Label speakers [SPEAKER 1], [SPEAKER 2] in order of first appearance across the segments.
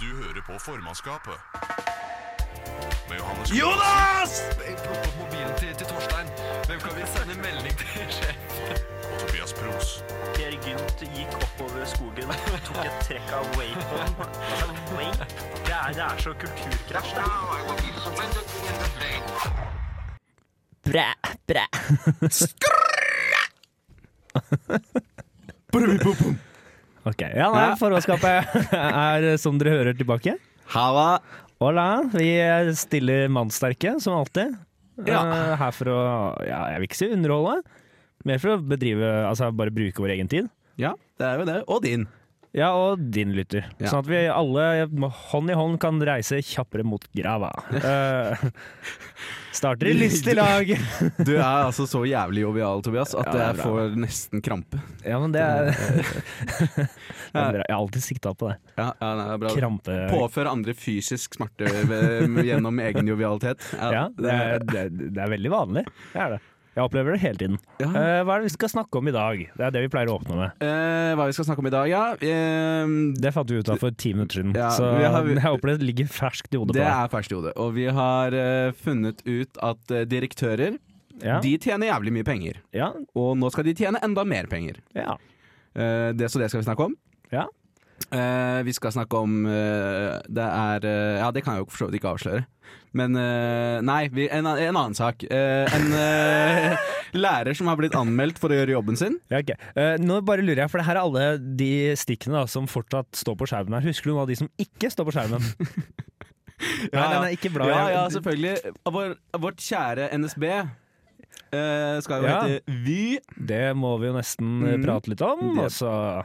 [SPEAKER 1] Du hører på formannskapet. Med Johannes
[SPEAKER 2] Jonas!
[SPEAKER 3] Plukk opp mobilen til, til Torstein. Hvem kan vi sende melding til? sjef?
[SPEAKER 1] Kløversen og Tobias Pros.
[SPEAKER 4] Per Gynt gikk oppover skogen, tok et trekk av Wacon. Altså, Wake? Det er, det er så kulturkrasj, det.
[SPEAKER 5] Bræ, bræ. Ok, ja, nei, Formannskapet er, eh, som dere hører, tilbake.
[SPEAKER 2] Halla.
[SPEAKER 5] Hola. Vi stiller mannsterke, som alltid.
[SPEAKER 2] Ja.
[SPEAKER 5] Eh, Her for å, ja, jeg vil ikke si underholde, mer for å bedrive, altså bare bruke vår egen tid.
[SPEAKER 2] Ja, det er jo det. Og din.
[SPEAKER 5] Ja, og din lytter.
[SPEAKER 2] Ja.
[SPEAKER 5] Sånn at vi alle hånd i hånd kan reise kjappere mot grava. Eh, starter i lystig lag.
[SPEAKER 2] Du er altså så jævlig jovial, Tobias, at
[SPEAKER 5] Ja, det er
[SPEAKER 2] jeg
[SPEAKER 5] bra.
[SPEAKER 2] får nesten krampe.
[SPEAKER 5] Ja, men det er Jeg har alltid sikta på det.
[SPEAKER 2] Ja, ja nei, det er bra.
[SPEAKER 5] Krampe...
[SPEAKER 2] Påføre andre fysisk smerte ved, gjennom egen jovialitet.
[SPEAKER 5] Ja, det
[SPEAKER 2] Eh,
[SPEAKER 5] er, det, det er veldig vanlig. Det er det. Jeg opplever det hele tiden.
[SPEAKER 2] Ja.
[SPEAKER 5] Eh, hva er det vi skal snakke om i dag? Det er det vi pleier å åpne med.
[SPEAKER 2] Eh, hva vi skal snakke om i dag, ja. Eh,
[SPEAKER 5] Det fant vi ut av for ti minutter siden,
[SPEAKER 2] Ja,
[SPEAKER 5] så
[SPEAKER 2] vi har-
[SPEAKER 5] jeg håper det ligger ferskt i hodet på
[SPEAKER 2] det
[SPEAKER 5] deg.
[SPEAKER 2] er ferskt i hodet. Og vi har eh, funnet ut at eh, direktører
[SPEAKER 5] Ja,
[SPEAKER 2] de tjener jævlig mye penger.
[SPEAKER 5] ja,
[SPEAKER 2] Og nå skal de tjene enda mer penger.
[SPEAKER 5] ja,
[SPEAKER 2] Eh, det, så det skal vi snakke om.
[SPEAKER 5] ja.
[SPEAKER 2] Eh, vi skal snakke om eh, Det er eh, Ja, det kan jeg jo for så vidt ikke avsløre. Men eh, Nei, vi, en, an- en annen sak. Eh, en eh, lærer som har blitt anmeldt for å gjøre jobben sin.
[SPEAKER 5] ja ok. Eh, nå bare lurer jeg, for det her er alle de stikkene da, som fortsatt står på skjermen her. Husker du noen av de som ikke står på skjermen? Nei, den er ikke bra.
[SPEAKER 2] Ja, ja, altså-
[SPEAKER 5] Jeg-
[SPEAKER 2] selvfølgelig. Vår, vårt kjære NSB eh, skal jo
[SPEAKER 5] Ja.
[SPEAKER 2] hete Vy.
[SPEAKER 5] Det må vi jo nesten
[SPEAKER 2] Mm.
[SPEAKER 5] eh, prate litt om. Og så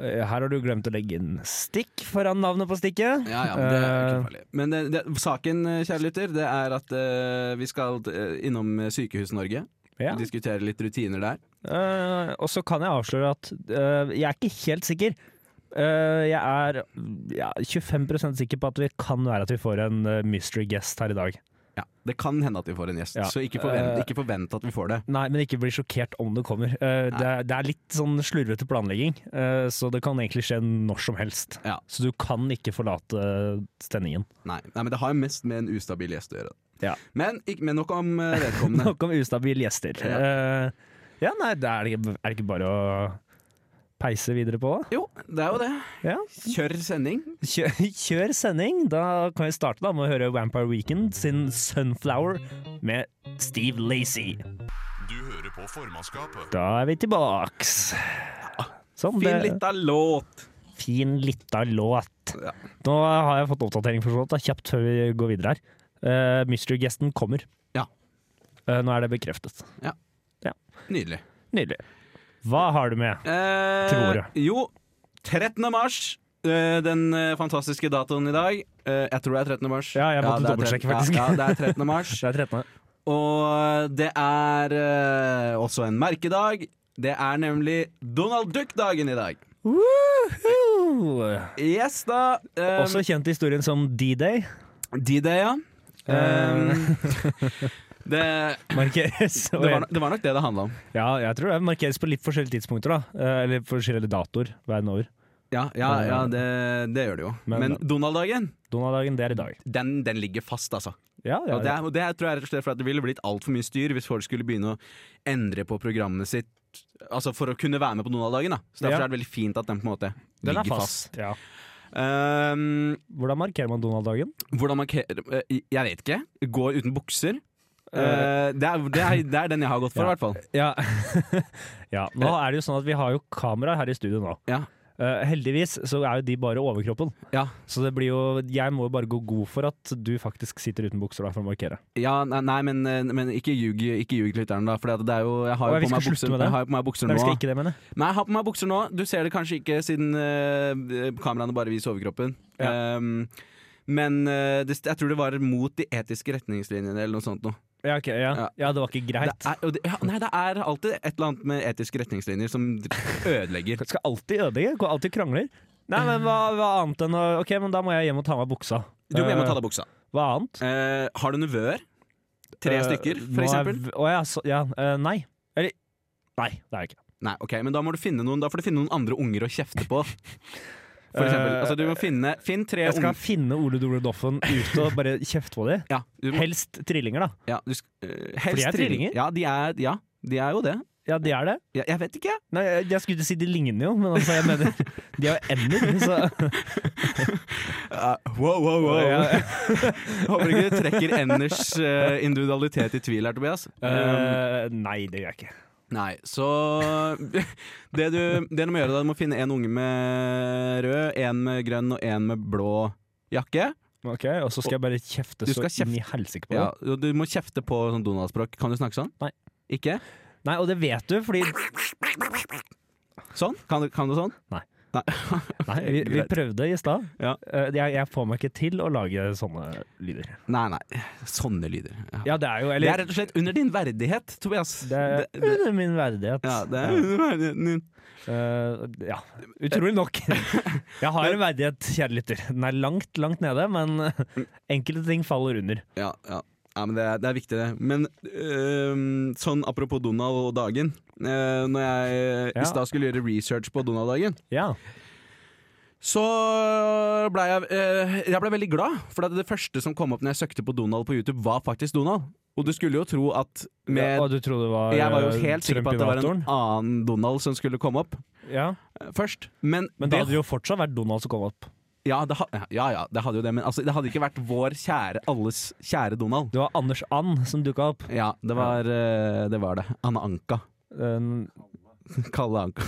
[SPEAKER 5] eh, Her har du glemt å legge inn stikk foran navnet på stikket.
[SPEAKER 2] Ja, ja, men det er
[SPEAKER 5] Eh,
[SPEAKER 2] ikke farlig. Men det, det, saken, eh, kjære lytter, det er at eh, vi skal eh, innom Sykehus-Norge.
[SPEAKER 5] ja.
[SPEAKER 2] Diskutere litt rutiner der.
[SPEAKER 5] Eh, og så kan jeg avsløre at eh, jeg er ikke helt sikker. Eh, jeg er ja, 25 sikker på at vi kan være at vi får en eh, mystery guest her i dag.
[SPEAKER 2] Ja, Det kan hende at vi får en gjest,
[SPEAKER 5] Ja.
[SPEAKER 2] så ikke forvent,
[SPEAKER 5] Eh,
[SPEAKER 2] ikke forvent at vi får det.
[SPEAKER 5] Nei, men ikke bli sjokkert om det kommer. Eh, det, er, det er litt sånn slurvete planlegging, eh, så det kan egentlig skje når som helst.
[SPEAKER 2] Ja.
[SPEAKER 5] Så du kan ikke forlate stemningen.
[SPEAKER 2] Nei, nei, men det har mest med en ustabil gjest å gjøre.
[SPEAKER 5] Ja.
[SPEAKER 2] Men, ikke, men nok om eh, vedkommende.
[SPEAKER 5] Nok om ustabile gjester. Eh, ja, nei, det er, det- er det ikke bare å peise videre på?
[SPEAKER 2] jo, det er jo det.
[SPEAKER 5] Ja.
[SPEAKER 2] Kjør sending.
[SPEAKER 5] Kjør, kjør sending. Da kan vi starte da med å høre Vampire Weekend sin 'Sunflower' med Steve Lacey.
[SPEAKER 1] Du hører på formannskapet.
[SPEAKER 5] Da er vi tilbaks. Sånn,
[SPEAKER 2] Fin
[SPEAKER 5] det,
[SPEAKER 2] lita låt.
[SPEAKER 5] fin lita låt.
[SPEAKER 2] Ja.
[SPEAKER 5] Nå har jeg fått oppdatering for så vidt, da, kjapt før vi går videre her. Uh, Mystery-gjesten kommer.
[SPEAKER 2] Ja.
[SPEAKER 5] Eh, nå er det bekreftet.
[SPEAKER 2] Nydelig.
[SPEAKER 5] Nydelig. Hva har du med?
[SPEAKER 2] Eh,
[SPEAKER 5] Til ordet.
[SPEAKER 2] Jo, 13. mars. eh, den eh, fantastiske datoen i dag. Eh, jeg tror det er 13. mars.
[SPEAKER 5] Ja, jeg måtte
[SPEAKER 2] det er
[SPEAKER 5] dobbeltsjekke,
[SPEAKER 2] 13
[SPEAKER 5] faktisk.
[SPEAKER 2] Ja, ja, det er 13. mars.
[SPEAKER 5] Det er 13.
[SPEAKER 2] Og det er eh, også en merkedag. Det er nemlig Donald Duck-dagen i dag.
[SPEAKER 5] Woohoo!
[SPEAKER 2] Yes, da. eh,
[SPEAKER 5] Også kjent i historien som D-Day. Eh,
[SPEAKER 2] D-Day, ja. Um, det,
[SPEAKER 5] Markeres.
[SPEAKER 2] det, var, det var nok det det handla om.
[SPEAKER 5] Ja, jeg tror det markeres på litt forskjellige tidspunkter, da. Eh, Eller forskjellige datoer verden over.
[SPEAKER 2] Ja, ja, ja det, det gjør det jo.
[SPEAKER 5] Men-
[SPEAKER 2] Men, Donald-dagen,
[SPEAKER 5] Donald-dagen, det er i dag.
[SPEAKER 2] den, den ligger fast, altså.
[SPEAKER 5] Ja, ja,
[SPEAKER 2] Og det, er- og det er, tror jeg rett og slett for at det ville blitt altfor mye styr hvis folk skulle begynne å endre på programmet sitt Altså for å kunne være med på Donald-dagen. da Så Derfor
[SPEAKER 5] Ja.
[SPEAKER 2] er det veldig fint at den på en måte
[SPEAKER 5] Den er
[SPEAKER 2] ligger
[SPEAKER 5] fast. Ja.
[SPEAKER 2] fast. Um,
[SPEAKER 5] Hvordan markerer man Donald-dagen?
[SPEAKER 2] hvordan markerer eh, Jeg vet ikke. Gå uten bukser. Eh, det, er, det, er, det er den jeg har gått for, i
[SPEAKER 5] Ja.
[SPEAKER 2] hvert fall.
[SPEAKER 5] Ja. ja, nå er det jo sånn at vi har jo kamera her i studio nå.
[SPEAKER 2] Ja.
[SPEAKER 5] Eh, heldigvis så er jo de bare overkroppen,
[SPEAKER 2] Ja.
[SPEAKER 5] så det blir jo Jeg må jo bare gå god for at du faktisk sitter uten bukser da for å markere.
[SPEAKER 2] Ja, nei, nei men, eh, men ikke ljug, ikke ljug lytteren, da. For det er jo, jeg
[SPEAKER 5] Å,
[SPEAKER 2] har jo
[SPEAKER 5] ja, vi
[SPEAKER 2] på
[SPEAKER 5] skal
[SPEAKER 2] meg
[SPEAKER 5] slutte
[SPEAKER 2] bukser,
[SPEAKER 5] med det.
[SPEAKER 2] jeg har jo på meg bukser
[SPEAKER 5] Nei, vi
[SPEAKER 2] nå.
[SPEAKER 5] skal ikke det, mener jeg.
[SPEAKER 2] Nei, jeg har på meg bukser nå. Du ser det kanskje ikke siden eh, kameraene bare viser overkroppen. Ehm, men eh, det, jeg tror det var mot de etiske retningslinjene eller noe sånt noe.
[SPEAKER 5] Ja, ok, ja.
[SPEAKER 2] Ja.
[SPEAKER 5] ja, det var ikke
[SPEAKER 2] Det
[SPEAKER 5] greit.
[SPEAKER 2] er, og det, ja, nei, det er alltid et eller annet med etiske retningslinjer som ødelegger.
[SPEAKER 5] Skal alltid ødelegge, går alltid krangler. Nei, men hva, hva annet enn å Ok, men da må jeg hjem og ta av meg buksa.
[SPEAKER 2] Du må hjem og
[SPEAKER 5] Eh,
[SPEAKER 2] ta deg buksa.
[SPEAKER 5] Hva annet?
[SPEAKER 2] Eh, har du nevøer? Tre
[SPEAKER 5] Eh,
[SPEAKER 2] stykker,
[SPEAKER 5] nå er
[SPEAKER 2] for eksempel?
[SPEAKER 5] v- Å ja, så, ja eh, nei. Eller Nei, det er jeg ikke.
[SPEAKER 2] Nei, ok, men da må du finne noen Da får du finne noen andre unger å kjefte på. For eksempel, altså, du må finne Finn tre
[SPEAKER 5] Jeg skal
[SPEAKER 2] unge
[SPEAKER 5] finne Ole Dole Doffen ute og bare kjefte på dem.
[SPEAKER 2] ja, du må,
[SPEAKER 5] Helst trillinger, da.
[SPEAKER 2] ja, du, sk- eh, helst
[SPEAKER 5] er trillinger?
[SPEAKER 2] Ja, de er, ja, de er jo det.
[SPEAKER 5] Ja, de er det.
[SPEAKER 2] Ja, jeg vet ikke, jeg.
[SPEAKER 5] Nei, jeg, jeg skulle ikke si de ligner jo, men altså, jeg mener De er jo ender, så
[SPEAKER 2] wow, wow,
[SPEAKER 5] Ja, ja.
[SPEAKER 2] Håper ikke du trekker Enders eh, individualitet i tvil her, Tobias. Um,
[SPEAKER 5] Eh, Nei, det gjør jeg ikke.
[SPEAKER 2] nei, så det du, det du må gjøre, da, du må finne en unge med rød, en med grønn og en med blå jakke.
[SPEAKER 5] Ok, Og så skal jeg bare kjefte
[SPEAKER 2] Du
[SPEAKER 5] så
[SPEAKER 2] skal
[SPEAKER 5] inn i helsike på
[SPEAKER 2] Ja,
[SPEAKER 5] dem.
[SPEAKER 2] og du må kjefte på sånn Donald-språk. Kan du snakke sånn?
[SPEAKER 5] Nei.
[SPEAKER 2] Ikke?
[SPEAKER 5] Nei, og det vet du, fordi
[SPEAKER 2] Sånn? Kan du, kan du sånn?
[SPEAKER 5] Nei.
[SPEAKER 2] Nei.
[SPEAKER 5] Nei, vi, vi
[SPEAKER 2] Greit.
[SPEAKER 5] prøvde i stad.
[SPEAKER 2] Ja.
[SPEAKER 5] Eh, Jeg, jeg får meg ikke til å lage sånne lyder.
[SPEAKER 2] nei, nei. Sånne lyder. Ja.
[SPEAKER 5] Ja, det er jo
[SPEAKER 2] det er
[SPEAKER 5] eller,
[SPEAKER 2] rett og slett under din verdighet, Tobias.
[SPEAKER 5] Det er
[SPEAKER 2] Det- det-
[SPEAKER 5] under min verdighet.
[SPEAKER 2] ja, det er under verdigheten din.
[SPEAKER 5] Eh, ja. Utrolig nok. Jeg har en verdighet, kjære lytter. Den er langt, langt nede, men
[SPEAKER 2] Mm.
[SPEAKER 5] enkelte ting faller under.
[SPEAKER 2] Ja, ja. ja men det er, det er viktig, det. Men øhm, sånn apropos Donald og dagen. øh, når jeg øh,
[SPEAKER 5] Ja.
[SPEAKER 2] i stad skulle gjøre research på Donald-dagen,
[SPEAKER 5] Ja.
[SPEAKER 2] så blei jeg, øh, jeg ble veldig glad. For at det første som kom opp når jeg søkte på Donald på YouTube, var faktisk Donald. Og du skulle jo tro at med
[SPEAKER 5] og du trodde det var
[SPEAKER 2] Jeg var jo
[SPEAKER 5] eh,
[SPEAKER 2] helt sikker på at det var en
[SPEAKER 5] Trump-innovatoren?
[SPEAKER 2] annen Donald som skulle komme opp
[SPEAKER 5] Ja.
[SPEAKER 2] øh, først. Men,
[SPEAKER 5] Men da
[SPEAKER 2] det,
[SPEAKER 5] hadde det jo fortsatt vært Donald som kom opp.
[SPEAKER 2] ja, det, ha- ja, ja, det hadde jo det. Men altså, det hadde ikke vært vår kjære, alles kjære Donald.
[SPEAKER 5] Det var Anders And som dukka opp.
[SPEAKER 2] Ja, det var, øh, det, var det. Anna Anka.
[SPEAKER 5] En-
[SPEAKER 2] Kalle Anka.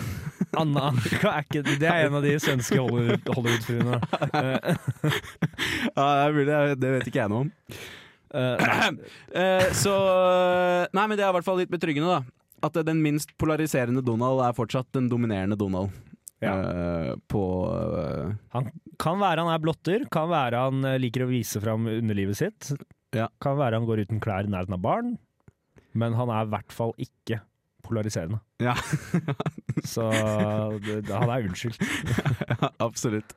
[SPEAKER 5] Anna Anka er ikke Det er en av de svenske Hollywood- Hollywood-fruene.
[SPEAKER 2] Ja, det er mulig, jeg- det vet ikke jeg noe om.
[SPEAKER 5] Eh, nei.
[SPEAKER 2] Eh, så eh, Nei, men det er i hvert fall litt betryggende, da. At eh, den minst polariserende Donald er fortsatt den dominerende Donald. Eh, på eh,
[SPEAKER 5] han kan være han er blotter, kan være han eh, liker å vise fram underlivet sitt.
[SPEAKER 2] Ja.
[SPEAKER 5] Kan være han går uten klær i nærheten av barn, men han er i hvert fall ikke polariserende.
[SPEAKER 2] Ja.
[SPEAKER 5] Så det, det, han er unnskyldt.
[SPEAKER 2] eh, Absolutt.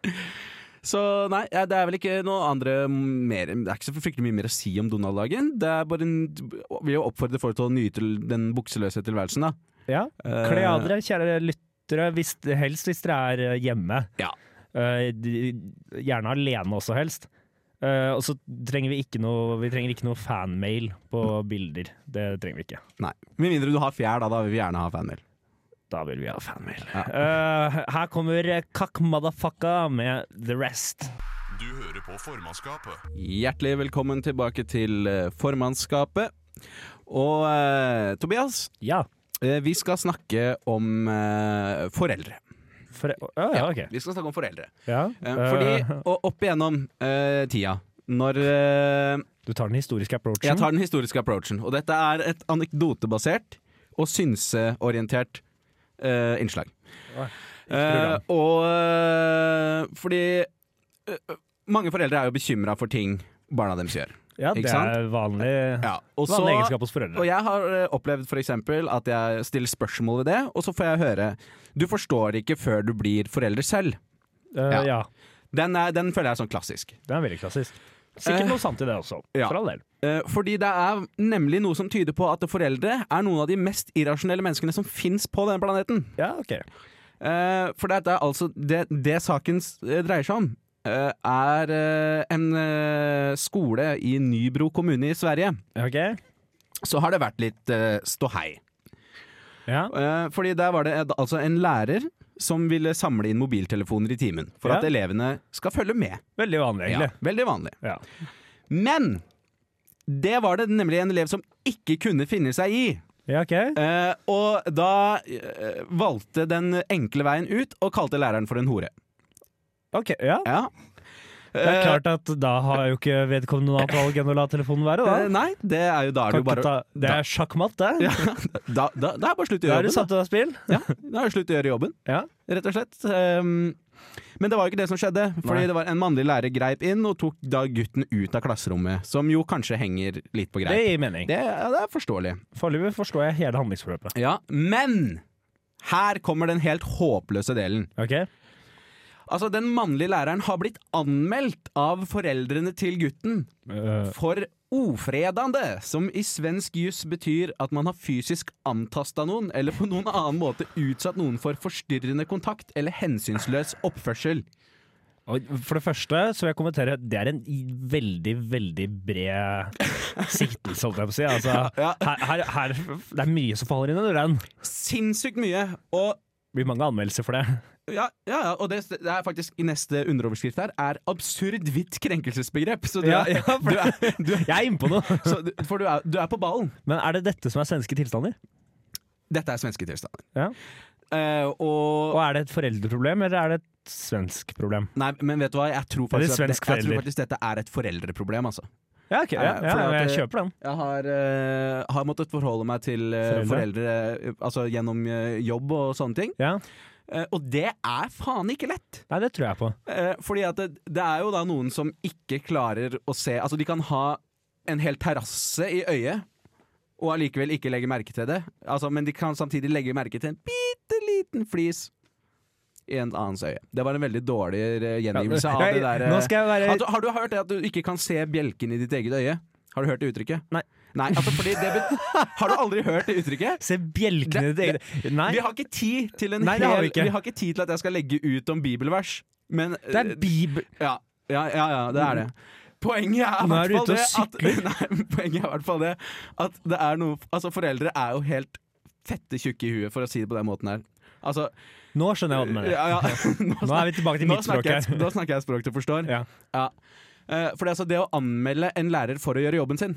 [SPEAKER 2] Så nei, ja, det er vel ikke noe andre mer Det er ikke så fryktelig mye mer å si om Donald-dagen. Det er bare en Vil jo oppfordre folk til å nyte l- den bukseløse tilværelsen, da.
[SPEAKER 5] Ja.
[SPEAKER 2] Eh,
[SPEAKER 5] Kle av dere, kjære lyttere, hvis, helst hvis dere er eh, hjemme.
[SPEAKER 2] Ja.
[SPEAKER 5] Eh, de- gjerne alene også, helst. Eh, og så trenger vi ikke noe Vi trenger ikke noe fanmail på bilder. Det trenger vi ikke.
[SPEAKER 2] Nei. Med mindre du har fjær, da. Da vil vi gjerne ha fanmail.
[SPEAKER 5] Da vil vi ha fanmail. Eh, her kommer Kakk Madafakka med The Rest.
[SPEAKER 1] Du hører på formannskapet.
[SPEAKER 2] Hjertelig velkommen tilbake til eh, formannskapet. Og eh, Tobias,
[SPEAKER 5] Ja.
[SPEAKER 2] Eh, Vi skal snakke om eh, foreldre.
[SPEAKER 5] For, ja, ja, ok.
[SPEAKER 2] Vi skal snakke om foreldre.
[SPEAKER 5] Ja.
[SPEAKER 2] Eh, fordi,
[SPEAKER 5] Eh,
[SPEAKER 2] og opp igjennom eh, tida, når eh,
[SPEAKER 5] du tar den historiske approachen.
[SPEAKER 2] Jeg tar den historiske approachen, og dette er et anekdotebasert og synseorientert eh, innslag.
[SPEAKER 5] Oi,
[SPEAKER 2] Eh, og eh, fordi eh, mange foreldre er jo bekymra for ting barna deres gjør.
[SPEAKER 5] ja, det
[SPEAKER 2] ikke sant?
[SPEAKER 5] er vanlig,
[SPEAKER 2] Ja, og så-
[SPEAKER 5] vanlig egenskap hos foreldre.
[SPEAKER 2] Og jeg har eh, opplevd for eksempel at jeg stiller spørsmål ved det, og så får jeg høre Du forstår ikke før du blir forelder selv.
[SPEAKER 5] Eh,
[SPEAKER 2] ja.
[SPEAKER 5] ja.
[SPEAKER 2] Den, er, den føler jeg er sånn klassisk.
[SPEAKER 5] Det er veldig klassisk. Sikkert
[SPEAKER 2] Eh,
[SPEAKER 5] noe sant i det også,
[SPEAKER 2] ja.
[SPEAKER 5] for all del.
[SPEAKER 2] Eh, fordi det er nemlig noe som tyder på at foreldre er noen av de mest irrasjonelle menneskene som fins på denne planeten.
[SPEAKER 5] Ja, ok.
[SPEAKER 2] Eh, for dette er altså Det, det saken s- eh, dreier seg om, eh, er eh, en eh, skole i Nybro kommune i Sverige.
[SPEAKER 5] Ok,
[SPEAKER 2] Så har det vært litt eh, ståhei.
[SPEAKER 5] ja.
[SPEAKER 2] Eh, fordi der var det en- altså en lærer som ville samle inn mobiltelefoner i timen. For
[SPEAKER 5] Ja.
[SPEAKER 2] at elevene skal følge med.
[SPEAKER 5] Veldig vanlig,
[SPEAKER 2] Ja,
[SPEAKER 5] egentlig.
[SPEAKER 2] veldig vanlig.
[SPEAKER 5] Ja.
[SPEAKER 2] Men det var det nemlig en elev som ikke kunne finne seg i.
[SPEAKER 5] Ja, ok.
[SPEAKER 2] Eh, og da eh, valgte den enkle veien ut og kalte læreren for en hore.
[SPEAKER 5] Ok, ja.
[SPEAKER 2] Ja.
[SPEAKER 5] Det er klart at da har jo ikke vedkommende noe annet valg enn å la telefonen være, da.
[SPEAKER 2] Eh, nei, det er jo da er det
[SPEAKER 5] Kan
[SPEAKER 2] jo bare
[SPEAKER 5] ikke ta, det
[SPEAKER 2] da-
[SPEAKER 5] er sjakkmatt, det.
[SPEAKER 2] ja, da, da, da er det bare slutt å
[SPEAKER 5] Da
[SPEAKER 2] gjøre
[SPEAKER 5] er du
[SPEAKER 2] jobben.
[SPEAKER 5] satt ut av spill.
[SPEAKER 2] Da. Ja, da er det slutt å gjøre jobben,
[SPEAKER 5] Ja.
[SPEAKER 2] rett og slett. Ehm, men det var jo ikke det som skjedde, fordi
[SPEAKER 5] Nei.
[SPEAKER 2] det var en mannlig lærer greip inn og tok da gutten ut av klasserommet, som jo kanskje henger litt på
[SPEAKER 5] Det
[SPEAKER 2] greip.
[SPEAKER 5] gir mening.
[SPEAKER 2] Det, ja, det er forståelig.
[SPEAKER 5] Foreløpig forstår jeg hele handlingsforløpet.
[SPEAKER 2] Ja, men her kommer den helt håpløse delen.
[SPEAKER 5] Ok?
[SPEAKER 2] Altså,
[SPEAKER 5] Eh,
[SPEAKER 2] Den mannlige læreren har blitt anmeldt av foreldrene til gutten for ofredande, som i svensk juss betyr at man har fysisk antasta noen eller på noen annen måte utsatt noen for forstyrrende kontakt eller hensynsløs oppførsel.
[SPEAKER 5] Og for det første så vil jeg kommentere det er en i- veldig, veldig bred siktelse, holdt jeg på å si. Altså,
[SPEAKER 2] Ja.
[SPEAKER 5] her, her, her, det er mye som faller inn under den.
[SPEAKER 2] Sinnssykt mye! Og
[SPEAKER 5] Det blir mange anmeldelser for det.
[SPEAKER 2] Ja, ja, ja, og det, det er faktisk i neste underoverskrift her er absurd hvitt krenkelsesbegrep. Så du
[SPEAKER 5] Ja, ja,
[SPEAKER 2] er,
[SPEAKER 5] for-
[SPEAKER 2] du er, du er,
[SPEAKER 5] Jeg er inne på noe!
[SPEAKER 2] så, du- for du er, du er på ballen.
[SPEAKER 5] Men er det dette som er svenske tilstander?
[SPEAKER 2] Dette er svenske tilstander.
[SPEAKER 5] Ja.
[SPEAKER 2] Eh,
[SPEAKER 5] Og
[SPEAKER 2] og
[SPEAKER 5] er det et foreldreproblem, eller er det et svensk problem?
[SPEAKER 2] Nei, men vet du hva, jeg tror
[SPEAKER 5] Er det
[SPEAKER 2] faktisk, at, det,
[SPEAKER 5] svensk
[SPEAKER 2] jeg tror
[SPEAKER 5] forelder?
[SPEAKER 2] faktisk dette er et foreldreproblem, altså.
[SPEAKER 5] Ja, ok, ja,
[SPEAKER 2] Eh,
[SPEAKER 5] ja,
[SPEAKER 2] fordi at,
[SPEAKER 5] jeg
[SPEAKER 2] eh,
[SPEAKER 5] kjøper den.
[SPEAKER 2] Jeg har, eh, har måttet forholde meg til eh, foreldre, eh, altså gjennom eh, jobb og sånne ting.
[SPEAKER 5] Ja.
[SPEAKER 2] Eh, og det er faen ikke lett!
[SPEAKER 5] Nei, det tror jeg på.
[SPEAKER 2] Eh, fordi at det, det er jo da noen som ikke klarer å se Altså, de kan ha en hel terrasse i øyet og allikevel ikke legge merke til det. Altså, men de kan samtidig legge merke til en bitte liten flis i en annens øye. Det var en veldig dårlig eh, gjengivelse av det der eh,
[SPEAKER 5] Nå skal jeg være
[SPEAKER 2] at, Har du hørt det at du ikke kan se bjelken i ditt eget øye? Har du hørt det uttrykket?
[SPEAKER 5] Nei.
[SPEAKER 2] Nei, altså fordi det bet Har du aldri hørt det uttrykket?
[SPEAKER 5] Se bjelkene i ditt
[SPEAKER 2] Det-
[SPEAKER 5] eget Nei,
[SPEAKER 2] Vi har ikke tid til en
[SPEAKER 5] Nei, det har vi
[SPEAKER 2] hel-
[SPEAKER 5] ikke.
[SPEAKER 2] vi har ikke tid til at jeg skal legge ut om bibelvers, men eh,
[SPEAKER 5] det er bibel...
[SPEAKER 2] ja, ja, ja, ja det er det. Poenget er i
[SPEAKER 5] Nå er du
[SPEAKER 2] hvert
[SPEAKER 5] ute
[SPEAKER 2] fall det
[SPEAKER 5] og
[SPEAKER 2] at, nei, poenget er i hvert fall det at det er noe Altså, foreldre er jo helt fette tjukke i huet, for å si det på den måten her. Altså
[SPEAKER 5] Nå skjønner jeg hva du mener.
[SPEAKER 2] ja, ja, nå,
[SPEAKER 5] Sånn Nå er vi tilbake til
[SPEAKER 2] nå
[SPEAKER 5] mitt språk
[SPEAKER 2] snakker, jeg,
[SPEAKER 5] her.
[SPEAKER 2] nå snakker jeg språk du forstår.
[SPEAKER 5] Ja.
[SPEAKER 2] Eh, for det, er altså, det å anmelde en lærer for å gjøre jobben sin,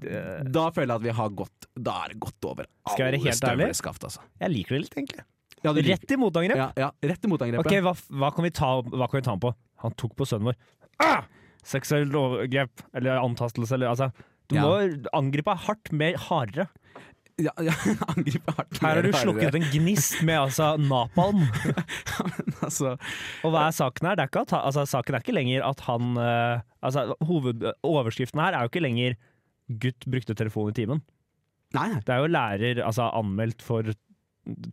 [SPEAKER 2] da føler jeg at vi har gått Da er det gått over
[SPEAKER 5] Skal jeg være
[SPEAKER 2] alle
[SPEAKER 5] helt ærlig?
[SPEAKER 2] støvleskaft, altså.
[SPEAKER 5] Jeg liker det litt, egentlig.
[SPEAKER 2] Ja, du-
[SPEAKER 5] Rett i motangrep.
[SPEAKER 2] ja, ja, rett i motangrepet.
[SPEAKER 5] Ok, hva, hva, kan vi ta, hva kan vi ta han på? Han tok på sønnen vår. Ah! Seksuelt overgrep, eller antastelse, eller altså Du
[SPEAKER 2] Ja.
[SPEAKER 5] må angripe hardt, mer hardere.
[SPEAKER 2] Ja, ja, angrepet hardt.
[SPEAKER 5] Her har du slukket en gnist med altså napalm.
[SPEAKER 2] altså,
[SPEAKER 5] Og hva er saken her? Det er ikke at, han- altså, saken er ikke lenger at han eh, Altså, hovedoverskriften her er jo ikke lenger 'gutt brukte telefon i timen'.
[SPEAKER 2] Nei, nei.
[SPEAKER 5] Det er jo lærer altså, anmeldt for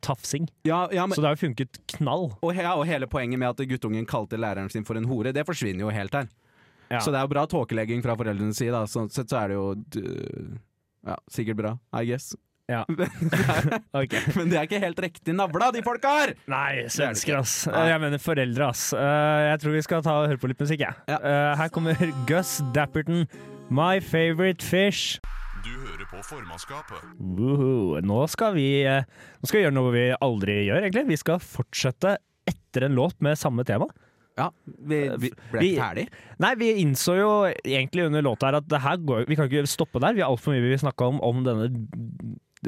[SPEAKER 5] tafsing.
[SPEAKER 2] Ja, ja, men,
[SPEAKER 5] Så det har jo funket knall.
[SPEAKER 2] Og, he- ja, og hele poenget med at guttungen kalte læreren sin for en hore, det forsvinner jo helt her.
[SPEAKER 5] Ja.
[SPEAKER 2] Så det er jo bra tåkelegging fra foreldrenes side. da. Sånn sett så er det jo d- ja, sikkert bra, I guess.
[SPEAKER 5] Ja. Ok.
[SPEAKER 2] Men det er ikke helt riktig navla, de folka her!
[SPEAKER 5] Nei,
[SPEAKER 2] er det
[SPEAKER 5] svensker,
[SPEAKER 2] ikke.
[SPEAKER 5] ass.
[SPEAKER 2] Nei.
[SPEAKER 5] Jeg mener foreldre, ass. Eh, Jeg tror vi skal ta og høre på litt musikk, jeg.
[SPEAKER 2] Ja.
[SPEAKER 5] Eh, Her kommer Gus Dapperton, 'My Favorite Fish'.
[SPEAKER 1] Du hører på formannskapet.
[SPEAKER 5] Woohoo. Nå skal vi eh, Nå skal vi gjøre noe vi aldri gjør, egentlig. Vi skal fortsette etter en låt med samme tema.
[SPEAKER 2] Ja, vi, vi ble
[SPEAKER 5] Vi-
[SPEAKER 2] ikke ferdig.
[SPEAKER 5] Nei, vi innså jo egentlig under låta her at det her går, vi kan ikke stoppe der. Vi har altfor mye vi vil snakke om om denne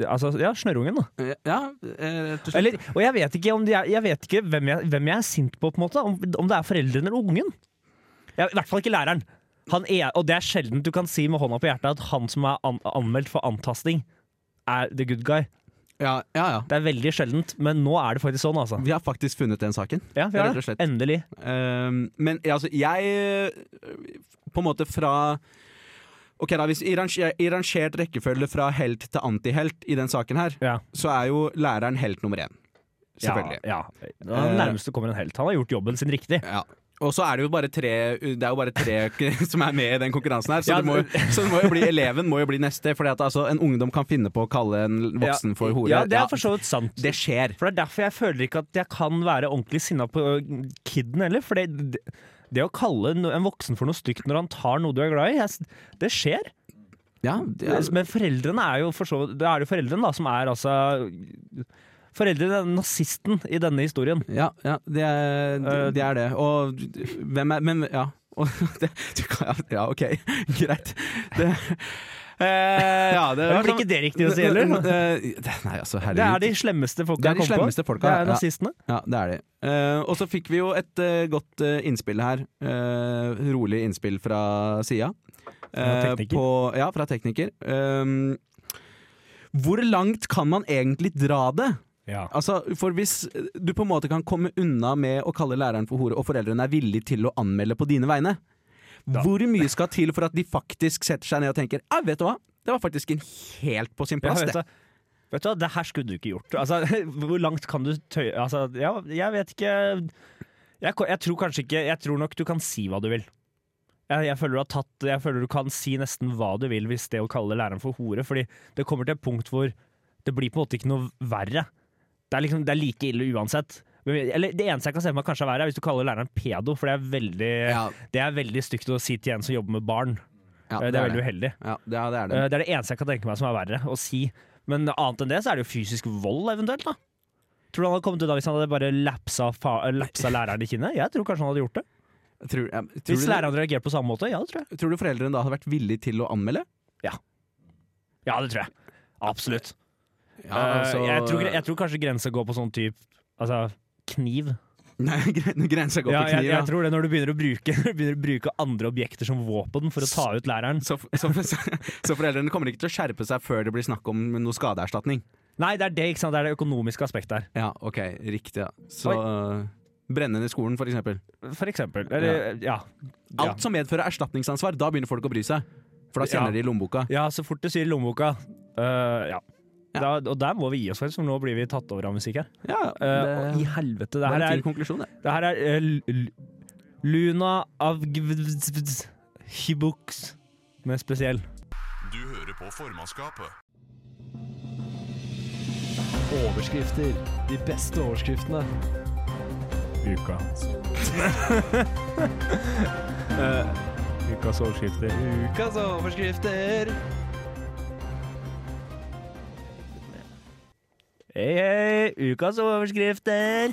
[SPEAKER 5] Altså, ja, snørrungen, da.
[SPEAKER 2] Ja, eh, rett og slett.
[SPEAKER 5] Eller, og jeg vet ikke, om de er, jeg vet ikke hvem, jeg, hvem jeg er sint på, på en måte. Om, om det er foreldrene eller ungen. Jeg, I hvert fall ikke læreren. Han er, og det er sjelden du kan si med hånda på hjertet at han som er an, anmeldt for antasting, er the good guy.
[SPEAKER 2] ja, ja, ja.
[SPEAKER 5] Det er veldig sjeldent, men nå er det faktisk sånn, altså.
[SPEAKER 2] Vi har faktisk funnet den saken.
[SPEAKER 5] Ja, vi har
[SPEAKER 2] Rett og
[SPEAKER 5] det.
[SPEAKER 2] slett.
[SPEAKER 5] Endelig.
[SPEAKER 2] Ehm, men altså, jeg eh, På en måte fra Ok da, Hvis i ranger- i rangert rekkefølge fra helt til antihelt i den saken her,
[SPEAKER 5] Ja.
[SPEAKER 2] så er jo læreren helt nummer én. Selvfølgelig.
[SPEAKER 5] Ja, ja. Den nærmeste kommer en helt. Han har gjort jobben sin riktig.
[SPEAKER 2] Ja. Og så er det jo bare tre Det er jo bare tre som er med i den konkurransen her, så,
[SPEAKER 5] Ja,
[SPEAKER 2] det må, jo- så det må jo bli eleven må jo bli neste. For altså, en ungdom kan finne på å kalle en voksen for hore.
[SPEAKER 5] Ja, det er for så vidt sant.
[SPEAKER 2] det skjer.
[SPEAKER 5] For det er derfor jeg føler ikke at jeg kan være ordentlig sinna på ø, kidden heller. For det, det, det å kalle no- en voksen for noe stygt når han tar noe du er glad i, jeg, s- det skjer.
[SPEAKER 2] Ja, det er,
[SPEAKER 5] Men foreldrene er jo for så vidt Det er jo foreldrene da som er altså Foreldrene er nazisten i denne historien.
[SPEAKER 2] ja, ja det, er,
[SPEAKER 5] Eh,
[SPEAKER 2] det- det er det. Og hvem er Men ja. Og det, du kan, ja, OK. Greit. Det, eh, ja, det
[SPEAKER 5] Det
[SPEAKER 2] var
[SPEAKER 5] blir
[SPEAKER 2] sånn-
[SPEAKER 5] ikke det riktig å si heller.
[SPEAKER 2] Eh, Nei, altså, herregud.
[SPEAKER 5] Det er de slemmeste folka
[SPEAKER 2] Det er de
[SPEAKER 5] jeg kom på.
[SPEAKER 2] slemmeste folka,
[SPEAKER 5] Det er
[SPEAKER 2] ja.
[SPEAKER 5] nazistene.
[SPEAKER 2] Ja, det er de. Eh, og så fikk vi jo et eh, godt eh, innspill her. Eh, rolig innspill fra sida.
[SPEAKER 5] Fra tekniker.
[SPEAKER 2] på- ja, fra tekniker. Ehm, hvor langt kan man egentlig dra det? Altså, for Hvis du på en måte kan komme unna med å kalle læreren for hore, og foreldrene er villige til å anmelde på dine vegne,
[SPEAKER 5] Da.
[SPEAKER 2] hvor mye skal til for at de faktisk setter seg ned og tenker «Ah, vet du hva, det var faktisk en helt på sin
[SPEAKER 5] Ja,
[SPEAKER 2] plass,
[SPEAKER 5] vet,
[SPEAKER 2] det.
[SPEAKER 5] du, hva? vet du hva, det her skulle du ikke gjort. Altså, hvor langt kan du tøye altså, ja, Jeg vet ikke jeg, ko- jeg tror kanskje ikke Jeg tror nok du kan si hva du vil. Jeg, jeg, føler du har tatt, jeg føler du kan si nesten hva du vil hvis det å kalle læreren for hore. Fordi det kommer til et punkt hvor det blir på en måte ikke noe verre. Det er, liksom, det er like ille uansett. Men- Eller Det eneste jeg kan se for meg kanskje er verre, er hvis du kaller læreren pedo. For det er veldig,
[SPEAKER 2] Ja.
[SPEAKER 5] det er veldig stygt å si til en som jobber med barn. Eh,
[SPEAKER 2] Ja,
[SPEAKER 5] det, er veldig uheldig.
[SPEAKER 2] Ja, det er det. Er det.
[SPEAKER 5] Eh, Det er det eneste jeg kan tenke meg som er verre å si. Men annet enn det så er det jo fysisk vold, eventuelt. da Tror du han hadde kommet unna hvis han hadde bare lapsa, fa eh, lapsa læreren i kinnet? Jeg tror kanskje han hadde gjort det.
[SPEAKER 2] tror, ja, tror,
[SPEAKER 5] Hvis
[SPEAKER 2] du,
[SPEAKER 5] læreren hadde reagert på samme måte, ja, det tror jeg.
[SPEAKER 2] tror du foreldrene da hadde vært villige til å anmelde?
[SPEAKER 5] Ja, det tror jeg. Absolutt.
[SPEAKER 2] Ja,
[SPEAKER 5] Eh,
[SPEAKER 2] altså-
[SPEAKER 5] jeg, tror, gre- jeg tror kanskje grensa går på sånn type altså, kniv.
[SPEAKER 2] Nei, gren- grensa går
[SPEAKER 5] Ja,
[SPEAKER 2] til
[SPEAKER 5] jeg,
[SPEAKER 2] kniv.
[SPEAKER 5] jeg
[SPEAKER 2] ja.
[SPEAKER 5] tror det når du begynner, å bruke, når du begynner å bruke andre objekter som våpen for å ta ut læreren.
[SPEAKER 2] Så, så, så, så foreldrene kommer ikke til å skjerpe seg før det blir snakk om noe skadeerstatning?
[SPEAKER 5] Nei, det er det ikke sant? Det er det økonomiske aspektet her.
[SPEAKER 2] Ja, ok, riktig. Ja. Så øh, brenne ned skolen, for eksempel.
[SPEAKER 5] For eksempel. Eller, ja. Ja.
[SPEAKER 2] Alt som medfører erstatningsansvar, da begynner folk å bry seg. For da
[SPEAKER 5] Ja.
[SPEAKER 2] kjenner de i lommeboka.
[SPEAKER 5] Ja, så fort du sier lommeboka. øh, ja.
[SPEAKER 2] Ja.
[SPEAKER 5] Da, og der må vi gi oss, for nå blir vi tatt over av musikk her.
[SPEAKER 2] Ja,
[SPEAKER 5] Øh, og I
[SPEAKER 2] det,
[SPEAKER 5] helvete, det
[SPEAKER 2] det er
[SPEAKER 5] her
[SPEAKER 2] en fin
[SPEAKER 5] er,
[SPEAKER 2] konklusjon, det.
[SPEAKER 5] det her er øh, L- L- Luna av Gv- Hibux med spesiell.
[SPEAKER 1] Du hører på formannskapet.
[SPEAKER 6] Overskrifter. De beste overskriftene.
[SPEAKER 5] Uka. Eh, ukas overskrifter.
[SPEAKER 6] Ukas overskrifter.
[SPEAKER 5] Hei, hei, ukas overskrifter.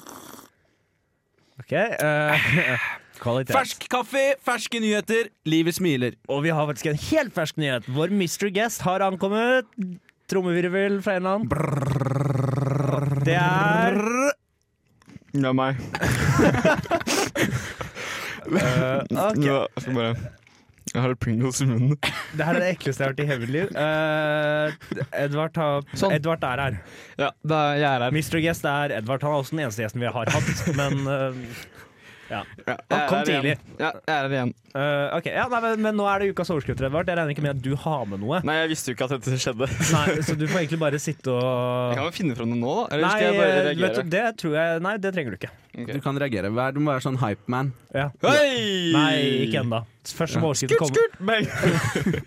[SPEAKER 5] Ok. eh, kvalitet.
[SPEAKER 2] Fersk kaffe, ferske nyheter, livet smiler.
[SPEAKER 5] Og vi har faktisk en helt fersk nyhet. Vår Mr. Guest har ankommet. Trommevirvel fra en eller annen. Det er
[SPEAKER 7] Det er meg.
[SPEAKER 5] Eh, ok.
[SPEAKER 7] Nå, jeg skal bare Jeg har Pringles i munnen.
[SPEAKER 5] Det her er det ekleste jeg har hørt i hele mitt liv. Eh, Edvard, har-
[SPEAKER 7] Sånn.
[SPEAKER 5] Edvard er her.
[SPEAKER 7] Ja, da, jeg er her.
[SPEAKER 5] Mr. Guest er Edvard. Han er også den eneste gjesten vi har hatt, men eh, ja.
[SPEAKER 7] Ja,
[SPEAKER 5] Han
[SPEAKER 7] jeg
[SPEAKER 5] kom
[SPEAKER 7] er her igjen. Ja, jeg er her igjen.
[SPEAKER 5] Eh, ok, ja, nei, men, men nå er det ukas overskrifter, Edvard. Jeg regner ikke med at du har med noe.
[SPEAKER 7] Nei, jeg visste jo ikke at dette skjedde.
[SPEAKER 5] Nei, Så du får egentlig bare sitte og
[SPEAKER 7] Jeg kan vel finne fram det nå, da? Eller
[SPEAKER 5] Nei,
[SPEAKER 7] skal jeg bare
[SPEAKER 5] vet
[SPEAKER 7] reagere?
[SPEAKER 5] du, det tror jeg Nei, det trenger du ikke.
[SPEAKER 2] Du kan reagere. Vær- Du må være sånn hypeman.
[SPEAKER 5] Ja.
[SPEAKER 7] Hei!
[SPEAKER 5] Nei, ikke ennå. Først må overskriften komme.
[SPEAKER 7] Bang!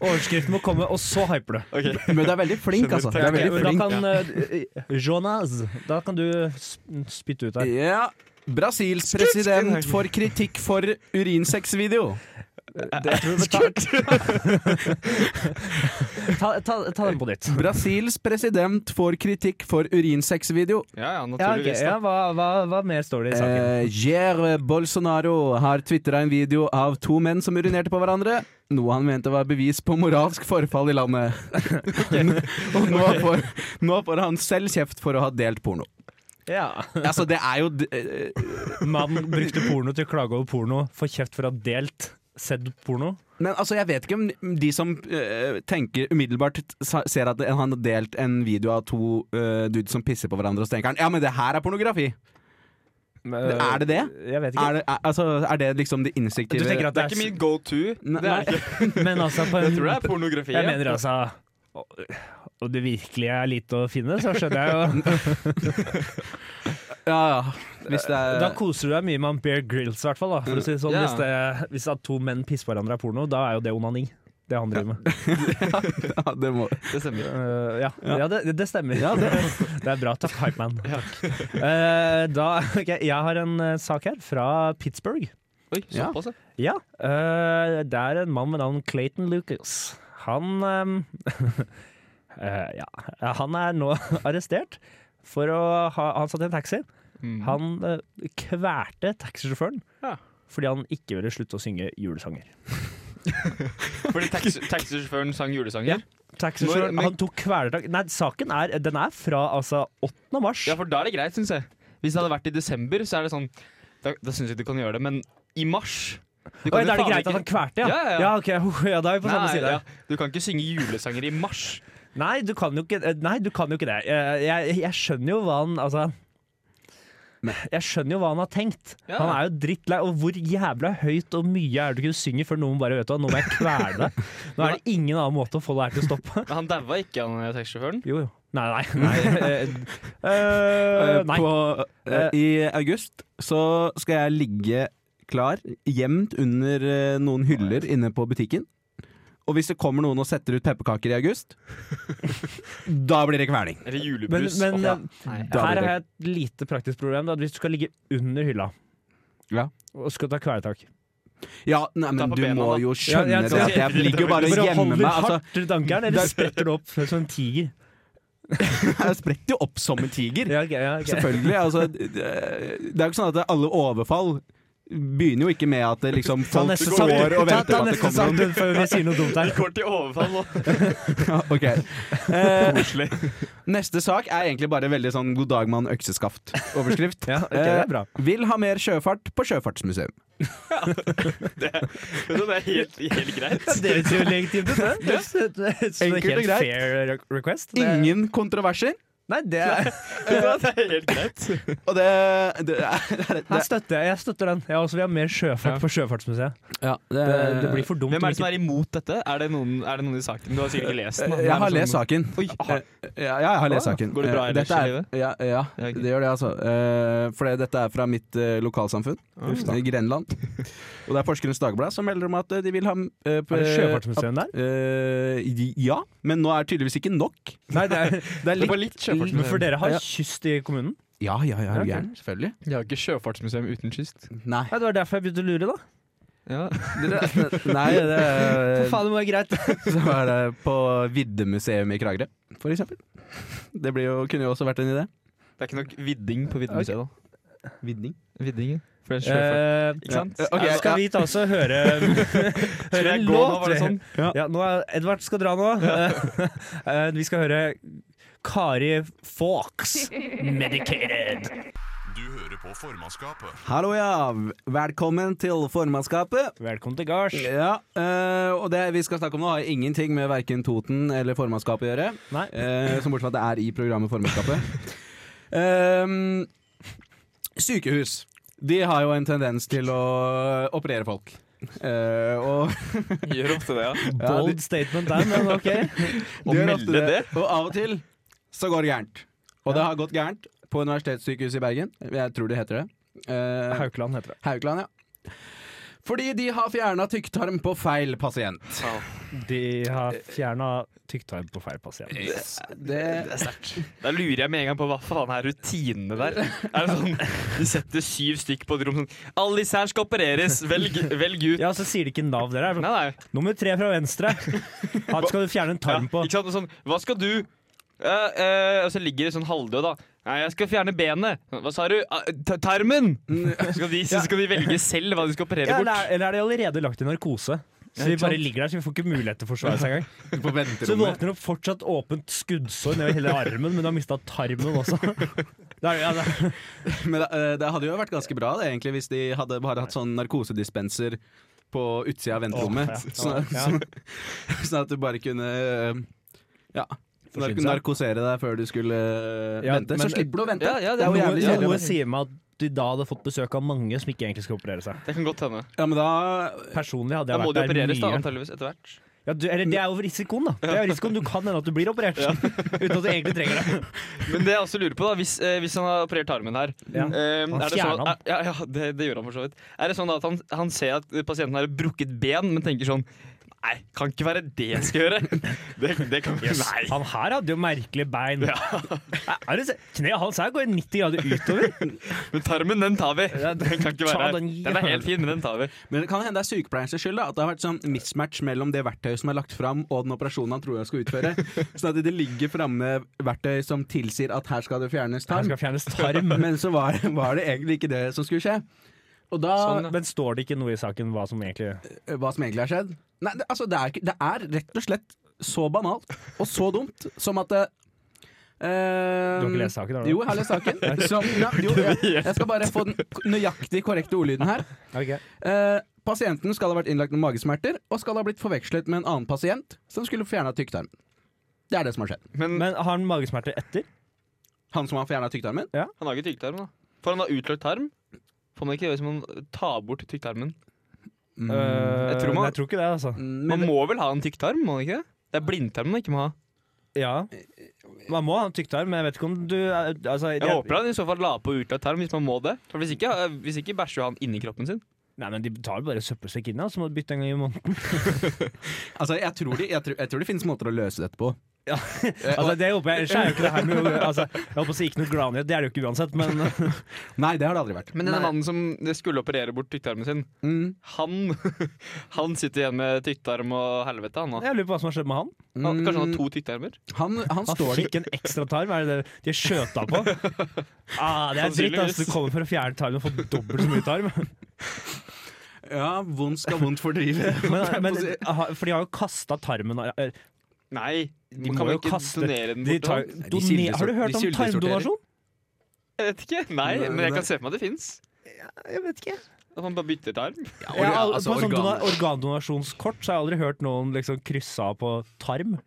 [SPEAKER 5] Overskriften må komme, og så hyper du.
[SPEAKER 7] Ok.
[SPEAKER 2] Men du er veldig flink,
[SPEAKER 7] Skjønner.
[SPEAKER 2] altså. Du er
[SPEAKER 5] Ok,
[SPEAKER 2] veldig
[SPEAKER 5] men da
[SPEAKER 2] flink.
[SPEAKER 5] kan eh, Jonas, da kan du sp- spytte ut her.
[SPEAKER 2] Ja. Brasils president får kritikk for urinsex-video.
[SPEAKER 5] Jeg Eh, tror vi tar- ta, ta, ta den på nytt.
[SPEAKER 2] Brasils president får kritikk for urinsex-video.
[SPEAKER 7] Ja, ja,
[SPEAKER 5] Ja, ok,
[SPEAKER 7] naturligvis.
[SPEAKER 5] ja, hva, hva, hva mer står det i saken?
[SPEAKER 2] Eh, Jair Bolsonaro har tvitra en video av to menn som urinerte på hverandre. Noe han mente var bevis på moralsk forfall i landet. Og nå får, nå får han selv kjeft for å ha delt porno.
[SPEAKER 7] Eh.
[SPEAKER 5] Ja.
[SPEAKER 2] Altså, det er jo d- eh,
[SPEAKER 5] Mannen brukte porno til å klage over porno, får kjeft for å ha delt sett porno.
[SPEAKER 2] Men altså, jeg vet ikke om de som eh, tenker umiddelbart sa- ser at han har delt en video av to eh, dudes som pisser på hverandre, og så tenker han ja, men det her er pornografi.
[SPEAKER 7] eh,
[SPEAKER 2] er det det?
[SPEAKER 5] eh, Jeg vet ikke.
[SPEAKER 2] Er det, er, altså, er det liksom det instinktive
[SPEAKER 5] du tenker at
[SPEAKER 7] Det
[SPEAKER 5] det
[SPEAKER 7] er
[SPEAKER 5] er,
[SPEAKER 7] ikke min go to.
[SPEAKER 2] Nei,
[SPEAKER 7] Det er ikke.
[SPEAKER 5] s- Men altså, på
[SPEAKER 7] Jeg
[SPEAKER 5] en,
[SPEAKER 7] tror det er pornografi.
[SPEAKER 5] Jeg
[SPEAKER 7] ja.
[SPEAKER 5] mener altså Om det virkelig er lite å finne, så skjønner jeg jo.
[SPEAKER 2] Ja, ja. Hvis det er
[SPEAKER 5] Da koser du deg mye med han Bear Grills, i hvert fall. da, For å si det sånn.
[SPEAKER 7] Ja.
[SPEAKER 5] Hvis, det, hvis at to menn pisser på hverandre er porno, da er jo det onani. Det han driver med.
[SPEAKER 2] ja, det må
[SPEAKER 7] Det stemmer.
[SPEAKER 5] Uh, ja, ja. det, det stemmer.
[SPEAKER 2] Ja,
[SPEAKER 5] det. er bra. Takk, Hypeman. Uh, da, ok, jeg har en eh, sak her fra Pittsburgh.
[SPEAKER 7] Oi,
[SPEAKER 2] Ja.
[SPEAKER 7] såpass, ja.
[SPEAKER 5] Ja, øh, det er en mann ved navn Clayton Lucas. Han øhm, øh, ja, han er nå arrestert for å ha Han satt i en taxi.
[SPEAKER 7] Mm.
[SPEAKER 5] Han øh, kvelte taxisjåføren
[SPEAKER 7] Ja.
[SPEAKER 5] fordi han ikke ville slutte å synge julesanger.
[SPEAKER 7] Fordi taxi- taxisjåføren sang julesanger?
[SPEAKER 5] Taxisjåføren,
[SPEAKER 7] men-
[SPEAKER 5] han tok kvelertak Nei, saken er, den er fra altså 8. mars.
[SPEAKER 7] Ja, for da er det greit, syns jeg. Hvis det hadde vært i desember, så er det sånn Da, da syns jeg du kan gjøre det, men i mars du jo
[SPEAKER 5] Oi, da er det
[SPEAKER 7] faen
[SPEAKER 5] greit
[SPEAKER 7] ikke-
[SPEAKER 5] at han kvelte, ja?
[SPEAKER 7] Ja, ja, ja.
[SPEAKER 5] ok, ja, da er vi på samme
[SPEAKER 7] Nei,
[SPEAKER 5] side.
[SPEAKER 7] ja. Du kan ikke synge julesanger i mars.
[SPEAKER 5] Nei, du kan jo ikke, eh, nei, du kan jo ikke det. Jeg, jeg, jeg skjønner jo hva han Altså Jeg skjønner jo hva han har tenkt.
[SPEAKER 7] Ja.
[SPEAKER 5] Han er jo drittlei. Og hvor jævla høyt og mye er det du kunne synge før noen bare vet hva, nå må jeg kvele deg. Nå er det ingen annen måte å få det her til å stoppe.
[SPEAKER 7] Men han daua ikke, han eh, taxisjåføren.
[SPEAKER 5] Jo, jo. Nei, nei. Nei. Eh, eh,
[SPEAKER 2] Eh,
[SPEAKER 5] nei. Eh.
[SPEAKER 2] På, eh, I august så skal jeg ligge klar, gjemt under eh, noen hyller inne på butikken. Og hvis det kommer noen og setter ut pepperkaker i august, da blir det kveling.
[SPEAKER 7] Eller
[SPEAKER 5] Men,
[SPEAKER 7] julebrus.
[SPEAKER 5] men
[SPEAKER 7] Åh,
[SPEAKER 5] eh,
[SPEAKER 2] Da
[SPEAKER 5] her
[SPEAKER 2] blir
[SPEAKER 5] har
[SPEAKER 2] det
[SPEAKER 5] jeg et lite praktisk problem. Da. Hvis du skal ligge under hylla
[SPEAKER 2] Ja.
[SPEAKER 5] og skal ta kvelertak
[SPEAKER 2] Ja, nei,
[SPEAKER 7] Ta
[SPEAKER 2] men
[SPEAKER 7] på
[SPEAKER 2] du
[SPEAKER 7] bena,
[SPEAKER 2] må
[SPEAKER 7] da.
[SPEAKER 2] jo skjønne
[SPEAKER 5] Ja, jeg-
[SPEAKER 2] det at jeg ligger jo bare og gjemmer meg. Altså,
[SPEAKER 5] hardt rundt ankeren, eller
[SPEAKER 2] der-
[SPEAKER 5] spretter du opp som en tiger?
[SPEAKER 2] jeg spretter jo opp som en tiger.
[SPEAKER 5] Ja, ok, ja, ok.
[SPEAKER 2] Selvfølgelig. Altså, det det er jo ikke sånn at alle overfall begynner jo ikke med at det liksom
[SPEAKER 5] Ta
[SPEAKER 2] folk
[SPEAKER 5] neste sang-
[SPEAKER 2] går
[SPEAKER 5] ta-
[SPEAKER 2] og venter
[SPEAKER 5] ta
[SPEAKER 2] på at det
[SPEAKER 5] neste
[SPEAKER 2] kommer noen.
[SPEAKER 5] samfunn før vi sier noe dumt her.
[SPEAKER 7] Går til overfall nå.
[SPEAKER 2] Ja, ok. Eh, neste sak er egentlig bare veldig sånn 'God dag, mann, økseskaft'-overskrift.
[SPEAKER 5] Ja, ok, det er bra.
[SPEAKER 2] Vil ha mer sjøfart på sjøfartsmuseum.
[SPEAKER 7] Så det er helt, helt greit.
[SPEAKER 5] Det høres jo legitimt ut, det. Det høres- det høres som en
[SPEAKER 2] Enkelt og
[SPEAKER 5] helt
[SPEAKER 2] greit.
[SPEAKER 5] fair re- request. Det-
[SPEAKER 2] Ingen kontroverser.
[SPEAKER 5] Nei, det er,
[SPEAKER 7] Det er helt greit.
[SPEAKER 2] Og det, det, er, det, er,
[SPEAKER 5] jeg
[SPEAKER 2] det,
[SPEAKER 5] støtter jeg. Jeg støtter den. Jeg også vil ha mer sjøfart på Sjøfartsmuseet.
[SPEAKER 2] ja,
[SPEAKER 5] Det, det blir for dumt.
[SPEAKER 7] Hvem er
[SPEAKER 5] om
[SPEAKER 7] det som
[SPEAKER 5] ikke-
[SPEAKER 7] er imot dette? Er det noen, er det noen i saken? Du har sikkert ikke lest den. da.
[SPEAKER 2] Eh, Jeg har
[SPEAKER 7] Det er
[SPEAKER 2] lest
[SPEAKER 7] sånn-
[SPEAKER 2] saken.
[SPEAKER 7] Oi, aha.
[SPEAKER 2] Eh, Ja, ja, jeg har lest
[SPEAKER 7] Ah,
[SPEAKER 2] saken.
[SPEAKER 7] går det bra
[SPEAKER 2] Eh,
[SPEAKER 7] ellers
[SPEAKER 2] dette
[SPEAKER 7] i
[SPEAKER 2] er, ja, ja,
[SPEAKER 7] Ja, ok.
[SPEAKER 2] det gjør det, altså. Eh, For det- dette er fra mitt eh, lokalsamfunn, i Grenland. Og det er Porsgrunns Dagblad som melder om at eh, de vil ha Er
[SPEAKER 5] Er det Sjøfartsmuseum der?
[SPEAKER 2] ja, men nå er tydeligvis ikke nok.
[SPEAKER 5] Nei, det er,
[SPEAKER 2] Det er
[SPEAKER 7] Det
[SPEAKER 2] litt
[SPEAKER 7] var litt sjøfartsmuseum.
[SPEAKER 5] men for dere har
[SPEAKER 2] Ja.
[SPEAKER 5] kyst i kommunen?
[SPEAKER 2] Ja, ja, ja,
[SPEAKER 5] Ja, ok.
[SPEAKER 2] gjerne, selvfølgelig.
[SPEAKER 7] De har ikke sjøfartsmuseum uten kyst.
[SPEAKER 2] Nei.
[SPEAKER 5] Nei, Det var derfor jeg begynte å lure, da.
[SPEAKER 7] Ja.
[SPEAKER 2] Nei, det eh,
[SPEAKER 5] For faen, det må være greit.
[SPEAKER 2] Så er det på Viddemuseum i Kragerø, for eksempel. Det blir jo, kunne jo også vært en idé.
[SPEAKER 7] Det er ikke nok vidding på Viddemuseet, da.
[SPEAKER 2] Vidding.
[SPEAKER 7] Vidding, ja. For det er sjøfart.
[SPEAKER 5] Eh,
[SPEAKER 7] Ikke sant?
[SPEAKER 2] Ja, ok,
[SPEAKER 5] ja, skal vi ta oss og høre,
[SPEAKER 7] Skal
[SPEAKER 5] høre
[SPEAKER 7] jeg
[SPEAKER 5] en
[SPEAKER 7] gå nå,
[SPEAKER 5] låt?
[SPEAKER 7] var det sånn?
[SPEAKER 5] Ja, nå er Edvard skal dra nå. Eh, vi skal høre Kari Fawkes, 'Medicated'.
[SPEAKER 1] Du hører på formannskapet.
[SPEAKER 2] Hallo, ja. Velkommen til formannskapet.
[SPEAKER 5] Velkommen til gards.
[SPEAKER 2] Ja, eh, og det vi skal snakke om nå har ingenting med verken Toten eller formannskapet å gjøre.
[SPEAKER 5] Nei.
[SPEAKER 2] eh, som bortsett fra at det er i programmet formannskapet. Ehm, sykehus. De har jo en tendens til å operere folk. Eh, og
[SPEAKER 7] Gjør ofte det, ja.
[SPEAKER 5] Bold statement der, men ok.
[SPEAKER 7] Og
[SPEAKER 2] gjør
[SPEAKER 7] melde
[SPEAKER 2] ofte
[SPEAKER 7] det.
[SPEAKER 2] Og av og til så går det gærent. Og det har gått gærent på Universitetssykehuset i Bergen. Jeg tror det heter det. Eh,
[SPEAKER 5] Haukeland heter det.
[SPEAKER 2] Haukeland, ja. Fordi de har fjerna tykktarm på feil pasient.
[SPEAKER 5] De har fjerna tykktarm på feil pasient.
[SPEAKER 2] Det
[SPEAKER 7] Da lurer jeg med en gang på hva faen er rutinene der. Er det sånn, De setter syv stykk på et rom sånn Alle disse her skal opereres, velg, velg ut.
[SPEAKER 5] Ja, så sier de ikke navn, dere.
[SPEAKER 7] Nei, nei.
[SPEAKER 5] Nummer tre fra venstre. Han skal du fjerne en
[SPEAKER 7] Ja,
[SPEAKER 5] tarm på.
[SPEAKER 7] ikke sant? Og Sånn, hva skal du? Eh, eh, og så ligger det sånn halvdød, da. Nei, jeg skal fjerne benet. Hva sa du? Ah, ta- tarmen! Så skal, de, så skal de velge selv hva de skal operere
[SPEAKER 5] Ja,
[SPEAKER 7] bort.
[SPEAKER 5] eller, er- eller er de allerede lagt i narkose? Så de bare ligger der, så vi får ikke mulighet til å forsvare seg engang.
[SPEAKER 2] på
[SPEAKER 5] Så
[SPEAKER 2] venterommet.
[SPEAKER 5] våkner du opp fortsatt åpent skuddsår nedover hele armen, men du har mista tarmen også. Det er, ja, det er.
[SPEAKER 2] Men det, eh, det hadde jo vært ganske bra det, egentlig, hvis de hadde bare hatt sånn narkosedispenser på utsida av venterommet.
[SPEAKER 5] Åh, ja.
[SPEAKER 2] sånn, at-
[SPEAKER 5] Ja.
[SPEAKER 2] sånn, sånn at du bare kunne eh, ja,
[SPEAKER 5] Forsyne
[SPEAKER 2] narko-
[SPEAKER 5] seg.
[SPEAKER 2] narkosere deg før du skulle eh,
[SPEAKER 5] Ja,
[SPEAKER 2] vente.
[SPEAKER 5] men-
[SPEAKER 2] så slipper du å vente!
[SPEAKER 7] Ja, ja, det
[SPEAKER 2] det er jo
[SPEAKER 5] Noe,
[SPEAKER 2] jævlig kjedelig. å
[SPEAKER 5] noe
[SPEAKER 2] vente.
[SPEAKER 5] sier meg at de da hadde fått besøk av mange som ikke egentlig skal operere seg.
[SPEAKER 7] Det kan godt hende.
[SPEAKER 2] Ja, men da
[SPEAKER 5] Personlig hadde
[SPEAKER 7] Da
[SPEAKER 5] jeg
[SPEAKER 7] må de
[SPEAKER 5] vært der
[SPEAKER 7] opereres, da,
[SPEAKER 5] mye.
[SPEAKER 7] antageligvis etter hvert.
[SPEAKER 5] Ja, du, eller det er jo risikoen, da. Det er jo risikoen Du kan hende at du blir operert uten at du egentlig trenger det.
[SPEAKER 7] Men det jeg også lurer på, da, hvis, eh, hvis han har operert tarmen her
[SPEAKER 5] Ja.
[SPEAKER 7] eh,
[SPEAKER 5] Han
[SPEAKER 7] er det sånn
[SPEAKER 5] fjerner
[SPEAKER 7] at, ja, ja, det, det gjør han for så vidt. Er det sånn at han, han ser at pasienten har et brukket ben, men tenker sånn Nei, kan ikke være det jeg skal gjøre. Det, det kan ikke Nei.
[SPEAKER 5] Han her hadde jo merkelige bein. Er det se- Kneet hans her går 90 grader utover.
[SPEAKER 7] Men tarmen, den tar vi. Den kan ikke
[SPEAKER 5] ta
[SPEAKER 7] være her.
[SPEAKER 5] den
[SPEAKER 7] Den er helt fin, men den tar vi.
[SPEAKER 2] Men det kan hende det er sykepleierens skyld. da At det har vært sånn mismatch mellom det verktøyet som er lagt fram og den operasjonen han tror han skal utføre. sånn at det ligger framme verktøy som tilsier at her skal det fjernes
[SPEAKER 5] Han
[SPEAKER 2] tarm.
[SPEAKER 5] skal fjernes tarm.
[SPEAKER 2] Men så var, var det egentlig ikke det som skulle skje. Og da
[SPEAKER 7] Sånn,
[SPEAKER 5] Men står det ikke noe i saken hva som egentlig
[SPEAKER 2] eh, hva som egentlig har skjedd. Nei, det, altså, det, er, ikke- det er rett og slett så banalt og så dumt som at det
[SPEAKER 5] Du har ikke lest saken, har du?
[SPEAKER 2] Jo, jeg har lest saken. Som, ja, jo, jeg, jeg skal bare få den k- nøyaktig korrekte ordlyden her.
[SPEAKER 5] Ok.
[SPEAKER 2] Eh, pasienten skal ha vært innlagt med magesmerter og skal ha blitt forvekslet med en annen pasient som skulle fjerna tykktarmen. Det er det som har skjedd.
[SPEAKER 7] Men
[SPEAKER 5] Men har han magesmerter etter?
[SPEAKER 2] Han som har fjerna tykktarmen?
[SPEAKER 7] han har ikke tykktarm, da. Får han da utlagt tarm? Får man ikke det hvis man tar bort tykktarmen?
[SPEAKER 5] Eh,
[SPEAKER 7] Mm. Jeg tror man-
[SPEAKER 5] nei, jeg tror ikke det, altså.
[SPEAKER 2] Mm,
[SPEAKER 7] Man
[SPEAKER 2] Men,
[SPEAKER 7] må vel ha en tykktarm, må man ikke? det? Det er blindtarmen man ikke må ha.
[SPEAKER 5] Ja. Man må ha en tykktarm, men jeg vet ikke om du er- altså,
[SPEAKER 7] Jeg håper han i så fall la på utlagt tarm hvis man må det. For Hvis ikke, eh, hvis ikke bæsjer jo han inni kroppen sin.
[SPEAKER 5] Nei, men De tar jo bare søppelsekk inn, da, så må du bytte en gang i måneden.
[SPEAKER 2] Altså, jeg tror, de, jeg, tror, jeg tror det finnes måter å løse dette på.
[SPEAKER 5] Altså, det håper jeg, Ellers er jo ikke det her noe altså, Jeg håper å si ikke noe gladnyhet, det er det jo ikke uansett, men
[SPEAKER 2] Nei, det har det aldri vært.
[SPEAKER 7] Men denne mannen som skulle operere bort tykktarmen sin,
[SPEAKER 2] Mm.
[SPEAKER 7] han, han sitter igjen med tykktarm og helvete, han. da.
[SPEAKER 5] jeg lurer på hva som har skjedd med han.
[SPEAKER 7] Han, kanskje han har to tykktarmer?
[SPEAKER 2] Han, han
[SPEAKER 5] Han
[SPEAKER 2] står det
[SPEAKER 5] fikk en ekstra tarm, er det det de har skjøta på? Ah, det er dritt, altså. Du kommer for å fjerne tarmen og får dobbelt så mye tarm.
[SPEAKER 2] Ja, vondt skal vondt fordrive.
[SPEAKER 5] Men, men,
[SPEAKER 2] altså,
[SPEAKER 5] aha, for de har jo kasta tarmen eh,
[SPEAKER 7] Nei,
[SPEAKER 5] De
[SPEAKER 7] kan
[SPEAKER 5] må
[SPEAKER 7] vel
[SPEAKER 5] jo
[SPEAKER 7] ikke
[SPEAKER 5] kaste
[SPEAKER 7] donere den
[SPEAKER 5] de
[SPEAKER 7] bort?
[SPEAKER 5] tar,
[SPEAKER 7] da?
[SPEAKER 2] de
[SPEAKER 5] doner, Har du hørt
[SPEAKER 2] de
[SPEAKER 5] om
[SPEAKER 2] kildesorterer.
[SPEAKER 5] tarmdonasjon?
[SPEAKER 7] Jeg vet ikke. Nei,
[SPEAKER 2] Nei,
[SPEAKER 7] men jeg
[SPEAKER 2] nei.
[SPEAKER 7] kan se for meg at det fins.
[SPEAKER 5] Jeg vet ikke.
[SPEAKER 7] At man bare bytter tarm.
[SPEAKER 2] Ja,
[SPEAKER 5] Jeg har,
[SPEAKER 2] altså,
[SPEAKER 5] på sånn
[SPEAKER 2] organ-
[SPEAKER 5] dona- organdonasjonskort så har jeg aldri hørt noen liksom krysse av på tarm.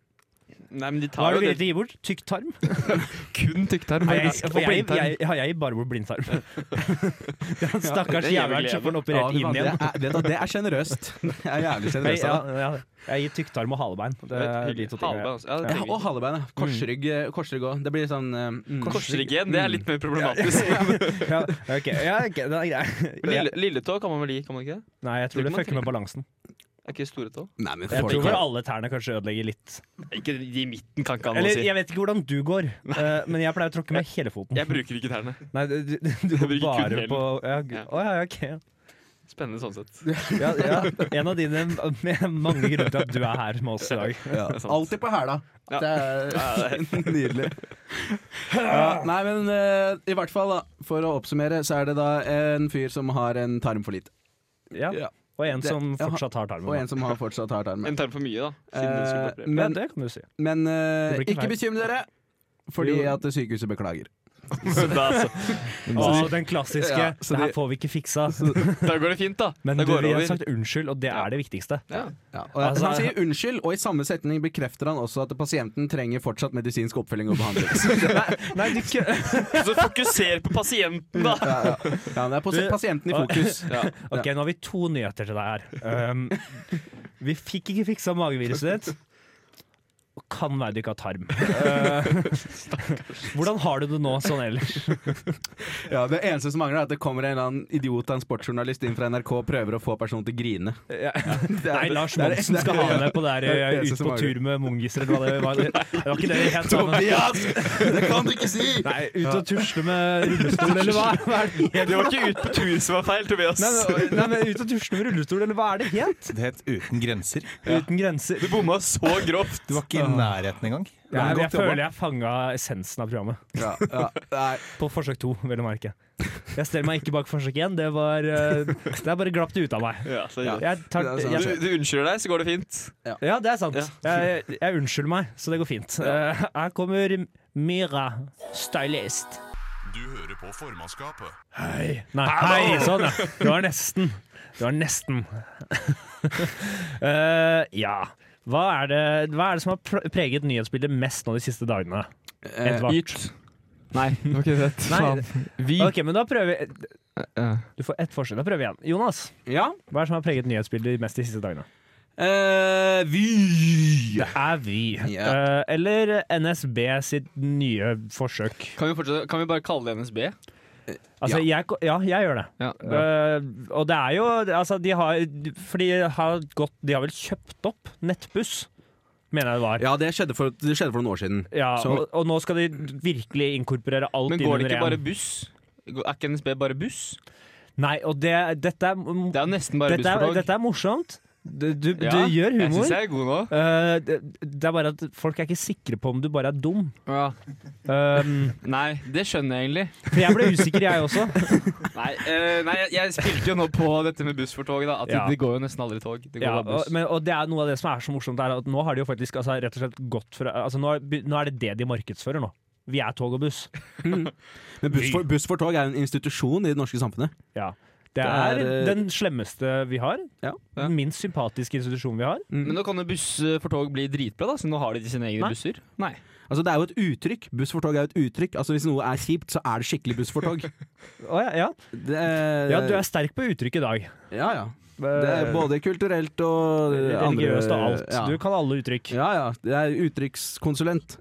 [SPEAKER 7] Nei, men de
[SPEAKER 5] Hva
[SPEAKER 7] tar
[SPEAKER 5] er det
[SPEAKER 7] jo det
[SPEAKER 5] du villig til å gi bort? Tykk tarm?
[SPEAKER 7] kun tykktarm.
[SPEAKER 5] Nei, jeg,
[SPEAKER 7] faktisk.
[SPEAKER 5] for
[SPEAKER 7] Og
[SPEAKER 5] jeg,
[SPEAKER 7] blindtarm.
[SPEAKER 5] jeg, ja, jeg gir bare bort blindtarm. Den
[SPEAKER 7] det gir
[SPEAKER 5] Stakkars
[SPEAKER 7] vel
[SPEAKER 5] jævelen
[SPEAKER 7] glede.
[SPEAKER 5] som får den
[SPEAKER 2] Ja,
[SPEAKER 5] operert
[SPEAKER 2] det,
[SPEAKER 5] inn
[SPEAKER 2] det,
[SPEAKER 5] igjen.
[SPEAKER 2] er, vet du hva, det er generøst. Det er jævlig
[SPEAKER 5] Jeg,
[SPEAKER 2] generøst.
[SPEAKER 5] ja,
[SPEAKER 2] av deg.
[SPEAKER 5] ja, jeg gir tykktarm og halebein. Det
[SPEAKER 7] Det er
[SPEAKER 5] er de
[SPEAKER 7] hyggelig.
[SPEAKER 5] to tingene.
[SPEAKER 7] Halve, altså. Ja, det
[SPEAKER 2] Ja,
[SPEAKER 7] trenger vi
[SPEAKER 2] og halebein.
[SPEAKER 5] Mm.
[SPEAKER 2] ja. Korsrygg eh, korsrygg òg. Det blir sånn eh, mm.
[SPEAKER 7] ikke. Korsryggen, det er litt mer problematisk.
[SPEAKER 5] Ja, ok, ja, ok, den er
[SPEAKER 7] Men
[SPEAKER 5] grei.
[SPEAKER 7] lille, Lilletå kan man vel gi, kan man ikke det?
[SPEAKER 5] Nei, jeg tror det fucker med balansen.
[SPEAKER 7] Er ikke store tå?
[SPEAKER 2] Nei, men
[SPEAKER 5] Jeg
[SPEAKER 2] folk
[SPEAKER 5] tror
[SPEAKER 2] har-
[SPEAKER 5] vel alle tærne kanskje ødelegger litt.
[SPEAKER 7] Ikke i midten, kan ikke han
[SPEAKER 5] Eller
[SPEAKER 7] si.
[SPEAKER 5] jeg vet ikke hvordan du går, eh, men jeg pleier å tråkke med hele foten.
[SPEAKER 7] Jeg bruker ikke tærne.
[SPEAKER 5] Nei, du, du, du
[SPEAKER 7] bruker kun
[SPEAKER 5] går bare
[SPEAKER 7] hælen.
[SPEAKER 5] på ja, gu-
[SPEAKER 7] Ja.
[SPEAKER 5] Å ja, ja, ok.
[SPEAKER 7] Spennende sånn sett.
[SPEAKER 5] Ja, ja. En av dine med mange grunner til at du er her med oss i dag.
[SPEAKER 2] Ja.
[SPEAKER 7] sant.
[SPEAKER 2] Alltid på hæla.
[SPEAKER 7] Ja.
[SPEAKER 2] Det er nydelig. Ja, nei, men eh, i hvert fall, da, for å oppsummere, så er det da en fyr som har en tarm for lite.
[SPEAKER 5] Ja.
[SPEAKER 2] Ja.
[SPEAKER 5] Og en
[SPEAKER 2] Det-
[SPEAKER 5] som
[SPEAKER 2] ja,
[SPEAKER 5] fortsatt har
[SPEAKER 2] Og en
[SPEAKER 5] tarmen.
[SPEAKER 2] som har fortsatt har tarmen.
[SPEAKER 7] En tarm for mye, da. Siden den skulle
[SPEAKER 2] Eh,
[SPEAKER 7] operere.
[SPEAKER 5] Men
[SPEAKER 2] men
[SPEAKER 5] det kan du si.
[SPEAKER 2] men eh,
[SPEAKER 5] Det blir ikke
[SPEAKER 2] ikke
[SPEAKER 5] feil.
[SPEAKER 2] bekymre dere, fordi
[SPEAKER 5] Jo.
[SPEAKER 2] at sykehuset beklager.
[SPEAKER 7] da, så.
[SPEAKER 5] Og den klassiske
[SPEAKER 2] Ja, så
[SPEAKER 5] 'det her
[SPEAKER 2] de-
[SPEAKER 5] får vi ikke fiksa',
[SPEAKER 7] da går det fint, da.
[SPEAKER 5] men
[SPEAKER 7] da
[SPEAKER 5] du,
[SPEAKER 7] går
[SPEAKER 5] vi
[SPEAKER 7] det
[SPEAKER 5] har
[SPEAKER 7] over.
[SPEAKER 5] sagt unnskyld, og det er det viktigste.
[SPEAKER 7] Ja.
[SPEAKER 2] Ja, og
[SPEAKER 5] Altså-
[SPEAKER 2] han sier unnskyld, og i samme setning bekrefter han også at pasienten trenger fortsatt medisinsk oppfølging og behandling.
[SPEAKER 5] Nei, du ikke
[SPEAKER 7] Så fokuser på pasienten, da!
[SPEAKER 2] Ja, ja. ja, det er pasi- pasienten i fokus.
[SPEAKER 5] Ok, nå har vi to nyheter til deg her. Um, vi fikk ikke fiksa mageviruset ditt. Og kan være du ikke har tarm.
[SPEAKER 2] Ehm,
[SPEAKER 5] Uh, hvordan har du det nå sånn ellers?
[SPEAKER 2] Ja, Det eneste som mangler, er at det kommer en eller annen idiot av en sportsjournalist inn fra NRK og prøver å få personen til å grine. Det er-
[SPEAKER 5] Nei, Lars
[SPEAKER 2] det er-
[SPEAKER 5] Monsen
[SPEAKER 2] det er-
[SPEAKER 5] skal ha det på der
[SPEAKER 2] det er det
[SPEAKER 5] eh,
[SPEAKER 2] eneste
[SPEAKER 5] ut
[SPEAKER 2] som
[SPEAKER 5] på
[SPEAKER 2] mangler.
[SPEAKER 5] tur med mongiser, eller hva det var. Det det var ikke det det het. sammen.
[SPEAKER 2] Det kan du ikke si!
[SPEAKER 5] Nei, ut og tusle med rullestol, eller hva? hva er det?
[SPEAKER 7] Det var ikke ut på tur som var feil, Tobias.
[SPEAKER 5] Nei, men- nei, men ut og tusle med rullestol, eller hva er det helt?
[SPEAKER 8] Det het Uten grenser.
[SPEAKER 5] Uten grenser.
[SPEAKER 7] Du bomma så grovt.
[SPEAKER 8] Du var ikke i nærheten engang.
[SPEAKER 5] Nei, men jeg
[SPEAKER 8] Men godt jobba.
[SPEAKER 5] føler jeg fanga essensen av programmet.
[SPEAKER 2] Ja, ja, nei.
[SPEAKER 5] På forsøk to, vel å merke. Jeg steller meg ikke bak forsøk én. Det, var, eh, det er bare glapp det ut av meg.
[SPEAKER 7] Ja, så,
[SPEAKER 5] Jeg tar,
[SPEAKER 2] Det er sant.
[SPEAKER 7] Du,
[SPEAKER 5] jeg,
[SPEAKER 7] du unnskylder deg, så går det fint.
[SPEAKER 5] ja, det er sant.
[SPEAKER 7] Ja.
[SPEAKER 5] Jeg, jeg unnskylder meg, så det går fint. Eh, Her kommer Myra, stylist.
[SPEAKER 1] Du hører på formannskapet.
[SPEAKER 5] Hei. Nei, hei, sånn, ja. Det var nesten. Det var nesten. Eh, ja. Hva er, det, hva er det som har pr- preget nyhetsbildet mest nå de siste dagene?
[SPEAKER 2] Eh,
[SPEAKER 5] Edvard?
[SPEAKER 7] Nei, det var ikke rett.
[SPEAKER 5] Nei.
[SPEAKER 7] Vi
[SPEAKER 5] OK, men da prøver vi. Du får ett forsøk. Da prøver vi igjen. Jonas,
[SPEAKER 2] ja.
[SPEAKER 5] hva er det som har preget nyhetsbildet mest de siste dagene?
[SPEAKER 2] Eh, vi
[SPEAKER 5] Det er Vy.
[SPEAKER 2] Ja.
[SPEAKER 5] Eh, eller NSB sitt nye forsøk.
[SPEAKER 7] Kan, vi fortsette, kan vi bare kalle det NSB?
[SPEAKER 5] Altså, Jeg, ko- ja, jeg gjør det.
[SPEAKER 7] Ja.
[SPEAKER 5] Eh, og det er jo Altså, de har For de har gått De har vel kjøpt opp Nettbuss, mener jeg det var. Ja.
[SPEAKER 2] Ja, det skjedde for, det skjedde for noen år siden. Så-
[SPEAKER 5] og, og nå skal de virkelig inkorporere alt
[SPEAKER 7] Men går det
[SPEAKER 5] inn
[SPEAKER 7] ikke
[SPEAKER 5] under
[SPEAKER 7] bare
[SPEAKER 5] én.
[SPEAKER 7] buss? Er ikke NSB bare buss?
[SPEAKER 5] Nei, og det, dette er,
[SPEAKER 7] Det er jo nesten bare
[SPEAKER 5] dette,
[SPEAKER 7] buss
[SPEAKER 5] er,
[SPEAKER 7] for tog.
[SPEAKER 5] dette er morsomt. Du, du,
[SPEAKER 7] Ja,
[SPEAKER 5] du gjør
[SPEAKER 7] Jeg syns
[SPEAKER 5] humor.
[SPEAKER 7] jeg er god nå.
[SPEAKER 5] Eh, det, det er bare at folk er ikke sikre på om du bare er dum. Um,
[SPEAKER 7] Nei, det skjønner jeg egentlig.
[SPEAKER 5] for jeg ble usikker, jeg også.
[SPEAKER 7] Nei, eh, nei jeg, jeg spilte jo nå på dette med buss for tog, da. At
[SPEAKER 5] Ja.
[SPEAKER 7] det går jo nesten aldri tog. Det går
[SPEAKER 5] Ja,
[SPEAKER 7] bare buss.
[SPEAKER 5] og, men, og det er noe av det som er så morsomt, er at nå har de jo faktisk altså, rett og slett gått for altså, nå, er- nå er det det de markedsfører nå. Vi er tog og buss.
[SPEAKER 2] Men buss for, buss for tog er en institusjon i det norske samfunnet.
[SPEAKER 5] Ja. Det, er,
[SPEAKER 2] er, eh,
[SPEAKER 5] den slemmeste vi har.
[SPEAKER 2] Ja.
[SPEAKER 7] Ja.
[SPEAKER 5] Den minst sympatiske institusjonen vi har.
[SPEAKER 7] Men nå kan jo buss eh, for tog bli dritbra, da, siden nå har de sine egne
[SPEAKER 5] Nei.
[SPEAKER 7] busser. Mm. Nei.
[SPEAKER 2] Altså, det er jo et uttrykk. Buss for tog er jo et uttrykk. Altså, hvis noe er kjipt, så er det skikkelig buss for tog. Mm.
[SPEAKER 5] Å, ja, ja.
[SPEAKER 2] Det,
[SPEAKER 5] ja, du er sterk på uttrykk i dag. Eh,
[SPEAKER 2] Ja, ja. Eh, Det er både kulturelt og
[SPEAKER 5] Religiøst og alt.
[SPEAKER 2] Ja.
[SPEAKER 5] Du kan alle uttrykk.
[SPEAKER 2] ja, ja. Det er uttrykkskonsulent.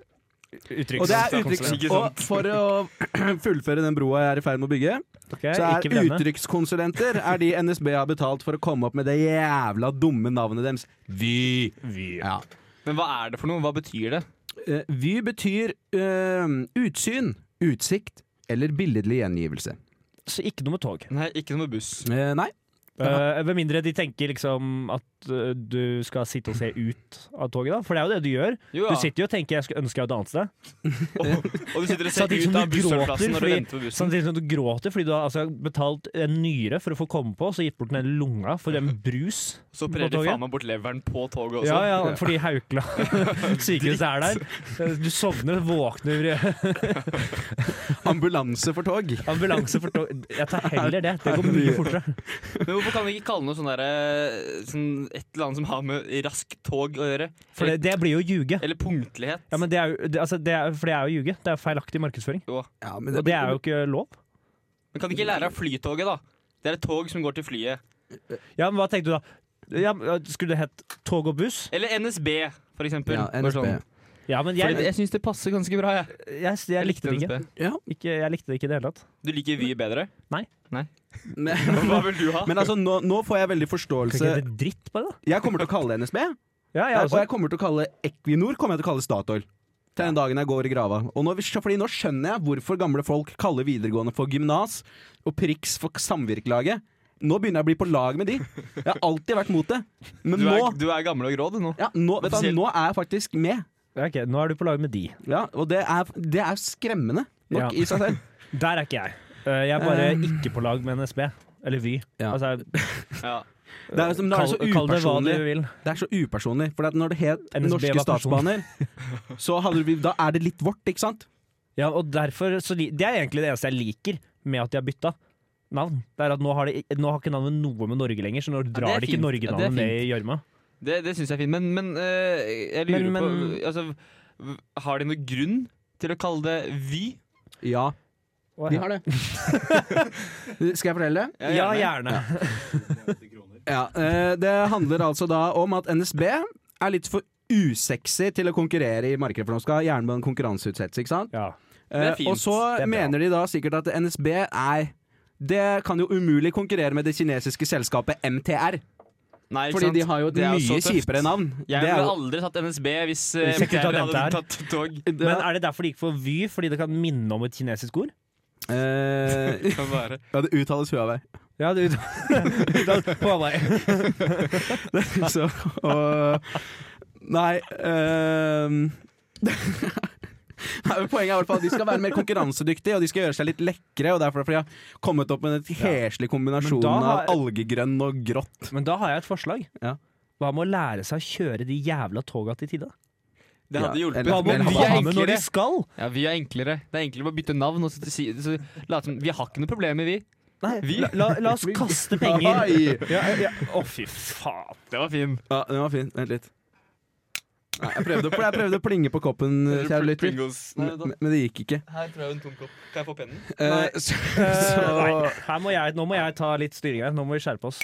[SPEAKER 2] Og, det er
[SPEAKER 5] Uttrykkskonsulent.
[SPEAKER 2] uttrykks- og for å fullføre den broa jeg er i ferd med å bygge,
[SPEAKER 5] Ok,
[SPEAKER 2] så
[SPEAKER 5] ikke
[SPEAKER 2] er
[SPEAKER 5] blemme.
[SPEAKER 2] uttrykkskonsulenter er de NSB har betalt for å komme opp med det jævla dumme navnet deres. Vy. Ja.
[SPEAKER 7] Men hva er det for noe? Hva betyr det?
[SPEAKER 2] Eh, Vy betyr eh, utsyn, utsikt eller billedlig gjengivelse.
[SPEAKER 5] Så ikke noe med tog.
[SPEAKER 7] Nei, ikke noe med buss.
[SPEAKER 2] Eh, nei.
[SPEAKER 5] Eh, Med mindre de tenker liksom at eh, du skal sitte og se ut av toget, da. For det er jo det du gjør.
[SPEAKER 7] Jo,
[SPEAKER 5] Du sitter jo og tenker 'jeg skulle ønske jeg var et annet sted'.
[SPEAKER 7] Og du sitter og ser ut
[SPEAKER 5] Samtidig som
[SPEAKER 7] av
[SPEAKER 5] du gråter
[SPEAKER 7] bussholdeplassen når du
[SPEAKER 5] fordi-
[SPEAKER 7] venter på bussen.
[SPEAKER 5] Samtidig som sånn, du gråter fordi du har altså, betalt en nyre for å få komme på, så gitt bort den ene lunga for en brus.
[SPEAKER 7] Så opererer
[SPEAKER 5] på
[SPEAKER 7] de
[SPEAKER 5] toget.
[SPEAKER 7] faen meg bort leveren på toget også.
[SPEAKER 5] Ja, ja, fordi Haukla sykehus er der. Du sovner, våkner
[SPEAKER 2] Ambulanse for tog.
[SPEAKER 5] Ambulanse for tog. Jeg tar heller det. Det går mye fortere.
[SPEAKER 7] Men hvorfor kan vi ikke kalle noe sånn derre sånn Et eller annet som har med raskt tog å gjøre?
[SPEAKER 5] For det, det blir jo å ljuge.
[SPEAKER 7] Eller punktlighet?
[SPEAKER 5] Ja, men det er jo, det, altså, det er, for det er jo å ljuge. Det er feilaktig markedsføring.
[SPEAKER 2] Ja, men
[SPEAKER 5] Og det er jo ikke lov.
[SPEAKER 7] Men kan de ikke lære av flytoget, da? Det er et tog som går til flyet.
[SPEAKER 5] Ja, men hva tenkte du da? Ja, men øh, skulle det hett tog og buss?
[SPEAKER 7] Eller NSB, for eksempel.
[SPEAKER 2] ja,
[SPEAKER 7] Bare
[SPEAKER 2] NSB.
[SPEAKER 7] sånn.
[SPEAKER 5] Ja, men
[SPEAKER 7] Fordi det-
[SPEAKER 5] jeg,
[SPEAKER 7] jeg syns det passer ganske bra, jeg.
[SPEAKER 5] jeg, jeg, likte det ikke.
[SPEAKER 2] Ja.
[SPEAKER 5] ikke. Jeg likte det ikke i det hele tatt.
[SPEAKER 7] Du liker Vy bedre?
[SPEAKER 2] Men,
[SPEAKER 7] Hva vil du ha?
[SPEAKER 2] men altså, nå, nå får jeg veldig
[SPEAKER 5] Kan
[SPEAKER 2] forståelse
[SPEAKER 5] ikke det dritt, bare, da?
[SPEAKER 2] Jeg kommer til å kalle det NSB,
[SPEAKER 5] Ja, altså, jeg
[SPEAKER 2] og
[SPEAKER 5] også.
[SPEAKER 2] jeg kommer til å kalle Equinor kommer jeg til å kalle Statoil. Til den dagen jeg går i grava. Og nå, fordi nå skjønner jeg hvorfor gamle folk kaller videregående for gymnas og priks for samvirkelaget. Nå begynner jeg å bli på lag med de. Jeg har alltid vært mot det. Men
[SPEAKER 7] Du
[SPEAKER 2] nå,
[SPEAKER 7] er, du er gammel og grå, du nå.
[SPEAKER 2] ja, nå, vet du,
[SPEAKER 7] Offisielt.
[SPEAKER 2] hva, nå er jeg faktisk med.
[SPEAKER 5] Ja, ok, nå er du på lag med de.
[SPEAKER 2] Ja, og det er, det er skremmende nok
[SPEAKER 5] Ja.
[SPEAKER 2] i seg selv.
[SPEAKER 5] Der er ikke jeg. Eh, Jeg er bare
[SPEAKER 2] Um.
[SPEAKER 5] ikke på lag med NSB. Eller Vy.
[SPEAKER 2] Ja.
[SPEAKER 5] Altså,
[SPEAKER 7] Ja.
[SPEAKER 2] Det er, liksom, det er så
[SPEAKER 5] kall, kall det hva du
[SPEAKER 2] upersonlig.
[SPEAKER 5] vil.
[SPEAKER 2] Det er så upersonlig. For at når det het
[SPEAKER 5] NSB
[SPEAKER 2] Norske
[SPEAKER 5] var personlig.
[SPEAKER 2] Statsbaner, så hadde vi, da er det litt vårt, ikke sant?
[SPEAKER 5] Ja, og derfor så li Det er egentlig det eneste jeg liker med at de har bytta navn. Det er at nå har, det, nå har ikke navnet noe med Norge lenger, så nå
[SPEAKER 7] er
[SPEAKER 5] drar de
[SPEAKER 7] fint. Ja, det
[SPEAKER 5] ikke
[SPEAKER 7] er
[SPEAKER 5] Norge-navnet med i gjørma.
[SPEAKER 7] Det, det syns jeg er fint, men, men eh, jeg lurer
[SPEAKER 5] Men- men-
[SPEAKER 7] på altså, v- Har de noen grunn til å kalle det Vy?
[SPEAKER 2] Ja, de har det. Skal jeg fortelle?
[SPEAKER 5] Ja, gjerne.
[SPEAKER 2] Ja, eh, det handler altså da om at NSB er litt for usexy til å konkurrere i markedet, for nå skal jernbanen konkurranseutsettes, ikke sant?
[SPEAKER 5] Ja.
[SPEAKER 7] Det er
[SPEAKER 2] Eh, Og
[SPEAKER 7] fint.
[SPEAKER 2] så
[SPEAKER 5] Det er bra.
[SPEAKER 2] mener de da sikkert at NSB er det kan jo umulig konkurrere med det kinesiske selskapet MTR.
[SPEAKER 7] Nei, ikke
[SPEAKER 2] Fordi
[SPEAKER 7] sant?
[SPEAKER 2] de har jo et
[SPEAKER 7] Det er så
[SPEAKER 2] mye
[SPEAKER 7] tøft.
[SPEAKER 2] kjipere navn.
[SPEAKER 7] Jeg
[SPEAKER 2] Det er
[SPEAKER 7] ville
[SPEAKER 2] jo-
[SPEAKER 7] aldri tatt NSB hvis eh,
[SPEAKER 5] Hvis jeg ikke
[SPEAKER 7] MTR hadde
[SPEAKER 5] tatt MTR.
[SPEAKER 7] tatt tog.
[SPEAKER 5] Men er det derfor de gikk for Vy? Fordi det kan minne om et kinesisk ord?
[SPEAKER 2] Eh,
[SPEAKER 7] Kan være.
[SPEAKER 2] ja, det uttales Huawei.
[SPEAKER 5] Ja, du På meg.
[SPEAKER 2] Så, og, nei ehm, Nei, men Poenget er i hvert fall at de skal være mer konkurransedyktige og de skal gjøre seg litt lekre. Og Derfor har de har kommet opp med en heslig kombinasjon
[SPEAKER 5] Men da har-
[SPEAKER 2] av algegrønn og grått.
[SPEAKER 5] Men da har jeg et forslag.
[SPEAKER 2] Ja.
[SPEAKER 5] Hva med å lære seg å kjøre de jævla toga til tide?
[SPEAKER 7] Det hadde
[SPEAKER 2] Ja,
[SPEAKER 7] hjulpet.
[SPEAKER 2] eller-
[SPEAKER 5] Hva med å
[SPEAKER 2] eller-
[SPEAKER 7] Vi
[SPEAKER 5] ha
[SPEAKER 7] er
[SPEAKER 5] med når
[SPEAKER 7] enklere.
[SPEAKER 5] de skal?
[SPEAKER 7] Ja, vi er enklere. Det er enklere å bare bytte navn. Og så si, så, late som, vi har ikke noe problem med vi.
[SPEAKER 5] Nei,
[SPEAKER 7] Vi-
[SPEAKER 5] la, la, la oss kaste penger.
[SPEAKER 2] Ai!
[SPEAKER 5] Å, ja, ja. Å, fy faen.
[SPEAKER 7] Det var fin.
[SPEAKER 2] Ja, den var fin. Vent litt. Nei, jeg, prøvde, å- jeg prøvde å plinge på koppen, kjære lytter,
[SPEAKER 7] Pringles. Nei,
[SPEAKER 2] men, men det gikk ikke.
[SPEAKER 7] Her tror jeg en tom kopp. Kan jeg få pennen?
[SPEAKER 2] Eh, så,
[SPEAKER 5] Eh,
[SPEAKER 2] så,
[SPEAKER 5] nei, her må jeg, nå må jeg ta litt styring her. Nå må vi skjerpe oss.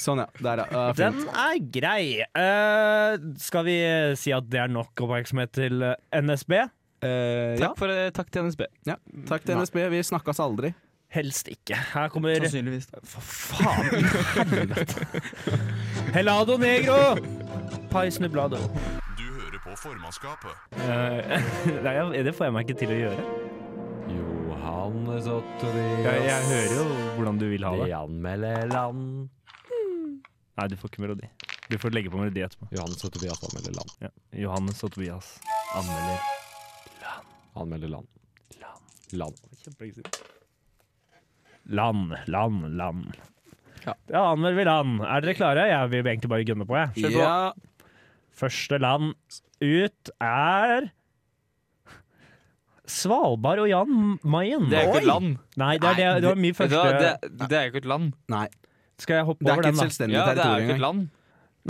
[SPEAKER 2] sånn, ja. Der, ja. ja.
[SPEAKER 5] Den
[SPEAKER 2] fint.
[SPEAKER 5] er grei. Eh, skal vi si at det er nok oppmerksomhet til eh, NSB?
[SPEAKER 2] Eh, ja.
[SPEAKER 7] Takk, for, eh, takk til NSB.
[SPEAKER 2] ja. Takk til NSB. Vi snakkas aldri.
[SPEAKER 5] Helst ikke. Her kommer
[SPEAKER 7] Sannsynligvis.
[SPEAKER 5] For faen i helvete. Helado negro! Pai snublado.
[SPEAKER 1] Du hører på formannskapet.
[SPEAKER 5] Eh, nei, jeg- det får jeg meg ikke til å gjøre.
[SPEAKER 6] Johannes og
[SPEAKER 5] Jeg, jeg
[SPEAKER 6] Tobias.
[SPEAKER 5] hører jo hvordan du vil ha
[SPEAKER 6] De
[SPEAKER 5] det.
[SPEAKER 6] anmelder land.
[SPEAKER 5] Nei, du får ikke melodi. Du får legge på melodi etterpå.
[SPEAKER 6] Johannes og Tobias anmelder land.
[SPEAKER 5] Ja. Johannes og Tobias anmelder.
[SPEAKER 6] Anmelder land. Land.
[SPEAKER 5] Land, land, land.
[SPEAKER 2] Ja.
[SPEAKER 5] Da anmelder vi land. Er dere klare? Jeg vil egentlig bare gunne på, jeg. Kjør på.
[SPEAKER 2] Ja.
[SPEAKER 5] Første land ut er Svalbard og Jan Mayen.
[SPEAKER 7] Det er jo ikke et land.
[SPEAKER 5] Nei, det, er, det, det var min
[SPEAKER 7] Vet du
[SPEAKER 5] første
[SPEAKER 7] hva? Det, det er jo ikke et land.
[SPEAKER 2] Nei.
[SPEAKER 5] Skal jeg hoppe
[SPEAKER 2] Det er
[SPEAKER 5] over
[SPEAKER 2] ikke
[SPEAKER 5] den,
[SPEAKER 2] et
[SPEAKER 5] da?
[SPEAKER 2] selvstendig
[SPEAKER 7] Ja, det er jo
[SPEAKER 2] territorium.
[SPEAKER 7] ikke et land.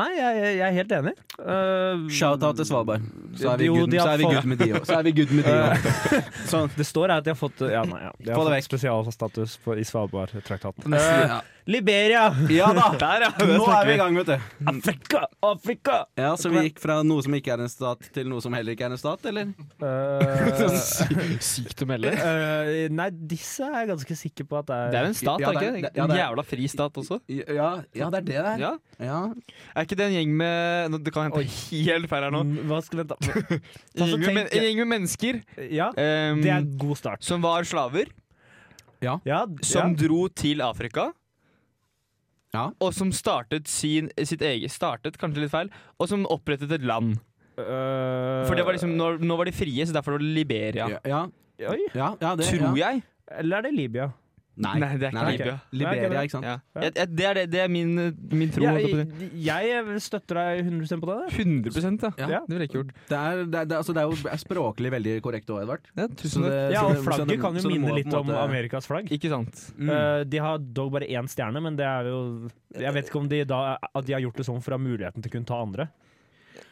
[SPEAKER 5] Nei, jeg, jeg jeg er helt enig. Eh,
[SPEAKER 2] Shout-out til Svalbard. Så er vi
[SPEAKER 5] Jo,
[SPEAKER 2] good,
[SPEAKER 5] de har
[SPEAKER 2] så er vi
[SPEAKER 5] fått-
[SPEAKER 2] good med de òg. Så er vi good med de også. Sånn.
[SPEAKER 5] det står her at de har fått, ja, nei, ja. De har
[SPEAKER 2] Få det
[SPEAKER 5] fått spesialstatus på, i Svalbardtraktaten.
[SPEAKER 2] Nesten, ja.
[SPEAKER 5] Eh, Liberia!
[SPEAKER 2] Ja da!
[SPEAKER 7] Der, ja!
[SPEAKER 2] Nå er vi i gang, vet du.
[SPEAKER 5] Afrika! Afrika!
[SPEAKER 2] Ja, Så vi gikk fra noe som ikke er en stat, til noe som heller ikke er en stat, eller?
[SPEAKER 7] Uh,
[SPEAKER 6] Sykt å melde.
[SPEAKER 5] Eh, nei, disse er jeg ganske sikker på at det er
[SPEAKER 7] Det er en stat,
[SPEAKER 2] Ja,
[SPEAKER 7] er
[SPEAKER 2] det er-
[SPEAKER 7] ikke det?
[SPEAKER 2] ja,
[SPEAKER 7] En
[SPEAKER 2] det er-
[SPEAKER 7] jævla fri stat også.
[SPEAKER 2] Ja, ja det er det der.
[SPEAKER 7] Ja.
[SPEAKER 2] Ja.
[SPEAKER 7] Er ikke det en gjeng med nå, Det kan hende helt feil her nå.
[SPEAKER 5] Mm, Hva skal vente
[SPEAKER 7] En gjeng med, men-
[SPEAKER 5] tenker-
[SPEAKER 7] en gjeng med mennesker
[SPEAKER 5] Ja,
[SPEAKER 7] ehm,
[SPEAKER 5] det er en god start.
[SPEAKER 7] som var slaver,
[SPEAKER 5] Ja,
[SPEAKER 7] som dro til Afrika.
[SPEAKER 2] Ja.
[SPEAKER 7] Og som startet sin, sitt eget Startet, kanskje litt feil. Og som opprettet et land.
[SPEAKER 5] ja. Eh,
[SPEAKER 7] For det var liksom, nå, nå var de frie, så derfor var det Liberia.
[SPEAKER 2] Ja, ja,
[SPEAKER 5] Oi,
[SPEAKER 2] ja, ja det
[SPEAKER 7] Tror
[SPEAKER 2] ja.
[SPEAKER 7] jeg.
[SPEAKER 5] eller er det Libya?
[SPEAKER 2] Nei.
[SPEAKER 7] Nei, det er ikke
[SPEAKER 2] Nei,
[SPEAKER 7] Libya.
[SPEAKER 2] Liberia, ikke sant?
[SPEAKER 7] Ja. Jeg, jeg, det, er det, det er min, min tro. holdt jeg på å si.
[SPEAKER 5] jeg, jeg støtter deg 100 på det.
[SPEAKER 7] 100 ja.
[SPEAKER 2] Ja.
[SPEAKER 7] Det ville jeg ikke gjort.
[SPEAKER 2] Det er, det, er, det, er- altså, det er jo språklig veldig korrekt òg, Edvard.
[SPEAKER 7] Ja, tusen takk.
[SPEAKER 5] Ja, og
[SPEAKER 2] så det- så det-
[SPEAKER 5] Flagget kan jo
[SPEAKER 2] så det må
[SPEAKER 5] minne
[SPEAKER 2] på en
[SPEAKER 5] litt om
[SPEAKER 2] måte-
[SPEAKER 5] Amerikas flagg.
[SPEAKER 7] Ikke sant.
[SPEAKER 2] Mm.
[SPEAKER 5] Eh, de har dog bare én stjerne, men det er jo Jeg vet ikke om de, da, at de har gjort det sånn for å ha muligheten til å kunne ta andre.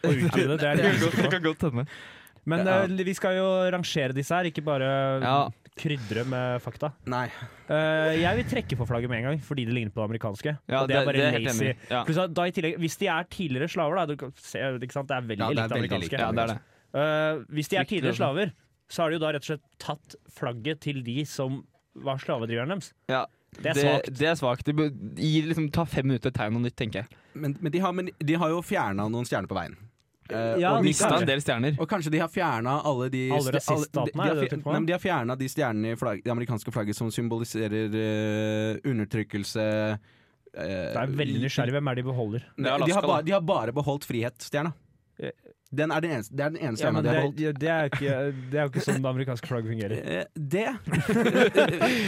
[SPEAKER 5] Og utvide det. det er
[SPEAKER 7] Det kan
[SPEAKER 5] jeg
[SPEAKER 7] godt-
[SPEAKER 5] usikker
[SPEAKER 7] det kan godt hende.
[SPEAKER 5] på. Men
[SPEAKER 2] Ja.
[SPEAKER 5] eh, vi skal jo rangere disse her, ikke bare
[SPEAKER 7] Ja.
[SPEAKER 5] krydre med fakta.
[SPEAKER 2] Nei.
[SPEAKER 5] Eh, jeg vil trekke på flagget med en gang, fordi det ligner på det amerikanske.
[SPEAKER 7] Ja,
[SPEAKER 5] og det er bare
[SPEAKER 7] jeg helt
[SPEAKER 5] lazy.
[SPEAKER 7] enig i. Ja.
[SPEAKER 5] Pluss at da i tillegg, hvis de er tidligere slaver, da du kan se, ikke sant? Det er veldig
[SPEAKER 2] Ja, det er
[SPEAKER 5] likt det
[SPEAKER 2] veldig
[SPEAKER 5] amerikanske.
[SPEAKER 2] likt,
[SPEAKER 7] ja, det er det.
[SPEAKER 5] Eh, hvis de er
[SPEAKER 7] Fryktelig,
[SPEAKER 5] tidligere
[SPEAKER 7] altså.
[SPEAKER 5] slaver, så har de jo da rett og slett tatt flagget til de som var slavedriveren deres.
[SPEAKER 7] Ja,
[SPEAKER 5] Det er svakt.
[SPEAKER 7] Det, er svakt. Det bør- gi liksom, ta fem minutter tegn noe nytt, tenker jeg.
[SPEAKER 2] Men, men, de har, men de har jo fjerna noen stjerner på veien. Eh,
[SPEAKER 5] Ja, de
[SPEAKER 2] og, de
[SPEAKER 7] Mista
[SPEAKER 5] kanskje.
[SPEAKER 7] en del stjerner.
[SPEAKER 2] og kanskje de har fjerna alle de
[SPEAKER 5] Alle
[SPEAKER 2] st-
[SPEAKER 5] rasiststatene,
[SPEAKER 2] de,
[SPEAKER 5] er
[SPEAKER 2] de, har
[SPEAKER 5] det det
[SPEAKER 2] fjer-
[SPEAKER 5] du tenker på?
[SPEAKER 2] nei, men de har fjerna de stjernene i flagg, det amerikanske flagget som symboliserer eh, undertrykkelse eh,
[SPEAKER 5] Det er veldig nysgjerrig. Hvem er det de beholder?
[SPEAKER 7] Det
[SPEAKER 2] Nei,
[SPEAKER 7] er
[SPEAKER 2] de,
[SPEAKER 7] Alaska,
[SPEAKER 2] har
[SPEAKER 7] da.
[SPEAKER 2] bare, de har bare beholdt frihetsstjerna.
[SPEAKER 5] Ja.
[SPEAKER 2] Den er den eneste, det er den eneste
[SPEAKER 5] Eh. Ja,
[SPEAKER 2] stjerna
[SPEAKER 5] men
[SPEAKER 2] de
[SPEAKER 5] det,
[SPEAKER 2] har beholdt.
[SPEAKER 5] ja, det, er jo ikke, det er jo ikke sånn det amerikanske flagget fungerer.
[SPEAKER 2] Eh, Det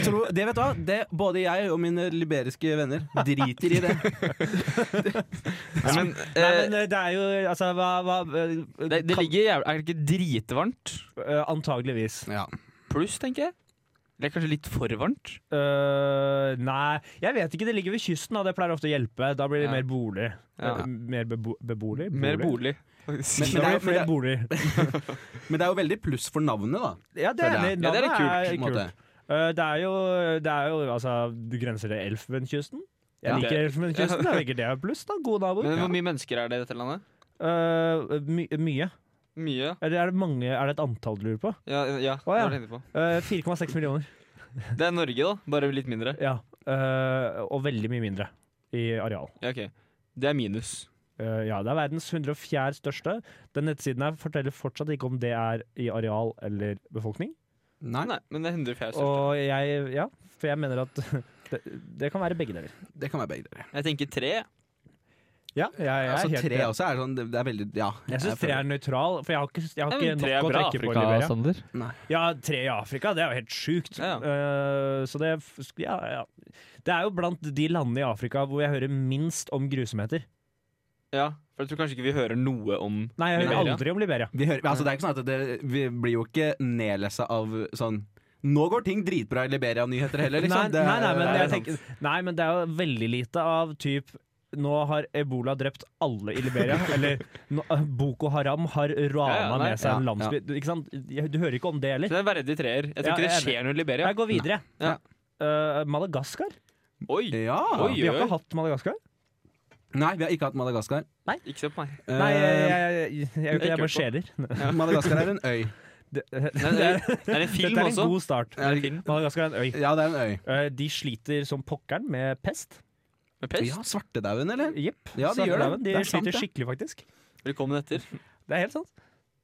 [SPEAKER 2] Tro, Det vet du hva? Det, både jeg og mine liberiske venner driter i det.
[SPEAKER 7] Ja, men,
[SPEAKER 5] Nei,
[SPEAKER 7] eh,
[SPEAKER 5] men eh, det er jo altså hva, hva eh,
[SPEAKER 7] det, det
[SPEAKER 5] kan-
[SPEAKER 7] ligger jævlig Er det ikke dritvarmt?
[SPEAKER 5] eh, Antageligvis.
[SPEAKER 2] Ja.
[SPEAKER 7] Pluss, tenker jeg. Eller kanskje litt for varmt?
[SPEAKER 5] Eh, nei, jeg vet ikke. Det ligger ved kysten, og det pleier ofte å hjelpe. Da blir det
[SPEAKER 7] Ja.
[SPEAKER 5] mer bolig.
[SPEAKER 7] Ja.
[SPEAKER 5] Eh, Mer bebo beboelig?
[SPEAKER 7] Mer bolig.
[SPEAKER 5] Da
[SPEAKER 2] Men-
[SPEAKER 5] blir
[SPEAKER 2] men det er-
[SPEAKER 5] det flere
[SPEAKER 2] men
[SPEAKER 5] boliger.
[SPEAKER 2] Men det er jo veldig pluss for navnet, da.
[SPEAKER 5] Ja, det er
[SPEAKER 2] Ja, det er
[SPEAKER 5] enig.
[SPEAKER 7] litt
[SPEAKER 5] Navnet
[SPEAKER 2] på en
[SPEAKER 5] kult.
[SPEAKER 2] måte.
[SPEAKER 5] Eh, det er jo, det er jo altså, Du grenser til Elfenbenskysten. Jeg
[SPEAKER 7] Ja.
[SPEAKER 5] liker Elfenbenskysten. Jeg tenker det er pluss, da. Gode naboer.
[SPEAKER 7] Men hvor mye mennesker er det i dette landet?
[SPEAKER 5] Eh, my mye.
[SPEAKER 7] Mye.
[SPEAKER 5] Er det, er det mange, er det et antall du lurer på?
[SPEAKER 7] Ja, ja,
[SPEAKER 5] Å, ja.
[SPEAKER 7] Det, var det jeg tenkte på.
[SPEAKER 5] Eh, 4,6 millioner.
[SPEAKER 7] det er Norge, da. Bare litt mindre.
[SPEAKER 5] Ja. Eh, og veldig mye mindre i areal.
[SPEAKER 7] Ja, ok. Det er minus.
[SPEAKER 5] Eh, ja, Det er verdens 104 største. Den nettsiden her forteller fortsatt ikke om det er i areal eller befolkning.
[SPEAKER 2] Nei,
[SPEAKER 7] Nei, men det er 104 største.
[SPEAKER 5] Og jeg, ja, for jeg mener at det, det kan være begge deler.
[SPEAKER 2] det kan være begge deler.
[SPEAKER 7] Jeg tenker tre.
[SPEAKER 5] Ja, jeg, jeg er
[SPEAKER 2] Altså,
[SPEAKER 5] helt
[SPEAKER 2] tre også er sånn Det det er veldig Ja.
[SPEAKER 5] Jeg syns tre
[SPEAKER 2] føler-
[SPEAKER 5] er nøytral, for jeg har ikke, jeg har
[SPEAKER 7] Ja,
[SPEAKER 5] ikke
[SPEAKER 7] men tre er
[SPEAKER 5] nok å
[SPEAKER 7] bra,
[SPEAKER 5] trekke på i
[SPEAKER 6] Afrika,
[SPEAKER 5] Liberia.
[SPEAKER 6] Sander.
[SPEAKER 5] Ja, tre i Afrika, det er jo helt sjukt.
[SPEAKER 7] Ja.
[SPEAKER 5] Eh, så det f- sk- ja, ja. Det er jo blant de landene i Afrika hvor jeg hører minst om grusomheter.
[SPEAKER 7] Ja, for jeg tror kanskje ikke vi hører noe om
[SPEAKER 5] Nei, jeg hører
[SPEAKER 7] Liberia.
[SPEAKER 5] aldri om Liberia.
[SPEAKER 2] Vi hører, altså, det er ikke sånn at det, vi blir jo ikke nedlessa av sånn Nå går ting dritbra i Liberia-nyheter heller,
[SPEAKER 5] Nei,
[SPEAKER 2] liksom. Det er-
[SPEAKER 5] nei, nei, men
[SPEAKER 2] det er
[SPEAKER 5] jeg tenker, nei, men det er jo veldig lite av typ nå har ebola drept alle i Liberia. Eller nå, eh, Boko Haram har rana
[SPEAKER 7] Ja, ja, nei,
[SPEAKER 5] med seg en
[SPEAKER 2] ja,
[SPEAKER 5] landsby. Du, ikke sant? Jeg- Du hører ikke om
[SPEAKER 7] Så
[SPEAKER 5] det heller.
[SPEAKER 7] det er verdige treer. Jeg tror
[SPEAKER 5] Ja,
[SPEAKER 7] ikke det
[SPEAKER 5] jeg er
[SPEAKER 7] skjer noe i Liberia.
[SPEAKER 5] Jeg går videre.
[SPEAKER 7] Ja.
[SPEAKER 5] Eh, Madagaskar?
[SPEAKER 7] Oi!
[SPEAKER 2] sant. Ja.
[SPEAKER 7] Oi.
[SPEAKER 5] Vi har ikke hatt Madagaskar?
[SPEAKER 2] Nei, vi har ikke hatt Madagaskar.
[SPEAKER 7] Ikke se på meg.
[SPEAKER 2] Eh,
[SPEAKER 5] Nei, jeg, jeg, jeg, jeg, jeg, jeg bare skjeler.
[SPEAKER 2] Madagaskar er en øy.
[SPEAKER 5] Det, det,
[SPEAKER 7] Nei, det, er, det er en eh, film
[SPEAKER 5] Dette er
[SPEAKER 7] også.
[SPEAKER 5] en god start.
[SPEAKER 7] Det er en film
[SPEAKER 5] Madagaskar er en øy.
[SPEAKER 2] Ja, det er en øy.
[SPEAKER 5] Eh, De sliter som pokkeren med pest.
[SPEAKER 7] med pest.
[SPEAKER 2] Ja, Svartedauden, eller?
[SPEAKER 5] Jepp.
[SPEAKER 2] Ja, de
[SPEAKER 5] Svartedauden.
[SPEAKER 2] gjør det.
[SPEAKER 5] De
[SPEAKER 2] Det er sant,
[SPEAKER 5] sliter
[SPEAKER 2] det.
[SPEAKER 5] skikkelig, faktisk.
[SPEAKER 7] Velkommen etter.
[SPEAKER 5] Det er helt sant.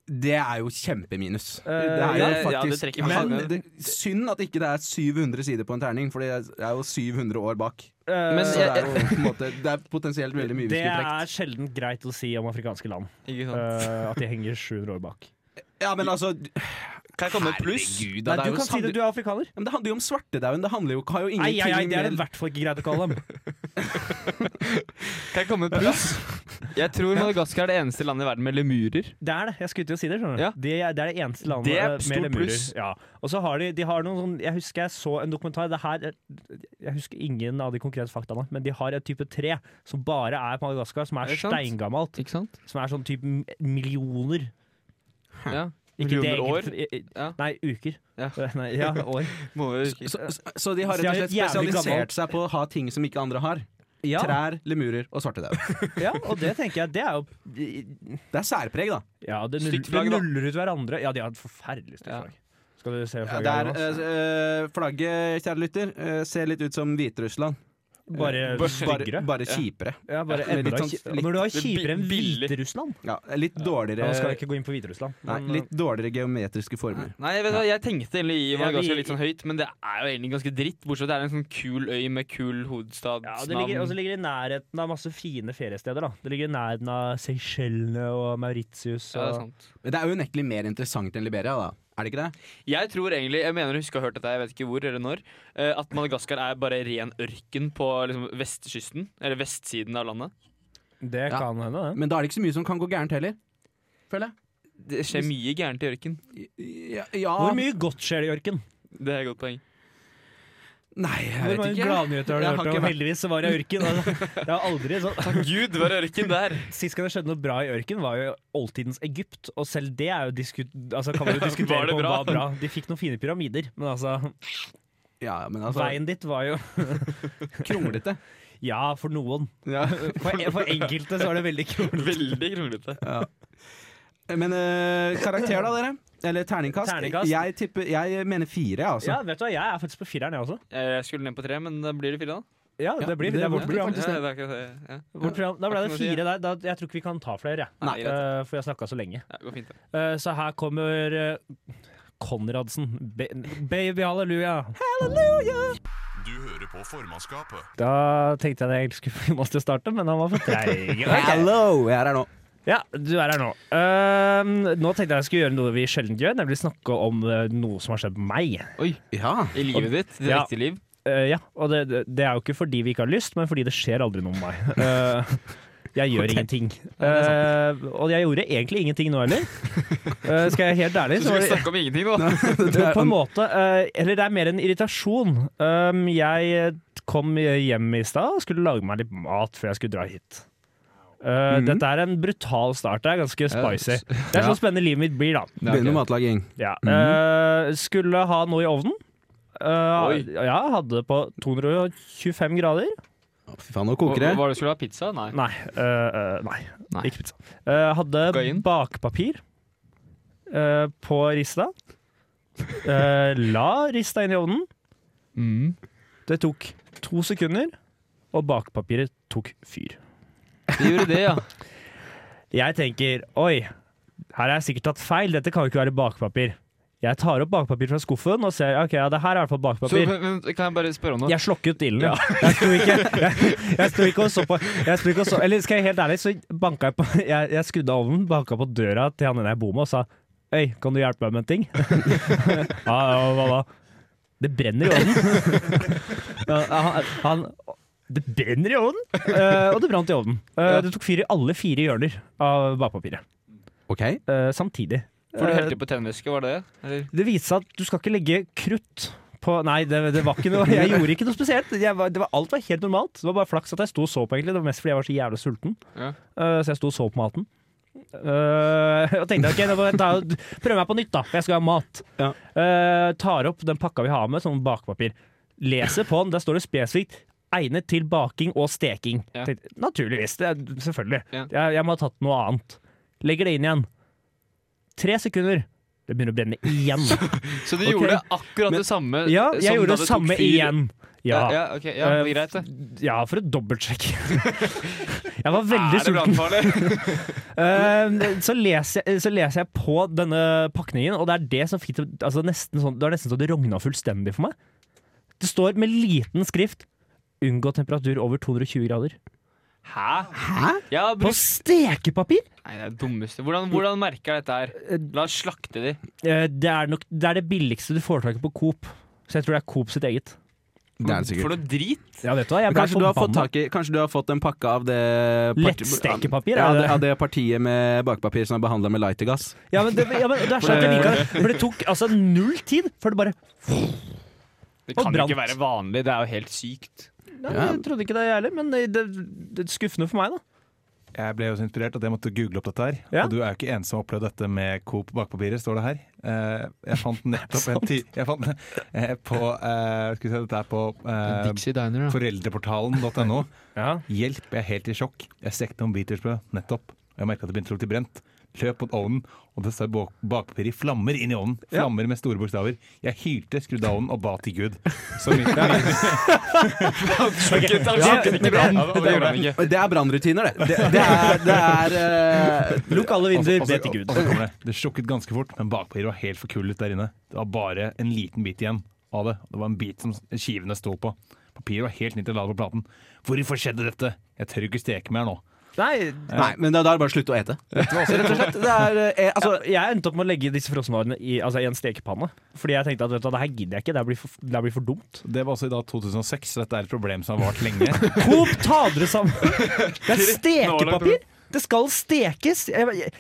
[SPEAKER 2] Det er jo kjempeminus. Det
[SPEAKER 5] Eh,
[SPEAKER 2] er
[SPEAKER 7] ja,
[SPEAKER 2] jo
[SPEAKER 7] ja, det
[SPEAKER 2] faktisk
[SPEAKER 7] trekker meg.
[SPEAKER 2] Men det, Synd at ikke det er 700 sider på en terning, for det er jo 700 år bak.
[SPEAKER 5] Eh,
[SPEAKER 7] Men
[SPEAKER 2] Så det er jo på en måte Det er potensielt veldig mye vi
[SPEAKER 5] det
[SPEAKER 2] skulle trukket.
[SPEAKER 5] er sjelden greit å si om afrikanske land.
[SPEAKER 7] Ikke sant.
[SPEAKER 5] eh, at de henger 700 år bak.
[SPEAKER 2] Ja, men altså
[SPEAKER 7] Kan jeg komme med et pluss?
[SPEAKER 2] Herregud, da,
[SPEAKER 5] Nei,
[SPEAKER 2] det er
[SPEAKER 5] du
[SPEAKER 2] jo
[SPEAKER 5] kan si
[SPEAKER 2] sander-
[SPEAKER 5] det, du er afrikaner.
[SPEAKER 2] Ja, Men det handler jo om svartedauden. Det handler jo ikke, har jo
[SPEAKER 5] Nei,
[SPEAKER 2] ingenting
[SPEAKER 5] nei, nei, det er det i
[SPEAKER 2] med
[SPEAKER 5] hvert fall ikke greit å kalle dem.
[SPEAKER 7] Kan jeg komme med et pluss? Jeg tror Madagaskar er det eneste landet i verden med lemurer.
[SPEAKER 5] Det er det. Jeg skulle til å si det. skjønner du
[SPEAKER 7] Ja.
[SPEAKER 5] det, er, det er det eneste landet
[SPEAKER 7] Det er
[SPEAKER 5] eh,
[SPEAKER 7] stort
[SPEAKER 5] med lemurer.
[SPEAKER 7] pluss.
[SPEAKER 5] Ja. Og så har de, de har noen sånn Jeg husker jeg så en dokumentar det her, Jeg husker ingen av de konkrete faktaene, men de har et type tre som bare er på Madagaskar, som sånn er
[SPEAKER 7] Er det sant?
[SPEAKER 5] steingammelt.
[SPEAKER 7] Ikke sant?
[SPEAKER 5] Som er sånn type m- millioner.
[SPEAKER 7] Ja.
[SPEAKER 5] Ikke
[SPEAKER 7] Millioner år?
[SPEAKER 5] i- i-
[SPEAKER 7] Ja.
[SPEAKER 5] Nei, uker.
[SPEAKER 7] Ja.
[SPEAKER 5] Nei, ja, år.
[SPEAKER 7] Må-
[SPEAKER 2] Så, så- så de har rett og
[SPEAKER 5] Så
[SPEAKER 2] slett
[SPEAKER 5] de er jævlig gammel.
[SPEAKER 2] spesialisert seg på å ha ting som ikke andre har.
[SPEAKER 5] Ja,
[SPEAKER 2] Trær, lemurer og svartedauden.
[SPEAKER 5] ja, og det tenker jeg, det er jo
[SPEAKER 2] Det er særpreg, da.
[SPEAKER 5] Ja, det, null,
[SPEAKER 7] Stygt
[SPEAKER 5] det
[SPEAKER 7] flagg, da.
[SPEAKER 5] nuller ut hverandre. Ja, de har et forferdelig stygt
[SPEAKER 7] Ja.
[SPEAKER 5] flagg. Skal du se
[SPEAKER 2] Ja,
[SPEAKER 5] flagget?
[SPEAKER 2] det er,
[SPEAKER 5] Jonas?
[SPEAKER 2] eh, eh, flagget, kjære lytter, eh, ser litt ut som Hviterussland.
[SPEAKER 7] eh,
[SPEAKER 5] bare
[SPEAKER 2] Bare,
[SPEAKER 5] styggere?
[SPEAKER 2] bare kjipere.
[SPEAKER 5] Ja, bare
[SPEAKER 2] Ja, litt
[SPEAKER 5] enda
[SPEAKER 2] sånn-
[SPEAKER 5] kji-
[SPEAKER 2] litt-
[SPEAKER 5] Når du har
[SPEAKER 7] litt
[SPEAKER 5] kjipere enn
[SPEAKER 7] billig.
[SPEAKER 5] Hviterussland
[SPEAKER 2] Ja, litt
[SPEAKER 5] ja, Nå skal
[SPEAKER 2] dårligere
[SPEAKER 5] jeg ikke gå inn på Hviterussland.
[SPEAKER 2] Nei,
[SPEAKER 5] men-
[SPEAKER 2] litt dårligere geometriske former.
[SPEAKER 7] Nei, jeg, vet, du hva, jeg tenkte egentlig i
[SPEAKER 5] Ja,
[SPEAKER 7] Madagaskar
[SPEAKER 5] vi-
[SPEAKER 7] litt sånn høyt, men det er jo egentlig ganske dritt. Bortsett fra at det er en sånn kul øy med kul
[SPEAKER 5] Ja, det ligger, altså, og
[SPEAKER 7] hovedstadsnavn.
[SPEAKER 5] så ligger det i nærheten av masse fine feriesteder. da Det ligger i nærheten av Seychellene og Mauritius.
[SPEAKER 7] Ja, det er
[SPEAKER 5] Og,
[SPEAKER 7] sant.
[SPEAKER 2] Men det er jo unektelig mer interessant enn Liberia, da. Er det ikke det?
[SPEAKER 7] Jeg tror egentlig, jeg mener å huske å ha hørt dette, jeg vet ikke hvor eller når, eh, at Madagaskar er bare ren ørken på liksom, vestkysten, eller vestsiden av landet.
[SPEAKER 5] det
[SPEAKER 2] Ja.
[SPEAKER 5] kan hende, det.
[SPEAKER 2] Men da er det ikke så mye som kan gå gærent heller. Føler jeg.
[SPEAKER 7] Det skjer mye gærent i ørken.
[SPEAKER 2] Ja,
[SPEAKER 5] Hvor mye godt skjer det i ørken?
[SPEAKER 7] Det er et godt poeng.
[SPEAKER 2] Nei, jeg
[SPEAKER 5] Hvor
[SPEAKER 2] vet
[SPEAKER 5] mange
[SPEAKER 2] ikke.
[SPEAKER 5] gladnyheter har du
[SPEAKER 2] Jeg har
[SPEAKER 5] hørt
[SPEAKER 2] ikke
[SPEAKER 5] om?
[SPEAKER 2] vært-
[SPEAKER 5] Heldigvis så var det i ørken. Altså. Det er aldri sånn
[SPEAKER 7] Takk Gud, det var ørken der!
[SPEAKER 5] Sist gang det skjedde noe bra i ørken, var jo oldtidens Egypt. Og selv det er jo disku altså, kan man jo diskutere
[SPEAKER 7] Var det
[SPEAKER 5] på om
[SPEAKER 7] bra?
[SPEAKER 5] var bra. De fikk noen fine pyramider, men altså,
[SPEAKER 2] Ja, men altså,
[SPEAKER 5] veien dit var jo
[SPEAKER 2] kronglete.
[SPEAKER 5] Ja, for noen.
[SPEAKER 2] Ja.
[SPEAKER 5] For, for enkelte så var det veldig kult.
[SPEAKER 7] Veldig kronglete.
[SPEAKER 2] Men eh, karakter, da, dere? Eller terningkast?
[SPEAKER 5] Terningkast.
[SPEAKER 2] Jeg, tipper, jeg mener fire, jeg, altså.
[SPEAKER 5] Ja, vet du hva, jeg er faktisk på fireren, jeg også.
[SPEAKER 7] Eh, Jeg skulle ned på tre, men da blir det fire, da.
[SPEAKER 5] Ja,
[SPEAKER 2] Ja,
[SPEAKER 5] det blir
[SPEAKER 2] det
[SPEAKER 5] det. er
[SPEAKER 2] blir
[SPEAKER 5] vårt
[SPEAKER 2] det.
[SPEAKER 5] program.
[SPEAKER 7] Ja, det er ikke det. Ja.
[SPEAKER 5] Vårt program. Da ble
[SPEAKER 7] Hva
[SPEAKER 5] det
[SPEAKER 7] kan man si?
[SPEAKER 5] fire der. Da, jeg tror ikke vi kan ta flere, jeg.
[SPEAKER 7] Nei, greit.
[SPEAKER 5] Eh, for jeg har snakka så lenge.
[SPEAKER 7] Ja, det går fint, det.
[SPEAKER 5] Eh, så her kommer eh, Konradsen. Ba baby halleluja!
[SPEAKER 1] Du hører på formannskapet.
[SPEAKER 5] Da tenkte jeg det egentlig skulle få Jonas til å starte, men han var for treig.
[SPEAKER 2] Hello! Jeg er her nå.
[SPEAKER 5] Ja, du er her nå. Ehm, nå tenkte jeg jeg skulle gjøre noe vi sjelden gjør, nemlig snakke om eh, noe som har skjedd med meg.
[SPEAKER 2] Ja.
[SPEAKER 7] I livet ditt? Ditt
[SPEAKER 5] Ja.
[SPEAKER 7] ekte liv?
[SPEAKER 5] Eh, ja, Og det, det- det er jo ikke fordi vi ikke har lyst, men fordi det skjer aldri noe med meg. Eh, jeg gjør ingenting. Eh, og jeg gjorde egentlig ingenting nå heller. Eh, skal jeg være helt ærlig,
[SPEAKER 7] Du
[SPEAKER 5] så var
[SPEAKER 7] skal
[SPEAKER 5] det
[SPEAKER 7] snakke om ingenting nå!
[SPEAKER 5] det, på en måte. eh, eller det er mer en irritasjon. Um, jeg kom hjem i stad og skulle lage meg litt mat før jeg skulle dra hit. Eh,
[SPEAKER 2] Mhm.
[SPEAKER 5] Dette er en brutal start. Det er ganske spicy. Det er
[SPEAKER 2] Ja.
[SPEAKER 5] så spennende livet mitt blir, da.
[SPEAKER 2] Begynner med matlaging.
[SPEAKER 5] Ja.
[SPEAKER 7] Mhm.
[SPEAKER 5] Eh, skulle ha noe i ovnen. Eh,
[SPEAKER 7] Oi.
[SPEAKER 5] ja, hadde det på 225 grader.
[SPEAKER 2] Å, Fy faen, nå koker det.
[SPEAKER 7] Var det skulle ha pizza? Nei.
[SPEAKER 5] Nei, eh, eh, nei.
[SPEAKER 7] Nei.
[SPEAKER 5] ikke pizza. Eh, hadde
[SPEAKER 7] Kokain?
[SPEAKER 5] bakpapir eh, på rista. Eh, la rista inn i ovnen.
[SPEAKER 7] Mhm.
[SPEAKER 5] Det tok to sekunder, og bakpapiret tok fyr.
[SPEAKER 7] Vi gjorde det, ja.
[SPEAKER 5] Jeg tenker oi, her har jeg sikkert tatt feil, dette kan jo ikke være bakpapir. Jeg tar opp bakpapir fra skuffen og ser ok, ja, det her er i hvert fall
[SPEAKER 7] Så,
[SPEAKER 5] bakpapir.
[SPEAKER 7] men, men, kan jeg bare spørre om noe?
[SPEAKER 5] Jeg slokket ilden. Ja. Jeg sto ikke, jeg, jeg sto ikke og så på jeg sto ikke og så, Eller skal jeg helt ærlig, så banka jeg på Jeg, jeg skrudde av ovnen, banka på døra til han ene jeg bor med, og sa Øy, kan du hjelpe meg med en ting? ja, ja, hva da? Det brenner i ovnen. Ja, han, han Det brenner i ovnen! Eh, og det brant i ovnen. Eh, Det tok fyr i alle fire hjørner av bakpapiret.
[SPEAKER 2] Ok.
[SPEAKER 5] eh, samtidig.
[SPEAKER 7] For du
[SPEAKER 5] Eh,
[SPEAKER 7] helte på tennvæske, var det det? Eller?
[SPEAKER 5] det viste seg at du skal ikke legge krutt på Nei, det, det var ikke noe Jeg gjorde ikke noe spesielt. Jeg var, det var, alt var helt normalt. Det var bare flaks at jeg sto og så på, egentlig. Det var mest fordi jeg var så jævlig sulten.
[SPEAKER 7] Ja.
[SPEAKER 5] Eh, så jeg sto og så på maten. Eh, og tenkte ok, nå får jeg ta, prøve meg på nytt, da, for jeg skal ha mat.
[SPEAKER 2] Ja.
[SPEAKER 5] Eh, tar opp den pakka vi har med, som bakpapir. Leser på den, der står det spesifikt egnet til baking og steking.
[SPEAKER 7] Ja.
[SPEAKER 5] Tenkte, naturligvis. Det er, selvfølgelig.
[SPEAKER 7] Ja.
[SPEAKER 5] Jeg, jeg må ha tatt noe annet. Legger det inn igjen. Tre sekunder. Det begynner å brenne igjen.
[SPEAKER 7] Så du
[SPEAKER 5] Ok.
[SPEAKER 7] gjorde akkurat det samme
[SPEAKER 5] Ja,
[SPEAKER 7] som
[SPEAKER 5] jeg
[SPEAKER 7] da
[SPEAKER 5] gjorde
[SPEAKER 7] tok
[SPEAKER 5] det samme
[SPEAKER 7] fyr?
[SPEAKER 5] igjen.
[SPEAKER 7] Ja,
[SPEAKER 5] Ja,
[SPEAKER 7] ja, ok, ja
[SPEAKER 5] Eh,
[SPEAKER 7] men greit, det.
[SPEAKER 5] ja for å dobbeltsjekke. Jeg var veldig
[SPEAKER 7] er det
[SPEAKER 5] sulten.
[SPEAKER 7] brannfarlig?
[SPEAKER 5] Eh, så, leser jeg, så leser jeg på denne pakningen, og det er det som fikk det altså nesten sånn, Det var nesten så det rogna fullstendig for meg. Det står med liten skrift 'Unngå temperatur over 220 grader'.
[SPEAKER 7] Hæ? Hæ? Ja,
[SPEAKER 5] På
[SPEAKER 7] bruk...
[SPEAKER 5] stekepapir!
[SPEAKER 7] Nei, det er det dummeste. Hvordan, hvordan merker jeg dette her? La oss slakte de.
[SPEAKER 5] Eh, det, er nok, det er det billigste du får tak i på Coop. Så jeg tror det er Coop sitt eget.
[SPEAKER 2] Det er det
[SPEAKER 7] For
[SPEAKER 2] sikkert.
[SPEAKER 7] noe drit.
[SPEAKER 5] Ja, vet du hva? Jeg ble
[SPEAKER 2] Kanskje du, har fått
[SPEAKER 5] forbanna.
[SPEAKER 2] tak i, kanskje du har fått en pakke av det parti-
[SPEAKER 5] Lettstekepapir,
[SPEAKER 2] Ja,
[SPEAKER 5] er det
[SPEAKER 2] det, av det partiet med bakpapir som er behandla med lightergass.
[SPEAKER 5] Ja, men det, ja, men det er sånn at jeg liker det. For det tok altså null tid før det bare
[SPEAKER 7] Det
[SPEAKER 5] Og
[SPEAKER 7] kan
[SPEAKER 5] brant.
[SPEAKER 7] ikke være vanlig. Det er jo helt sykt.
[SPEAKER 5] Nei,
[SPEAKER 2] Ja.
[SPEAKER 5] Jeg trodde ikke det, jeg heller, men det, det, det er skuffende for meg, da.
[SPEAKER 8] Jeg ble jo så inspirert at jeg måtte google opp dette her.
[SPEAKER 5] Ja.
[SPEAKER 8] Og du er jo ikke ensom som har opplevd dette med Coop bakpapirer, står det her. Eh, Jeg fant nettopp en ti... Jeg fant eh, på eh, Skal vi se, dette er på eh,
[SPEAKER 6] Dixie Diner, ja.
[SPEAKER 8] foreldreportalen.no.
[SPEAKER 5] Ja.
[SPEAKER 8] Hjelp, jeg er helt i sjokk. Jeg stekte noen biterbrød nettopp, og jeg merka at det begynte å lukte brent. Løp mot ovnen, og det står bak bakpapir i flammer inn i ovnen. Flammer med store bokstaver. Jeg hylte, skrudde av ovnen og ba til Gud. Så mitt,
[SPEAKER 2] Og Det er brannrutiner, det. Det, det er, det er eh,
[SPEAKER 5] Lukk alle vinduer,
[SPEAKER 8] Og så-
[SPEAKER 5] be
[SPEAKER 8] og så-
[SPEAKER 5] til Gud.
[SPEAKER 8] og så kommer det. Det slukket ganske fort, men bakpapiret var helt forkullet der inne. Det var bare en liten bit igjen av det. Det var en bit som skivene sto på. Papiret var helt nytt og la det på platen. Hvorfor skjedde dette? Jeg tør ikke steke mer nå.
[SPEAKER 5] Nei,
[SPEAKER 2] Nei, men da da er det bare å slutte å ete. Rett og slett. Det er, eh, altså,
[SPEAKER 5] altså, jeg endte opp med å legge disse frossenvarene i, altså, i en stekepanne. Fordi jeg tenkte at vet du, hva, det her gidder jeg ikke, det her blir for, det her blir for dumt.
[SPEAKER 8] Det var også i da 2006, så dette er et problem som har vart lenge.
[SPEAKER 5] Coop, ta dere sammen! Det er stekepapir! Det skal stekes! Jeg,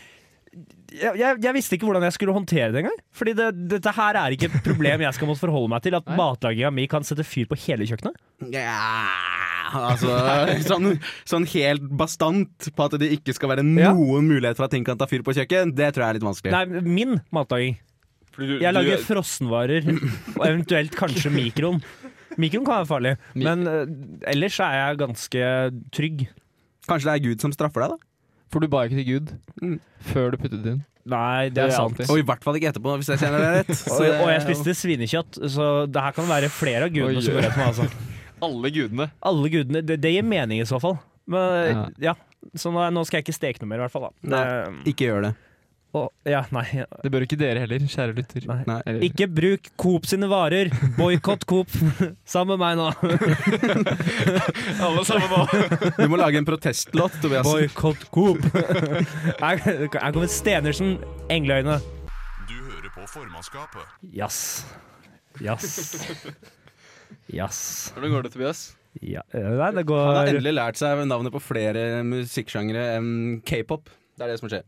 [SPEAKER 5] jeg, jeg, jeg visste ikke hvordan jeg skulle håndtere det engang. Fordi det, dette her er ikke et problem jeg skal måtte forholde meg til. At matlaginga mi kan sette fyr på hele kjøkkenet.
[SPEAKER 2] ja, altså sånn, sånn helt bastant på at det ikke skal være
[SPEAKER 5] Ja.
[SPEAKER 2] noen mulighet for at ting kan ta fyr på kjøkken, det tror jeg er litt vanskelig.
[SPEAKER 5] Nei, min matlaging.
[SPEAKER 7] Fordi du-
[SPEAKER 5] Jeg
[SPEAKER 7] du-
[SPEAKER 5] lager frossenvarer, og eventuelt kanskje mikroen. Mikroen kan være farlig, men eh, ellers er jeg ganske trygg.
[SPEAKER 2] Kanskje det er Gud som straffer deg, da?
[SPEAKER 6] For du ba ikke til Gud
[SPEAKER 2] Mm.
[SPEAKER 6] før du puttet det inn.
[SPEAKER 5] Nei, det
[SPEAKER 6] Det
[SPEAKER 5] er
[SPEAKER 6] er
[SPEAKER 5] sant.
[SPEAKER 6] alltid.
[SPEAKER 2] Og i hvert fall ikke etterpå, hvis jeg kjenner det rett.
[SPEAKER 5] Og, og jeg spiste svinekjøtt, så det her kan være flere av gudene
[SPEAKER 6] Oi.
[SPEAKER 5] som går etter meg. Altså.
[SPEAKER 7] Alle gudene.
[SPEAKER 5] Alle gudene, det, det gir mening i så fall. Men ja, så nå, nå skal jeg ikke steke noe mer i hvert fall. Da. Det, um,
[SPEAKER 2] Ikke gjør det.
[SPEAKER 5] og, ja, nei,
[SPEAKER 6] Det bør ikke dere heller, kjære lytter.
[SPEAKER 5] nei.
[SPEAKER 2] Nei.
[SPEAKER 6] Eller-
[SPEAKER 5] Ikke bruk Coop sine varer! Boikott Coop! Sammen med meg nå.
[SPEAKER 7] Alle sammen nå.
[SPEAKER 2] Du må lage en protestlåt, Tobias.
[SPEAKER 5] Boikott Coop! Her her kommer Stenersen, Engleøyne.
[SPEAKER 1] Du hører på formannskapet.
[SPEAKER 5] Jazz. Jazz. Jazz.
[SPEAKER 7] Hvordan går det, Tobias?
[SPEAKER 5] Ja. eh, Nei, det
[SPEAKER 2] Han har
[SPEAKER 5] går
[SPEAKER 2] endelig lært seg navnet på flere musikksjangre enn k-pop. Det er det som skjer.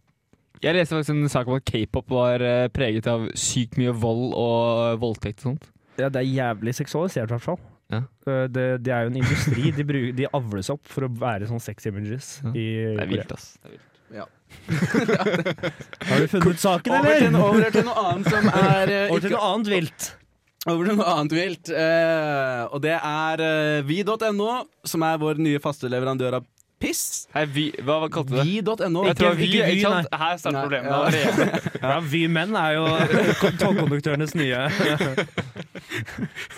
[SPEAKER 6] Jeg leste faktisk en sak om at k-pop var eh, preget av sykt mye vold og voldtekt og sånt.
[SPEAKER 5] Ja, det er jævlig seksualisert i hvert fall.
[SPEAKER 6] Ja.
[SPEAKER 5] Eh, Det, det er jo en industri. De, bru- de avles opp for å være sånn sex images.
[SPEAKER 6] Ja.
[SPEAKER 5] I
[SPEAKER 6] Det er
[SPEAKER 5] Korea.
[SPEAKER 6] vilt, ass. Det er vilt.
[SPEAKER 5] Har du funnet ut saken,
[SPEAKER 2] Over til,
[SPEAKER 5] eller?
[SPEAKER 2] over til noe annet som er eh,
[SPEAKER 5] Over til
[SPEAKER 2] ikke,
[SPEAKER 5] noe annet vilt.
[SPEAKER 2] Over til noe annet vilt. eh, og det er eh, vi.no, som er vår nye faste leverandør av piss.
[SPEAKER 7] Hei, vi, hva, hva kalte du det?
[SPEAKER 2] Vi.no.
[SPEAKER 7] Jeg tror
[SPEAKER 5] Ikke-
[SPEAKER 7] vi,
[SPEAKER 5] ikke vi,
[SPEAKER 7] ikke sant? Her starter
[SPEAKER 2] Nei,
[SPEAKER 7] problemet
[SPEAKER 2] ja.
[SPEAKER 7] allerede.
[SPEAKER 5] Ja, Vy menn er jo togkonduktørenes nye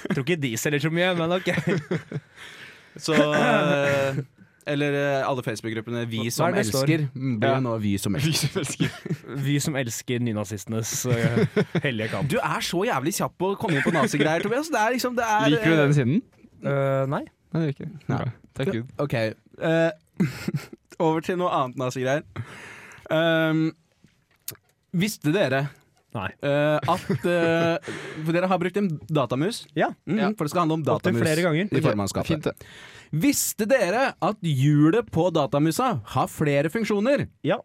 [SPEAKER 5] Tror ikke de selger så mye, men OK.
[SPEAKER 2] Så eh, Eller eh, alle Facebook-gruppene Vi
[SPEAKER 5] Hva
[SPEAKER 2] som
[SPEAKER 5] er det det står?
[SPEAKER 2] elsker. mm, Blir
[SPEAKER 7] Ja.
[SPEAKER 2] jo nå Vi som elsker.
[SPEAKER 5] Vy som elsker nynazistenes eh, hellige kamp.
[SPEAKER 2] Du er så jævlig kjapp på å komme inn på nazigreier, Tobias. Det er liksom, det er,
[SPEAKER 6] Liker du den siden?
[SPEAKER 5] Eh, nei.
[SPEAKER 6] Nei, det gjør ikke det.
[SPEAKER 2] Nei.
[SPEAKER 6] Bra. Takk Gud.
[SPEAKER 2] Ok. eh, over til noe annet nazigreier. Um, visste dere
[SPEAKER 5] Nei.
[SPEAKER 2] eh, at eh, For dere har brukt en datamus.
[SPEAKER 5] Ja.
[SPEAKER 2] Mhm,
[SPEAKER 7] Ja.
[SPEAKER 2] For det skal handle om
[SPEAKER 5] Opptil
[SPEAKER 2] datamus
[SPEAKER 5] flere ganger.
[SPEAKER 2] i formannskapet.
[SPEAKER 6] Fint, det.
[SPEAKER 2] Visste dere at hjulet på datamusa har flere funksjoner?
[SPEAKER 5] Ja.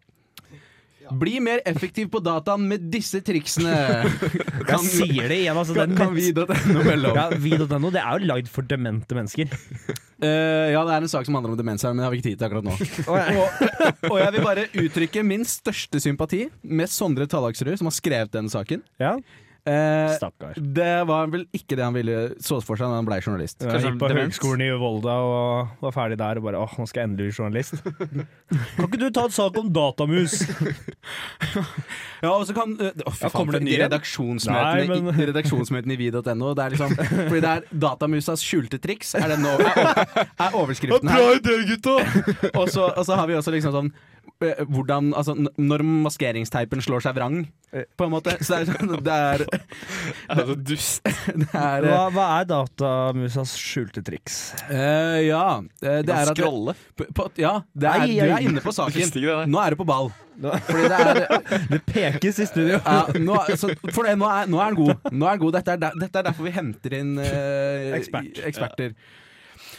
[SPEAKER 2] Bli mer effektiv på dataen med disse triksene.
[SPEAKER 5] Jeg sier det igjen, altså.
[SPEAKER 2] kan,
[SPEAKER 5] Den
[SPEAKER 2] kan vi da denne mellom?
[SPEAKER 5] ja, Vi.no det er jo lagd for demente mennesker.
[SPEAKER 2] Eh, ja, det er en sak som handler om demens her, men jeg har ikke tid til akkurat nå. og, og jeg vil bare uttrykke min største sympati med Sondre Tallaksrud, som har skrevet den saken.
[SPEAKER 5] Ja.
[SPEAKER 2] Eh,
[SPEAKER 5] Stakkar.
[SPEAKER 2] det var vel ikke det han ville så for seg da han blei journalist.
[SPEAKER 5] Jeg gikk på
[SPEAKER 7] demens?
[SPEAKER 5] høgskolen i Volda og var ferdig der og bare åh, nå skal jeg endelig bli journalist. Kan ikke du ta en sak om datamus?
[SPEAKER 2] Ja, og så kan eh, Å, fy
[SPEAKER 5] Ja,
[SPEAKER 2] faen,
[SPEAKER 5] kommer det
[SPEAKER 2] for
[SPEAKER 5] en
[SPEAKER 2] de
[SPEAKER 5] ny en?
[SPEAKER 2] redaksjonsmøtene,
[SPEAKER 5] Nei, men-
[SPEAKER 2] i, de redaksjonsmøtene i vi.no. Det er liksom Fordi det er datamusas skjulte triks, er, den nå, er, er overskriften her.
[SPEAKER 7] idé, gutta!
[SPEAKER 2] Og så, og så har vi også liksom sånn eh, hvordan, altså, n- Når maskeringsteipen slår seg vrang, øh, på en måte. Så det er sånn Det er,
[SPEAKER 7] Det
[SPEAKER 2] Altså,
[SPEAKER 7] er så dust.
[SPEAKER 2] det er
[SPEAKER 5] Hva, hva er datamusas skjulte triks?
[SPEAKER 2] eh, Ja. eh, Det er at
[SPEAKER 7] Skrolle.
[SPEAKER 2] på, på, Ja, det
[SPEAKER 5] Ai,
[SPEAKER 2] er, du
[SPEAKER 5] ai.
[SPEAKER 2] er inne på
[SPEAKER 7] Visste
[SPEAKER 2] saken.
[SPEAKER 7] ikke det der.
[SPEAKER 2] Nå er du på ball. Fordi det er
[SPEAKER 5] Det pekes i studio.
[SPEAKER 2] ja, nå, så, for det, nå, er, nå er den god. Nå er den god. Dette, er der, dette er derfor vi henter inn eh,
[SPEAKER 5] Ekspert.
[SPEAKER 2] eksperter.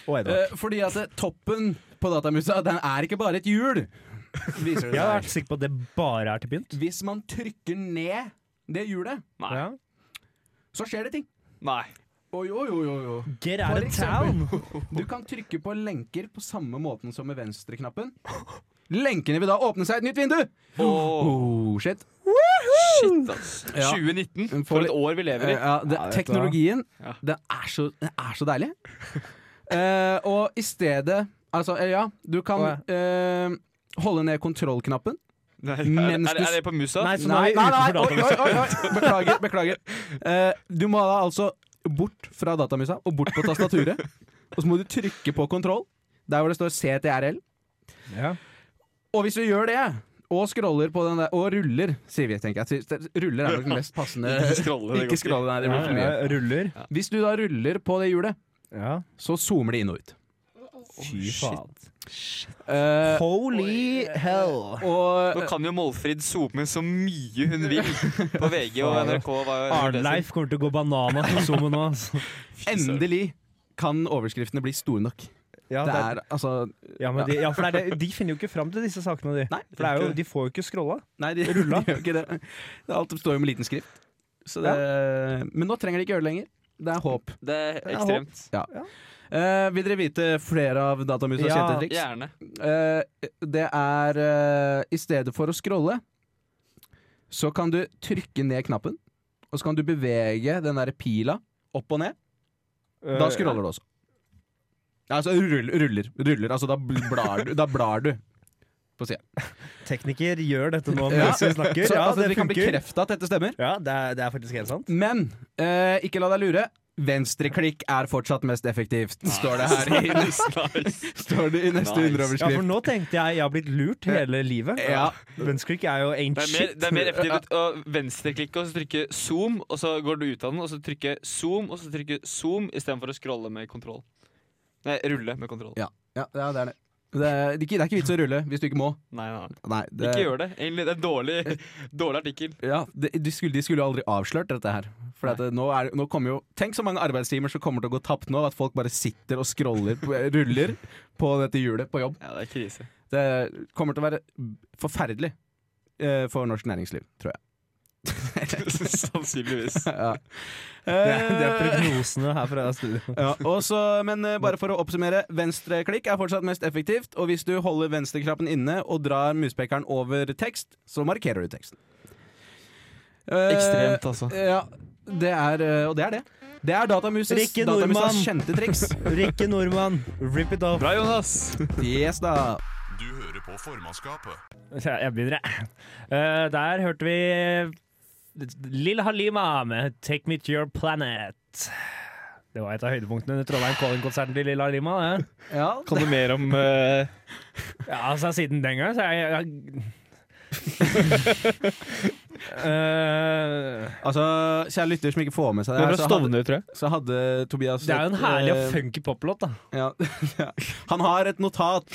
[SPEAKER 5] Og Edvard.
[SPEAKER 2] Eh, fordi at eh, toppen på datamusa, den er ikke bare et hjul, viser
[SPEAKER 5] Jeg
[SPEAKER 2] det
[SPEAKER 5] har vært
[SPEAKER 2] seg.
[SPEAKER 5] sikker på at det bare er til pynt.
[SPEAKER 2] Hvis man trykker ned det hjulet,
[SPEAKER 7] Nei.
[SPEAKER 5] Ja.
[SPEAKER 2] så skjer det ting.
[SPEAKER 7] Nei.
[SPEAKER 2] Å, jo, jo, jo, jo.
[SPEAKER 5] Get out
[SPEAKER 2] For
[SPEAKER 5] of
[SPEAKER 2] eksempel.
[SPEAKER 5] town!
[SPEAKER 2] Du kan trykke på lenker på samme måten som med venstreknappen. Lenkene vil da åpne seg et nytt vindu!
[SPEAKER 7] Åh,
[SPEAKER 2] Oh, shit.
[SPEAKER 7] shit, ass.
[SPEAKER 2] Ja.
[SPEAKER 7] 2019,
[SPEAKER 2] Får
[SPEAKER 7] for et år vi lever i.
[SPEAKER 2] Eh, Ja, det,
[SPEAKER 6] Ja, vet du
[SPEAKER 2] teknologien,
[SPEAKER 7] Ja.
[SPEAKER 2] den er så, den er så deilig. Eh, og i stedet Altså, eh, ja, du kan
[SPEAKER 5] Å,
[SPEAKER 2] eh, holde ned kontrollknappen.
[SPEAKER 7] Nei, er,
[SPEAKER 2] Mens
[SPEAKER 7] er,
[SPEAKER 2] du
[SPEAKER 7] er det på musa?
[SPEAKER 5] Nei, så nå er vi utenfor
[SPEAKER 2] oi,
[SPEAKER 5] datamusa.
[SPEAKER 2] oi, oi, oi. Beklager. beklager. Eh, du må da altså bort fra datamusa og bort på tastaturet. og så må du trykke på kontroll, der hvor det står CTRL.
[SPEAKER 8] Ja.
[SPEAKER 2] Og hvis du gjør det, og scroller på den der, og ruller, sier vi, tenker jeg. Ruller er nok den mest passende.
[SPEAKER 7] Ikke scrolle, det går
[SPEAKER 2] Ikke scrolle, nei, det blir for mye.
[SPEAKER 5] Eh, Ruller.
[SPEAKER 2] Hvis du da ruller på det hjulet,
[SPEAKER 5] Ja.
[SPEAKER 2] så zoomer de inn og ut.
[SPEAKER 5] Fy faen.
[SPEAKER 2] Eh,
[SPEAKER 5] Holy hell.
[SPEAKER 2] og
[SPEAKER 7] Nå kan jo Målfrid zoome så mye hun vil på VG og NRK. Hva
[SPEAKER 5] Arnleif kommer til å gå bananas på Zoomen nå. altså.
[SPEAKER 2] endelig kan overskriftene bli store nok.
[SPEAKER 5] Ja,
[SPEAKER 2] Det
[SPEAKER 5] det-
[SPEAKER 2] er altså
[SPEAKER 5] ja, men de, ja, for det er det, de finner jo ikke fram til disse sakene, de.
[SPEAKER 2] Nei,
[SPEAKER 5] For det er jo, de får jo ikke scrolla.
[SPEAKER 2] Nei, de, de gjør ikke det. Det er Alt står jo med liten skrift. Så det, Men nå trenger de ikke gjøre det lenger. Det er håp.
[SPEAKER 7] Det er ekstremt.
[SPEAKER 2] Eh, vil dere vite flere av datamusas
[SPEAKER 5] Ja.
[SPEAKER 2] kjente triks?
[SPEAKER 7] Gjerne.
[SPEAKER 2] Eh, det er eh, I stedet for å scrolle, så kan du trykke ned knappen. Og så kan du bevege den der pila opp og ned. Da scroller du også. Ja, Altså ruller, ruller, ruller. Altså da bl- blar du, da blar du på sida.
[SPEAKER 5] Tekniker gjør dette nå
[SPEAKER 2] Ja.
[SPEAKER 5] mens vi snakker.
[SPEAKER 2] Så
[SPEAKER 5] Ja,
[SPEAKER 2] at
[SPEAKER 5] det
[SPEAKER 2] dere kan
[SPEAKER 5] funker.
[SPEAKER 2] bekrefte at dette stemmer.
[SPEAKER 5] Ja, det er, det er faktisk helt sant.
[SPEAKER 2] Men eh, ikke la deg lure. Venstreklikk er fortsatt mest effektivt, står det her i, står det i neste
[SPEAKER 7] Nice.
[SPEAKER 5] Ja, for
[SPEAKER 2] underoverskrift.
[SPEAKER 5] nå tenkte jeg jeg har blitt lurt hele livet.
[SPEAKER 2] Ja.
[SPEAKER 5] Venstreklikk er jo
[SPEAKER 7] Det er mer,
[SPEAKER 5] ancient.
[SPEAKER 7] det er mer effektivt å venstreklikke og så trykke zoom, og så går du ut av den, og så trykke zoom, og så trykke zoom istedenfor å scrolle med kontroll. Nei, rulle med kontroll.
[SPEAKER 2] Ja. Ja, ja, det er det. Det er, det er ikke, det er ikke vits å rulle hvis du ikke må.
[SPEAKER 7] Nei, nei, nei.
[SPEAKER 2] Nei, det,
[SPEAKER 7] Ikke gjør det. Egentlig, det er en dårlig, dårlig artikkel.
[SPEAKER 2] ja, det, de, skulle, de skulle jo aldri avslørt dette her. For at, det- nå, er, det- nå kommer jo Tenk så mange arbeidstimer som kommer til å gå tapt nå, at folk bare sitter og scroller, på- ruller på dette hjulet på jobb.
[SPEAKER 7] Ja, det er krise.
[SPEAKER 2] Det kommer til å være forferdelig eh, for norsk næringsliv, tror jeg. Eh,
[SPEAKER 7] Sannsynligvis.
[SPEAKER 2] ja.
[SPEAKER 5] Det er, det er prognosene her fra studio.
[SPEAKER 2] ja, og så- men eh, bare for å oppsummere. Venstreklikk er fortsatt mest effektivt. Og hvis du holder venstreknappen inne og drar muspekeren over tekst, så markerer du teksten. Eh,
[SPEAKER 7] Ekstremt, altså.
[SPEAKER 2] Ja, det er, eh, og det er det. Det er datamusas,
[SPEAKER 5] Rikke
[SPEAKER 2] datamusas
[SPEAKER 5] Nordmann.
[SPEAKER 2] kjente triks.
[SPEAKER 5] Rikke Nordmann, rip it off.
[SPEAKER 7] Bra, Jonas!
[SPEAKER 2] Yes, da.
[SPEAKER 1] Du hører på formannskapet.
[SPEAKER 5] Ja, Jeg begynner, jeg. Eh, der hørte vi Lille Halima med 'Take Me To Your Planet'. Det var et av høydepunktene under Trondheim Calling-konserten til Lille Halima. Det.
[SPEAKER 2] Ja,
[SPEAKER 7] Kan du mer om eh,
[SPEAKER 5] Ja, altså siden den gang, så er jeg, jeg... Eh,
[SPEAKER 2] altså, Kjære lytter som ikke får med seg
[SPEAKER 7] Det
[SPEAKER 2] det,
[SPEAKER 7] er
[SPEAKER 2] her,
[SPEAKER 7] fra
[SPEAKER 2] så hadde,
[SPEAKER 7] Stovner, tror jeg.
[SPEAKER 2] så hadde Tobias
[SPEAKER 5] det er jo en herlig og
[SPEAKER 2] eh,
[SPEAKER 5] funky poplåt, da.
[SPEAKER 2] Ja, ja. Han har et notat.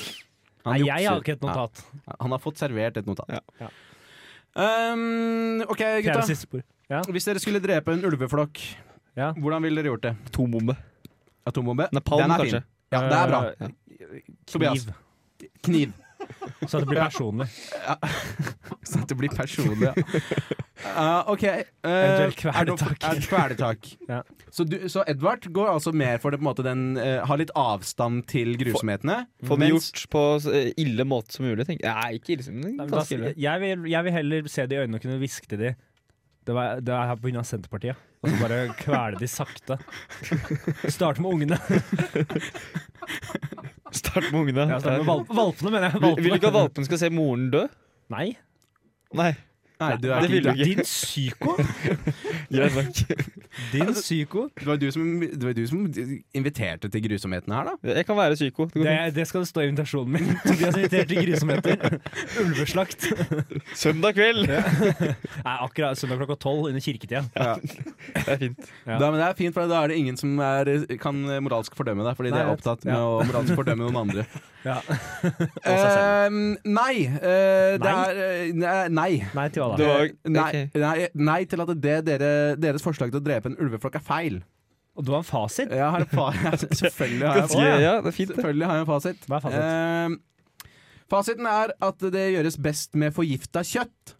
[SPEAKER 2] Han
[SPEAKER 5] Nei, jeg har
[SPEAKER 2] jukser.
[SPEAKER 5] ikke et notat.
[SPEAKER 2] Ja, han har fått servert et notat.
[SPEAKER 7] Ja.
[SPEAKER 5] Ja.
[SPEAKER 2] Um, ok,
[SPEAKER 5] Det er det
[SPEAKER 2] gutta.
[SPEAKER 5] siste bordet.
[SPEAKER 2] Hvis dere skulle drepe en ulveflokk,
[SPEAKER 5] Ja.
[SPEAKER 2] hvordan ville dere gjort det?
[SPEAKER 7] Atombombe.
[SPEAKER 2] Atombombe?
[SPEAKER 7] Napalm,
[SPEAKER 2] Den er
[SPEAKER 7] kanskje.
[SPEAKER 2] fin. Ja, det er bra.
[SPEAKER 5] Eh,
[SPEAKER 2] Tobias.
[SPEAKER 5] Kniv.
[SPEAKER 2] Kniv.
[SPEAKER 5] Så det blir personlig.
[SPEAKER 2] Så det blir personlig. Ja. Uh, ok. Uh,
[SPEAKER 5] Eventuelt
[SPEAKER 2] er det-
[SPEAKER 5] kvelertak.
[SPEAKER 2] er det kvelertak.
[SPEAKER 5] Ja.
[SPEAKER 2] så, du, så Edvard går altså mer for det på en måte den uh, Har litt avstand til grusomhetene.
[SPEAKER 7] Få det
[SPEAKER 2] Mens-
[SPEAKER 7] gjort på så eh, ille måte som mulig. tenker jeg. Nei, ikke ille, men
[SPEAKER 5] Nei, men
[SPEAKER 7] ganske
[SPEAKER 5] da,
[SPEAKER 7] ille.
[SPEAKER 5] jeg, vil, jeg vil heller se det i øynene og kunne hviske til de Det, var, det er her på grunn av Senterpartiet. Og så bare kvele de sakte. Start med ungene.
[SPEAKER 7] Start med ungene.
[SPEAKER 5] Ja, start med valp, valpene, mener jeg.
[SPEAKER 7] Vil,
[SPEAKER 5] Valpene.
[SPEAKER 7] vil du ikke at valpen skal se moren dø?
[SPEAKER 5] Nei.
[SPEAKER 7] Nei.
[SPEAKER 2] Nei, du er
[SPEAKER 7] Det
[SPEAKER 2] ikke,
[SPEAKER 7] vil du ikke.
[SPEAKER 5] Din psyko!
[SPEAKER 7] Greit nok.
[SPEAKER 5] Din psyko.
[SPEAKER 2] det var du som, det var du som inviterte til grusomhetene her, da.
[SPEAKER 7] Jeg kan være psyko. Det går
[SPEAKER 5] Det,
[SPEAKER 7] fint.
[SPEAKER 5] det skal det stå i invitasjonen min. Tobias invitert til grusomheter. Ulveslakt.
[SPEAKER 7] Søndag kveld!
[SPEAKER 5] Nei, akkurat søndag klokka tolv under kirketida.
[SPEAKER 7] Det er fint.
[SPEAKER 5] Ja.
[SPEAKER 2] Da, men det er fint, for da er det ingen som er, kan moralsk fordømme deg, fordi de
[SPEAKER 5] Nei,
[SPEAKER 2] er
[SPEAKER 5] jeg vet.
[SPEAKER 2] opptatt med
[SPEAKER 5] Ja.
[SPEAKER 2] å moralsk fordømme noen andre.
[SPEAKER 5] Ja.
[SPEAKER 2] Ehm, nei, eh, det
[SPEAKER 5] Nei?
[SPEAKER 2] er eh, ne- Nei. Eh,
[SPEAKER 5] Nei til hva
[SPEAKER 7] Det
[SPEAKER 5] da?
[SPEAKER 7] var-
[SPEAKER 2] Nei,
[SPEAKER 7] ok.
[SPEAKER 2] nei, nei til at det dere, deres forslag til å drepe en ulveflokk er feil.
[SPEAKER 5] Og du har en fasit?
[SPEAKER 2] Jeg har en fa selvfølgelig, har jeg,
[SPEAKER 7] Ganske, ja, det er fint. det.
[SPEAKER 2] selvfølgelig har jeg en fasit.
[SPEAKER 5] Hva er fasit?
[SPEAKER 2] Ehm, fasiten er at det gjøres best med forgifta kjøtt.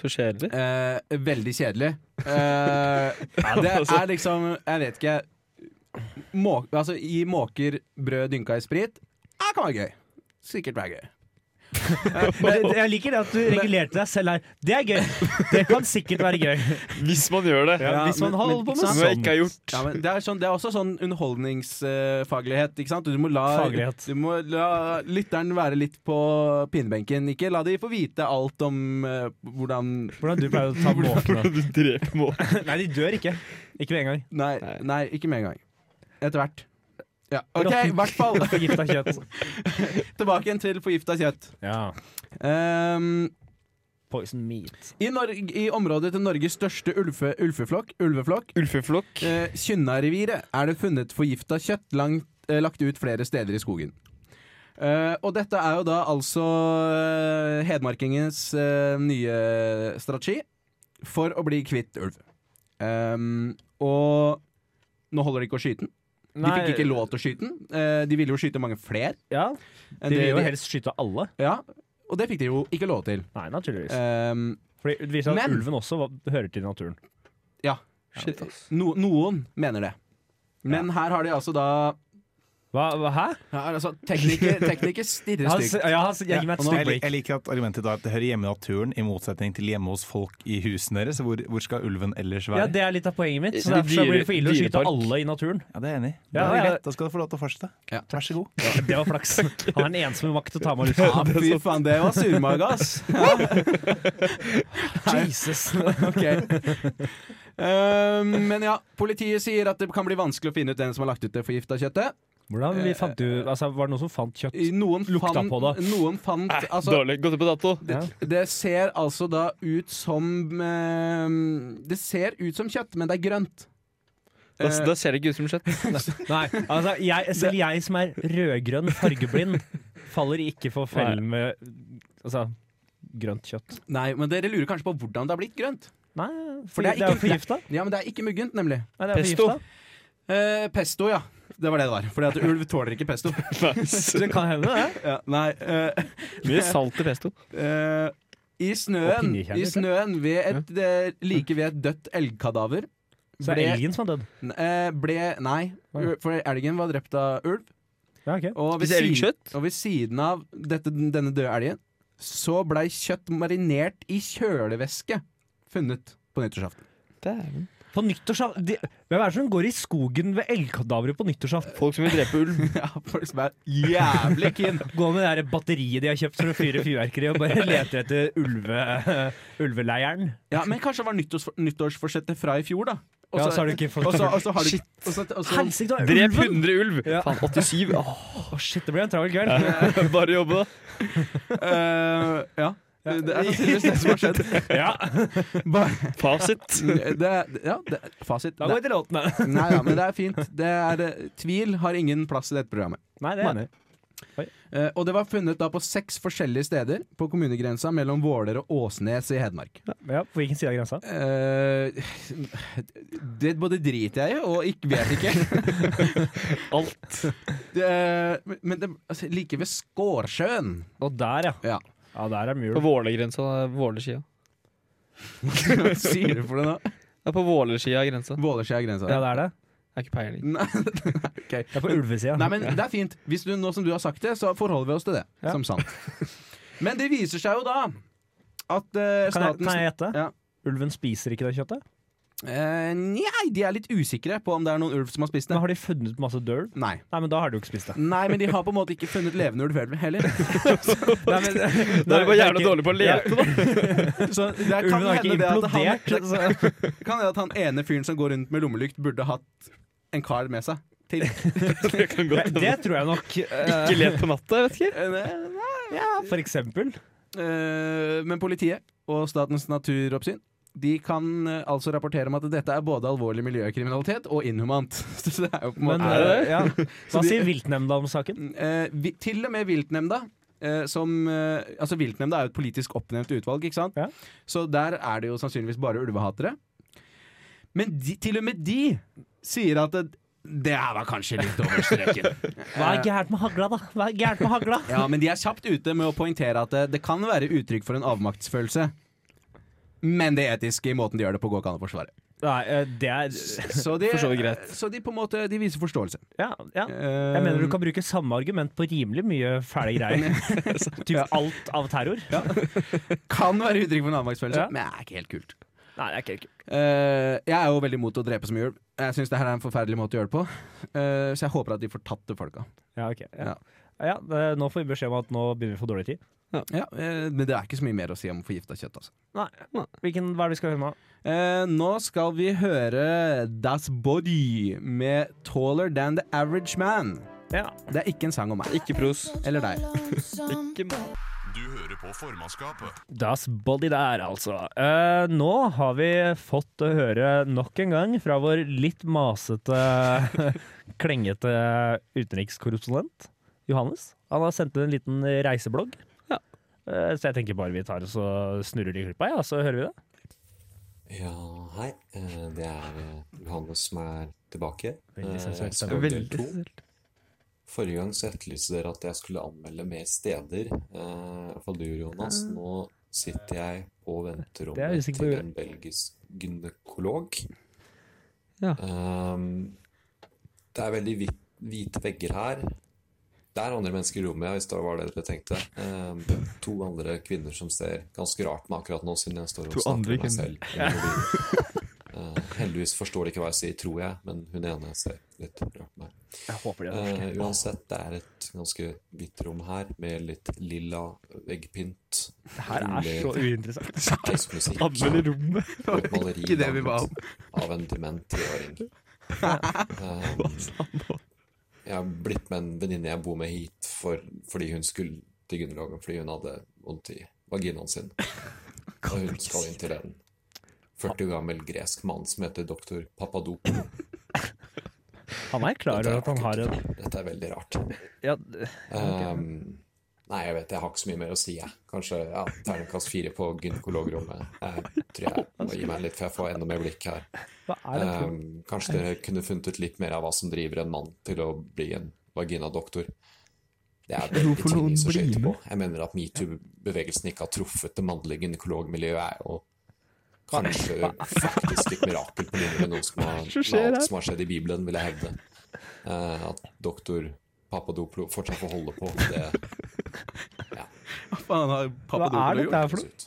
[SPEAKER 7] Så kjedelig.
[SPEAKER 2] Eh, veldig kjedelig. Eh, det er liksom Jeg vet ikke må, altså, Gi måker brød dynka i sprit. Det kan være gøy. Sikkert være gøy.
[SPEAKER 5] Jeg jeg liker det at du regulerte deg selv her. Det er gøy. Det kan sikkert være gøy.
[SPEAKER 7] Hvis man gjør det.
[SPEAKER 2] Ja,
[SPEAKER 5] Hvis man
[SPEAKER 2] men-
[SPEAKER 5] holder
[SPEAKER 2] men-
[SPEAKER 5] på med
[SPEAKER 2] sånn. ikke
[SPEAKER 7] Som
[SPEAKER 2] sant?
[SPEAKER 7] jeg ikke har gjort.
[SPEAKER 2] Ja, men det, er sånn, det er også sånn underholdningsfaglighet. ikke sant? Du må la,
[SPEAKER 5] Faglighet.
[SPEAKER 2] du må la lytteren være litt på pinebenken. Ikke la de få vite alt om eh, hvordan
[SPEAKER 5] Hvordan du pleier å ta måkene.
[SPEAKER 7] Du dreper mål.
[SPEAKER 5] Nei, de dør ikke. Ikke med en gang.
[SPEAKER 2] Nei,
[SPEAKER 7] Nei.
[SPEAKER 2] nei ikke med en gang. Etter hvert. Ja, OK,
[SPEAKER 5] Råtten.
[SPEAKER 2] i hvert fall.
[SPEAKER 5] Forgifta kjøtt.
[SPEAKER 2] Tilbake igjen til forgifta kjøtt.
[SPEAKER 5] Ja.
[SPEAKER 2] Ehm,
[SPEAKER 5] Poison meat.
[SPEAKER 2] i, Norg- I området til Norges største ulfe, ulveflokk, ulveflokk
[SPEAKER 7] Ulfeflokk.
[SPEAKER 2] Eh, Kynna-reviret er det funnet forgifta kjøtt langt, eh, lagt ut flere steder i skogen. Eh, og dette er jo da altså eh, hedmarkingens eh, nye strategi for å bli kvitt ulv. Ehm, og nå holder de ikke å skyte den. De fikk ikke lov til å skyte den. Eh, de ville jo skyte mange flere.
[SPEAKER 5] Ja,
[SPEAKER 2] enn
[SPEAKER 5] De
[SPEAKER 2] det
[SPEAKER 5] vil jo
[SPEAKER 2] de-
[SPEAKER 5] helst skyte alle.
[SPEAKER 2] ja, og det fikk de jo ikke lov til.
[SPEAKER 5] Nei, naturligvis.
[SPEAKER 2] Ehm,
[SPEAKER 5] Fordi det viser seg at
[SPEAKER 2] Men-
[SPEAKER 5] ulven også var, hører til naturen.
[SPEAKER 7] Shit, ass.
[SPEAKER 2] no, noen mener det. Men her har de altså da
[SPEAKER 5] Hva, hva, hæ?
[SPEAKER 2] her, altså, Tekniker, tekniker stirrer
[SPEAKER 5] Han,
[SPEAKER 2] stygt.
[SPEAKER 5] ja, han, jeg gir meg et
[SPEAKER 2] Ja,
[SPEAKER 5] stygt
[SPEAKER 8] Jeg, lik-
[SPEAKER 5] blikk.
[SPEAKER 8] jeg liker at argumentet da er at det hører hjemme i naturen, i motsetning til hjemme hos folk i husene deres. Hvor, hvor skal ulven ellers
[SPEAKER 5] Ja,
[SPEAKER 8] være?
[SPEAKER 5] det er litt av poenget mitt. Så
[SPEAKER 7] Dyre-
[SPEAKER 5] derfor så blir det for ille å skyte
[SPEAKER 7] dyrepark.
[SPEAKER 5] alle i naturen.
[SPEAKER 8] Ja, det er jeg enig i.
[SPEAKER 5] Ja,
[SPEAKER 8] Da er det
[SPEAKER 5] ja.
[SPEAKER 8] greit. Da skal du få lov til å fortsette.
[SPEAKER 2] Ja.
[SPEAKER 8] Vær så god.
[SPEAKER 5] Det var flaks. Han er den eneste med makt til å ta meg ut.
[SPEAKER 2] Ja, fy faen, det var surmaga, ass.
[SPEAKER 5] Jesus.
[SPEAKER 2] Ok. Ehm, men ja, politiet sier at det kan bli vanskelig å finne ut hvem som har lagt ut det forgifta kjøttet.
[SPEAKER 5] Hvordan vi fant du, altså, Var det noen som fant kjøtt?
[SPEAKER 2] Noen
[SPEAKER 5] Lukta
[SPEAKER 2] fant,
[SPEAKER 5] på det.
[SPEAKER 2] Noen fant altså,
[SPEAKER 7] Dårlig. Gått ut på dato.
[SPEAKER 5] Ja.
[SPEAKER 2] Det ser altså da ut som ehm, Det ser ut som kjøtt, men det er grønt.
[SPEAKER 7] Da,
[SPEAKER 2] Eh,
[SPEAKER 7] da ser det ikke ut som kjøtt.
[SPEAKER 5] Nei, altså, jeg, selv jeg som er rødgrønn fargeblind, faller ikke for fellen med altså, grønt kjøtt.
[SPEAKER 2] nei, men dere lurer kanskje på hvordan det har blitt grønt.
[SPEAKER 5] Nei,
[SPEAKER 2] For det er
[SPEAKER 5] jo
[SPEAKER 2] ikke-
[SPEAKER 5] forgifta.
[SPEAKER 2] Ja, men det er ikke muggent, nemlig.
[SPEAKER 5] Nei, det er
[SPEAKER 7] Pesto.
[SPEAKER 5] forgifta.
[SPEAKER 2] Eh, pesto, ja. Det var det det var. Fordi at ulv tåler ikke pesto.
[SPEAKER 5] Så Det kan hende, det.
[SPEAKER 2] Ja, nei, eh,
[SPEAKER 7] Mye salt i pesto.
[SPEAKER 2] Eh, I snøen,
[SPEAKER 5] Og pinnekjell,
[SPEAKER 2] i snøen ved et, eh, like ved et dødt elgkadaver
[SPEAKER 5] Så det
[SPEAKER 2] ble,
[SPEAKER 5] er elgen som er død.
[SPEAKER 2] n- eh, ble Nei, u- for elgen var drept av ulv.
[SPEAKER 5] Ja, ok.
[SPEAKER 2] Og ved,
[SPEAKER 7] Spiser elgen
[SPEAKER 2] siden,
[SPEAKER 7] kjøtt?
[SPEAKER 2] og ved siden av dette, denne døde elgen så blei kjøtt marinert i kjølevæske funnet på nyttårsaften.
[SPEAKER 7] Dæven.
[SPEAKER 5] På nyttårsaften de- Hvem er det som går i skogen ved elgkadaveret på nyttårsaften?
[SPEAKER 7] Folk som vil drepe ulv.
[SPEAKER 2] ja, folk som er jævlig keen.
[SPEAKER 5] Går med det der batteriet de har kjøpt for å fyre fyrverkeri, og bare leter etter ulve, eh, ulveleiren.
[SPEAKER 2] Ja, men kanskje det var nyttårs, nyttårsforsettet fra i fjor, da. Og
[SPEAKER 5] Ja,
[SPEAKER 2] så-
[SPEAKER 5] så har du ikke fått
[SPEAKER 2] og så- og så har du-
[SPEAKER 7] Shit.
[SPEAKER 2] og så- og så-
[SPEAKER 5] Helsike, det var
[SPEAKER 7] Drep
[SPEAKER 5] ulven!
[SPEAKER 7] 100 ulv!
[SPEAKER 5] Ja.
[SPEAKER 7] Faen, 87. Åh,
[SPEAKER 5] Å, shit, det blir en travel kveld.
[SPEAKER 7] bare jobbe, da.
[SPEAKER 2] eh, Ja. Det er sannsynligvis det som har skjedd.
[SPEAKER 5] Ja,
[SPEAKER 7] Fasit.
[SPEAKER 2] Det, er- ja, det, er- fasit.
[SPEAKER 5] Da
[SPEAKER 2] Det,
[SPEAKER 5] går vi til låtene.
[SPEAKER 2] nei da, men det er fint. Det er, eh, tvil har ingen plass i dette programmet.
[SPEAKER 5] Nei, det er enig.
[SPEAKER 2] Eh, og det var funnet da på seks forskjellige steder på kommunegrensa mellom Våler og Åsnes i Hedmark.
[SPEAKER 5] Ja, på hvilken side av grensa?
[SPEAKER 2] Eh, det både driter jeg i og ikke vet ikke.
[SPEAKER 7] Alt.
[SPEAKER 2] Det, men det, altså, like ved Skårsjøen.
[SPEAKER 5] Og der, ja.
[SPEAKER 2] Ja.
[SPEAKER 5] Ja, der er
[SPEAKER 7] På
[SPEAKER 5] mul.
[SPEAKER 7] Vålergrensa. da, Vålersida.
[SPEAKER 2] Hva sier du for det nå?
[SPEAKER 7] Det er på Vålersida av grensa.
[SPEAKER 2] Vålersida er grensa.
[SPEAKER 5] Ja, det er det.
[SPEAKER 7] Det er ikke peiling.
[SPEAKER 2] Nei, ok.
[SPEAKER 5] Det er på ulvesida.
[SPEAKER 2] Nei, men det er fint. Hvis du, nå som du har sagt det, så forholder vi oss til det
[SPEAKER 5] Ja.
[SPEAKER 2] som sant. Men det viser seg jo da at
[SPEAKER 5] Kan
[SPEAKER 2] eh,
[SPEAKER 5] jeg,
[SPEAKER 2] staten
[SPEAKER 5] kan jeg gjette?
[SPEAKER 2] Ja.
[SPEAKER 5] Ulven spiser ikke det kjøttet?
[SPEAKER 2] Eh, Nei, de er litt usikre på om det er noen ulv som har spist det.
[SPEAKER 5] Men har de funnet masse død ulv?
[SPEAKER 2] Nei.
[SPEAKER 5] Nei, men da har de jo ikke spist det.
[SPEAKER 2] Nei, men de har på en måte ikke funnet levende ulv heller.
[SPEAKER 5] Nei, men,
[SPEAKER 7] Da er du bare jævla dårlig på å
[SPEAKER 5] Ja.
[SPEAKER 7] lete, da.
[SPEAKER 2] Så det kan
[SPEAKER 5] Ulven har ikke
[SPEAKER 2] hende det at han,
[SPEAKER 5] implodert. liksom. så-
[SPEAKER 2] det kan hende at han ene fyren som går rundt med lommelykt, burde hatt en kar med seg. Til.
[SPEAKER 7] Det kan
[SPEAKER 5] Nei,
[SPEAKER 7] godt hende.
[SPEAKER 5] Det tror jeg nok. eh,
[SPEAKER 7] Ikke let på natta, jeg vet ikke.
[SPEAKER 2] Eh, nei.
[SPEAKER 5] For eksempel.
[SPEAKER 2] Eh, Men politiet og Statens naturoppsyn de kan eh, altså rapportere om at dette er både alvorlig miljøkriminalitet og inhumant. Så det er jo på en
[SPEAKER 5] Men
[SPEAKER 2] måte
[SPEAKER 5] eh, ja.
[SPEAKER 2] Så
[SPEAKER 5] Hva
[SPEAKER 2] de-
[SPEAKER 5] sier viltnemnda om saken?
[SPEAKER 2] Eh, vi, til og med viltnemnda. eh, Som, eh, altså Viltnemnda er jo et politisk oppnevnt utvalg, ikke sant?
[SPEAKER 5] Ja.
[SPEAKER 2] så der er det jo sannsynligvis bare ulvehatere. Men de, til og med de sier at det, det her var kanskje litt over streken.
[SPEAKER 5] Hva er gærent med hagla, da? Hva er gærent med hagla?
[SPEAKER 2] ja, men de er kjapt ute med å poengtere at det, det kan være uttrykk for en avmaktsfølelse. Men det etiske i måten de gjør det på, går ikke an å forsvare.
[SPEAKER 5] Nei, eh, det er
[SPEAKER 2] Så de,
[SPEAKER 5] For så vidt greit.
[SPEAKER 2] Så de på en måte de viser forståelse.
[SPEAKER 5] Ja, ja. Jeg mener du kan bruke samme argument på rimelig mye fæle greier. typ alt av terror.
[SPEAKER 2] Eh, kan være uttrykk for en avmaktsfølelse,
[SPEAKER 5] Ja.
[SPEAKER 2] men det er ikke helt kult.
[SPEAKER 5] Nei, det er ikke kult.
[SPEAKER 2] Eh, jeg er jo veldig imot å drepe som ulv. Jeg syns det her er en forferdelig måte å gjøre det på. Eh, så jeg håper at de får tatt det folka.
[SPEAKER 5] Ja, ok.
[SPEAKER 2] Ja.
[SPEAKER 5] Ja. Ja, eh, nå får vi beskjed om at nå begynner vi å få dårlig tid.
[SPEAKER 2] Ja, eh, men det er ikke så mye mer å si om forgifta kjøtt, altså.
[SPEAKER 5] Nei. Hvilken, hva er det vi skal høre nå?
[SPEAKER 2] Eh, nå skal vi høre Das Body med Taller Than The Average Man.
[SPEAKER 5] Ja.
[SPEAKER 2] Det er ikke en sang om meg.
[SPEAKER 7] Ikke pros.
[SPEAKER 2] Eller deg.
[SPEAKER 1] Du hører på formannskapet.
[SPEAKER 5] Das Body der, altså. Eh, nå har vi fått å høre nok en gang fra vår litt masete, klengete utenrikskorrespondent Johannes. Han har sendt en liten reiseblogg.
[SPEAKER 7] Ja.
[SPEAKER 5] Eh, så jeg tenker bare vi tar og så snurrer de klippa, ja, så hører vi det.
[SPEAKER 9] Ja, hei. Eh, Det er eh, Johannes som er tilbake.
[SPEAKER 5] Veldig
[SPEAKER 9] Eh,
[SPEAKER 5] sensuelt
[SPEAKER 9] jeg skal del to. Forrige gang så etterlyste dere at jeg skulle anmelde mer steder. eh, I hvert fall du, Jonas. Nå sitter jeg på
[SPEAKER 5] Det er jeg
[SPEAKER 9] venterommet
[SPEAKER 5] usikker på.
[SPEAKER 9] til en belgisk gynekolog.
[SPEAKER 7] Ja.
[SPEAKER 9] Ehm, det er veldig hvit, hvite vegger her. Det er andre mennesker i rommet, ja, hvis det var det dere tenkte. Ehm, to andre kvinner som ser ganske rart meg akkurat nå, siden jeg står og
[SPEAKER 7] To
[SPEAKER 9] snakker
[SPEAKER 7] andre
[SPEAKER 9] med meg selv. i mobilen. Eh, heldigvis forstår de ikke hva jeg sier, tror jeg, men hun ene ser litt rart på meg.
[SPEAKER 5] Jeg håper det.
[SPEAKER 9] Eh, uansett, det er et ganske hvitt rom her, med litt lilla veggpynt.
[SPEAKER 5] Det her er
[SPEAKER 9] rolig
[SPEAKER 5] så uinteressant.
[SPEAKER 9] jazzmusikk
[SPEAKER 7] Anmeld rommet.
[SPEAKER 9] og et maleri
[SPEAKER 2] Ikke det vi ba om.
[SPEAKER 9] av en dement treåring. Um, Eh, jeg har blitt med en venninne jeg bor med hit for, fordi hun skulle til gynekologen fordi hun hadde vondt i vaginaen sin. Og hun skal inn til en 40 år gammel gresk mann som heter doktor Papadopo.
[SPEAKER 5] Han er klar over
[SPEAKER 9] Dette
[SPEAKER 5] at han har
[SPEAKER 9] er
[SPEAKER 5] en
[SPEAKER 9] akutt. Dette er veldig rart.
[SPEAKER 5] ja,
[SPEAKER 9] Um, nei, jeg vet, jeg har ikke så mye mer å si, jeg. Kanskje ja, terningkast fire på gynekologrommet. Jeg tror jeg må gi meg litt, for jeg får enda mer blikk her.
[SPEAKER 5] Hva er det for noe?
[SPEAKER 9] Um, kanskje dere kunne funnet ut litt mer av hva som driver en mann til å bli en vaginadoktor. Det er veldig
[SPEAKER 6] Hvorfor noen
[SPEAKER 9] tidlig å
[SPEAKER 6] blir
[SPEAKER 9] skøyte på.
[SPEAKER 6] med?
[SPEAKER 9] Jeg mener at metoo-bevegelsen ikke har truffet det mannlige gynekologmiljøet, er jo kanskje faktisk litt mirakel på linje med noe som har, med
[SPEAKER 7] skjer her?
[SPEAKER 9] alt som har skjedd i Bibelen, vil jeg hevde. Eh, at doktor Papadoplo fortsatt får holde på. Det
[SPEAKER 2] Hva faen
[SPEAKER 5] Hva
[SPEAKER 2] har
[SPEAKER 5] er
[SPEAKER 2] pappa Dodo
[SPEAKER 5] dette
[SPEAKER 2] gjort?
[SPEAKER 5] her for noe?
[SPEAKER 9] høres ut.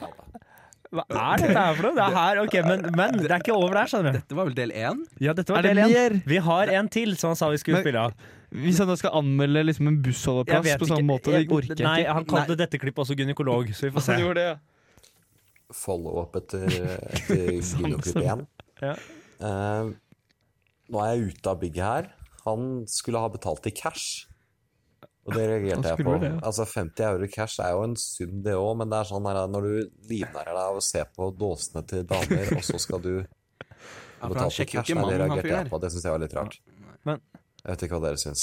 [SPEAKER 9] Ja, da.
[SPEAKER 5] Hva er dette her for noe? Det er her, ok, men, men det er ikke over der, skjønner du.
[SPEAKER 2] Dette var vel del én?
[SPEAKER 5] Ja, dette
[SPEAKER 7] Er
[SPEAKER 5] var
[SPEAKER 7] det
[SPEAKER 5] del én.
[SPEAKER 7] mer?
[SPEAKER 5] Vi har en til, som han sa vi skulle
[SPEAKER 7] Men-
[SPEAKER 5] spille av.
[SPEAKER 7] Hvis han da skal anmelde liksom en
[SPEAKER 5] Jeg
[SPEAKER 7] bussholdeplass
[SPEAKER 5] vet
[SPEAKER 7] på samme
[SPEAKER 5] ikke.
[SPEAKER 7] måte, det
[SPEAKER 5] Jeg-
[SPEAKER 7] orker
[SPEAKER 5] Nei,
[SPEAKER 7] jeg ikke.
[SPEAKER 5] han kalte dette klippet også gynekolog, så vi får se.
[SPEAKER 7] Han gjorde det, ja.
[SPEAKER 9] follow-up etter, etter Gynoklipp 1.
[SPEAKER 5] Ja.
[SPEAKER 9] Eh, nå er jeg ute av bygget her. Han skulle ha betalt i cash. Og det reagerte jeg på. Altså 50 euro i cash er jo en sum, det òg, men det er sånn her, når du livnærer deg av å se på dåsene til damer, og så skal du
[SPEAKER 2] Ja, for han
[SPEAKER 9] betale i
[SPEAKER 2] sjekker jo
[SPEAKER 9] cash,
[SPEAKER 2] ikke
[SPEAKER 9] nei, det
[SPEAKER 2] mannen han
[SPEAKER 9] reagerte jeg
[SPEAKER 2] fyren er.
[SPEAKER 9] på. Det syns jeg var litt rart.
[SPEAKER 5] Men-
[SPEAKER 9] Jeg vet ikke hva dere syns.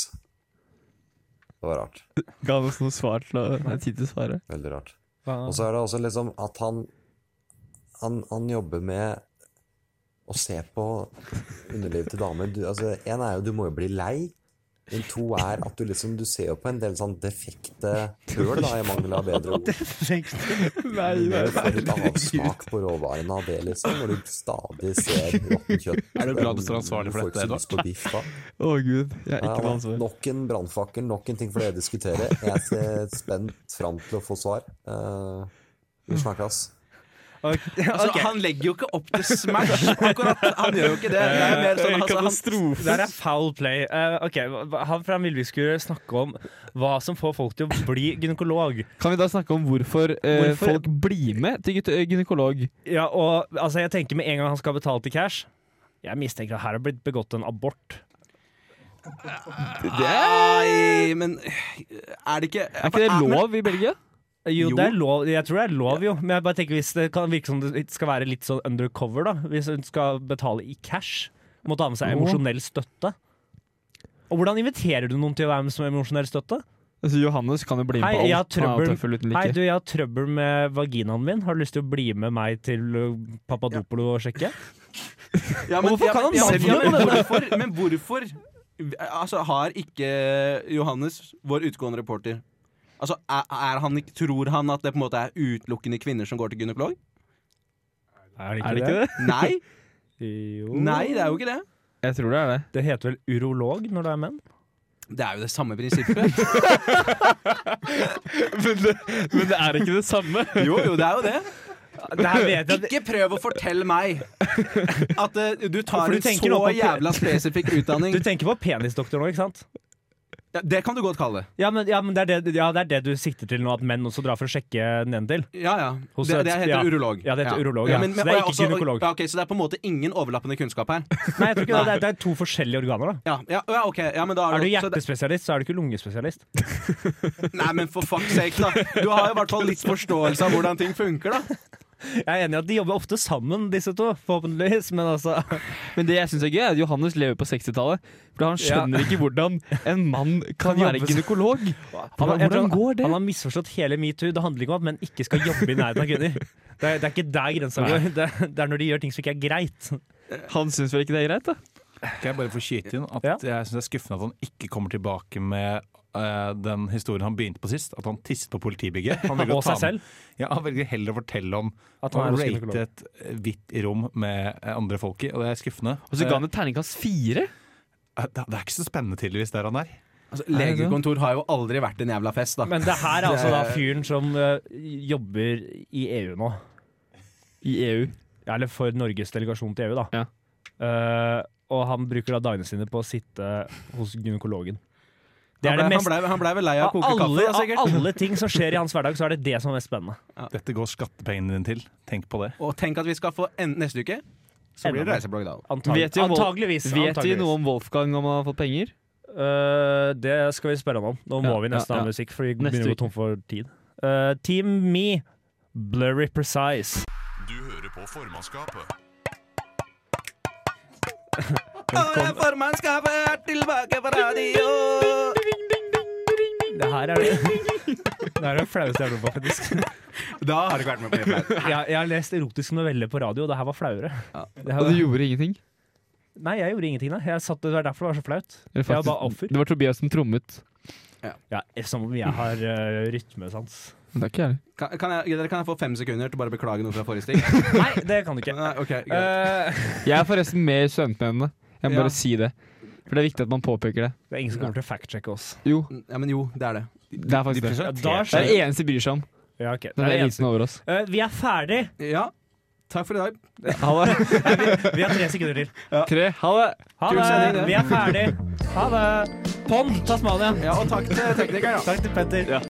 [SPEAKER 9] Det var rart.
[SPEAKER 7] Ga han oss noe svar til å Nei, tid til å svare.
[SPEAKER 9] Veldig rart.
[SPEAKER 5] Hva-
[SPEAKER 9] Og så er det også liksom at han Han, han jobber med å se på underlivet til damer. Du, altså, en er jo du må jo bli lei. Men to er at du liksom Du ser jo på en del sånn defekte høl, da, i mangel av bedre ord.
[SPEAKER 7] Nei,
[SPEAKER 9] Du
[SPEAKER 7] nei,
[SPEAKER 9] får et avsmak på råvarene av det, liksom, når du stadig ser råttent kjøtt.
[SPEAKER 8] Er du glad du står ansvarlig for dette,
[SPEAKER 9] Du får ikke så lyst på biff da.
[SPEAKER 7] Å gud, jeg er
[SPEAKER 9] Ja,
[SPEAKER 7] ikke noe ansvar.
[SPEAKER 9] nok en brannfakkel, nok en ting for dere å diskutere. Jeg ser spent fram til å få svar. Eh, vi snakkes.
[SPEAKER 2] Altså, Han legger jo ikke opp til Smash, akkurat. Han gjør jo ikke det. Det er mer sånn altså, han,
[SPEAKER 7] Katastrofe.
[SPEAKER 5] Der er foul play. Eh, ok, hva- Han fra Milvik skulle snakke om hva som får folk til å bli gynekolog.
[SPEAKER 7] Kan vi da snakke om hvorfor, eh,
[SPEAKER 5] Hvorfor-
[SPEAKER 7] folk blir med til
[SPEAKER 6] eh,
[SPEAKER 7] gyte- gynekolog?
[SPEAKER 5] Ja, og altså, jeg tenker med en gang han skal betale til cash Jeg mistenker at her har blitt begått en abort.
[SPEAKER 2] Nei, men eh, er det ikke
[SPEAKER 7] Er ikke det lov i Belgia?
[SPEAKER 5] Jo,
[SPEAKER 2] Jo.
[SPEAKER 5] det er lov. Jeg tror det er lov, jo. Men jeg bare tenker hvis det kan virke som det skal være litt sånn undercover, da. Hvis hun skal betale i cash. Må ta med seg emosjonell støtte. Og hvordan inviterer du noen til å være med som emosjonell støtte?
[SPEAKER 7] Altså, Johannes kan jo bli med
[SPEAKER 5] Hei,
[SPEAKER 7] på alt.
[SPEAKER 5] jeg har
[SPEAKER 7] Han er jo
[SPEAKER 5] trøbbel.
[SPEAKER 7] tøffel uten like.
[SPEAKER 5] Hei, du, jeg har trøbbel med vaginaen min. Har du lyst til å bli med meg til uh, Papadopolo og sjekke?
[SPEAKER 2] Ja, men,
[SPEAKER 5] Hvorfor
[SPEAKER 2] ja,
[SPEAKER 5] kan han
[SPEAKER 2] men- ja,
[SPEAKER 5] selge
[SPEAKER 2] ja, men
[SPEAKER 5] det?
[SPEAKER 2] hvorfor, men hvorfor altså, har ikke Johannes, vår utegående reporter Altså, er, er han, ikke- Tror han at det på en måte er utelukkende kvinner som går til gynekolog?
[SPEAKER 5] Er
[SPEAKER 6] Er det ikke det?
[SPEAKER 2] Nei,
[SPEAKER 5] Jo.
[SPEAKER 2] nei, det er jo ikke det.
[SPEAKER 6] Jeg tror det er det.
[SPEAKER 5] Det heter vel urolog når det er menn?
[SPEAKER 2] Det er jo det samme prinsippet.
[SPEAKER 6] Men det, men det er ikke det samme.
[SPEAKER 2] Jo, jo, det er jo det.
[SPEAKER 5] Det her vet jeg at
[SPEAKER 2] Ikke prøv å fortelle meg at eh, du tar
[SPEAKER 5] For du
[SPEAKER 2] en
[SPEAKER 5] tenker
[SPEAKER 2] så
[SPEAKER 5] nå på pe-
[SPEAKER 2] jævla spesifikk
[SPEAKER 5] Du
[SPEAKER 2] utdanning.
[SPEAKER 5] tenker på penisdoktor nå, ikke sant?
[SPEAKER 2] Ja, det kan du godt kalle det.
[SPEAKER 5] Ja, men, ja, men det, er det, ja, det er det du sikter til nå, at menn også drar for å sjekke nedentil.
[SPEAKER 2] Ja, ja.
[SPEAKER 5] Hos
[SPEAKER 2] Det,
[SPEAKER 5] et-
[SPEAKER 2] det heter
[SPEAKER 5] ja.
[SPEAKER 2] urolog.
[SPEAKER 5] Ja, det heter urolog, ja. Så det er
[SPEAKER 2] og jeg
[SPEAKER 5] ikke
[SPEAKER 2] også-
[SPEAKER 5] gynekolog.
[SPEAKER 2] Ja, ok, så det er på en måte ingen overlappende kunnskap her.
[SPEAKER 5] Nei, jeg tror ikke det. Det er, det er to forskjellige organer, da.
[SPEAKER 2] Ja, ja, ja ok. Ja, men da
[SPEAKER 5] Er du
[SPEAKER 2] så det-
[SPEAKER 5] hjertespesialist, så er du ikke lungespesialist.
[SPEAKER 2] Nei, men for fuck's sake, da. Du har jo i hvert fall litt forståelse av hvordan ting funker, da. Altså,
[SPEAKER 5] Jeg er enig i at de jobber ofte sammen, disse to, forhåpentligvis, men altså
[SPEAKER 6] Men det jeg syns er gøy, er at Johannes lever på 60-tallet. For han skjønner ikke hvordan en mann kan,
[SPEAKER 5] Kan
[SPEAKER 6] være
[SPEAKER 5] jobbe-
[SPEAKER 6] gynekolog.
[SPEAKER 5] Han har, jeg tror
[SPEAKER 6] Hvordan
[SPEAKER 5] han,
[SPEAKER 6] går det?
[SPEAKER 5] han har misforstått hele metoo. Det handler ikke om at menn ikke skal jobbe i nærheten av kvinner. Det er, det er ikke der grensa går. Det, er- det er når de gjør ting som ikke er greit.
[SPEAKER 6] Han syns vel ikke det er greit, da?
[SPEAKER 8] Kan jeg bare få skyte inn at
[SPEAKER 5] Ja.
[SPEAKER 8] jeg syns det er skuffende at han ikke kommer tilbake med eh, den historien han begynte på sist, at han tisset på politibygget. Han velger å
[SPEAKER 5] Og
[SPEAKER 8] ta
[SPEAKER 5] seg selv.
[SPEAKER 8] med- Ja, han velger heller å fortelle om
[SPEAKER 5] At
[SPEAKER 8] å
[SPEAKER 5] han er hos gynekolog.
[SPEAKER 8] rate et eh, hvitt rom med eh, andre folk i, og det er skuffende.
[SPEAKER 6] Og så ga han et terningkast fire.
[SPEAKER 8] Eh, det, det er ikke så spennende tydeligvis der han er.
[SPEAKER 2] Altså, legekontor har jo aldri vært en jævla fest, da.
[SPEAKER 5] Men det her er altså da fyren som eh, jobber i EU nå.
[SPEAKER 6] I EU.
[SPEAKER 5] Ja, Eller for Norges delegasjon til EU, da.
[SPEAKER 6] Ja.
[SPEAKER 5] Eh, og han bruker da dagene sine på å sitte hos gynekologen. Det er
[SPEAKER 2] han,
[SPEAKER 5] det
[SPEAKER 2] ble,
[SPEAKER 5] mest
[SPEAKER 2] han, ble, han ble vel lei av å
[SPEAKER 5] av
[SPEAKER 2] koke
[SPEAKER 5] alle,
[SPEAKER 2] kaffe, da,
[SPEAKER 5] av
[SPEAKER 2] sikkert.
[SPEAKER 5] alle ting som skjer i hans hverdag, så er det det som er mest spennende.
[SPEAKER 8] Dette går skattepengene dine til, tenk på det.
[SPEAKER 2] Og tenk at vi skal få en, neste uke, så blir det reiseblogg da.
[SPEAKER 5] Antag
[SPEAKER 6] Vet vi om-
[SPEAKER 5] antageligvis.
[SPEAKER 6] Vet de
[SPEAKER 5] antageligvis.
[SPEAKER 6] noe om Wolfgang om han har fått penger?
[SPEAKER 5] Eh, det skal vi spørre han om. Nå må
[SPEAKER 6] Ja,
[SPEAKER 5] vi nesten
[SPEAKER 6] ja,
[SPEAKER 5] ha
[SPEAKER 6] ja.
[SPEAKER 5] musikk, for vi
[SPEAKER 6] Neste
[SPEAKER 5] begynner å gå tom for tid. Eh, team Me, Blurry Precise.
[SPEAKER 1] Du hører på formannskapet.
[SPEAKER 2] Formannskapet er tilbake på radio!
[SPEAKER 5] Det her er det Det her er det flaueste jeg har hørt på, faktisk.
[SPEAKER 2] Da har du ikke vært med på hjemmefest.
[SPEAKER 5] Jeg, jeg har lest erotiske noveller på radio, og det her var flauere. Det her
[SPEAKER 6] Og du
[SPEAKER 5] var,
[SPEAKER 6] gjorde ingenting?
[SPEAKER 5] nei, jeg gjorde ingenting, da. Jeg satt, det var derfor det var så flaut.
[SPEAKER 6] Eller
[SPEAKER 5] Jeg var
[SPEAKER 6] faktisk-
[SPEAKER 5] bare offer.
[SPEAKER 6] Det var Tobias som trommet.
[SPEAKER 5] Ja, som om jeg har eh, rytmesans.
[SPEAKER 6] Men det er ikke jeg.
[SPEAKER 2] Kan, kan, jeg, dere, kan jeg få fem sekunder til å bare beklage noe fra forrige sting?
[SPEAKER 5] Nei, det kan du ikke.
[SPEAKER 2] Nei, ok, greit.
[SPEAKER 5] Eh,
[SPEAKER 6] Jeg er forresten med i Studentmennene. Jeg må
[SPEAKER 2] Ja.
[SPEAKER 6] bare si det. For det er viktig at man påpeker det.
[SPEAKER 5] det er ingen som kommer til å fact-sjekke oss.
[SPEAKER 6] Jo,
[SPEAKER 2] Ja, men jo, det er det.
[SPEAKER 6] det er faktisk det.
[SPEAKER 5] Ja, da
[SPEAKER 6] Det er
[SPEAKER 5] skjer
[SPEAKER 6] det eneste de bryr seg om.
[SPEAKER 5] ja, ok.
[SPEAKER 6] Den
[SPEAKER 5] det er det
[SPEAKER 6] eliten
[SPEAKER 5] eneste.
[SPEAKER 6] over oss.
[SPEAKER 5] Eh, vi er ferdig!
[SPEAKER 2] Ja, takk for i dag.
[SPEAKER 6] Ha det.
[SPEAKER 5] Vi har tre sekunder til.
[SPEAKER 6] Tre. Ha det.
[SPEAKER 5] Ha
[SPEAKER 2] Kul
[SPEAKER 5] det!
[SPEAKER 2] sending, det.
[SPEAKER 5] Vi er ferdig. Ha det! Pond, Tasmania.
[SPEAKER 2] Ja, og takk til teknikeren, da.
[SPEAKER 5] Takk til Petter.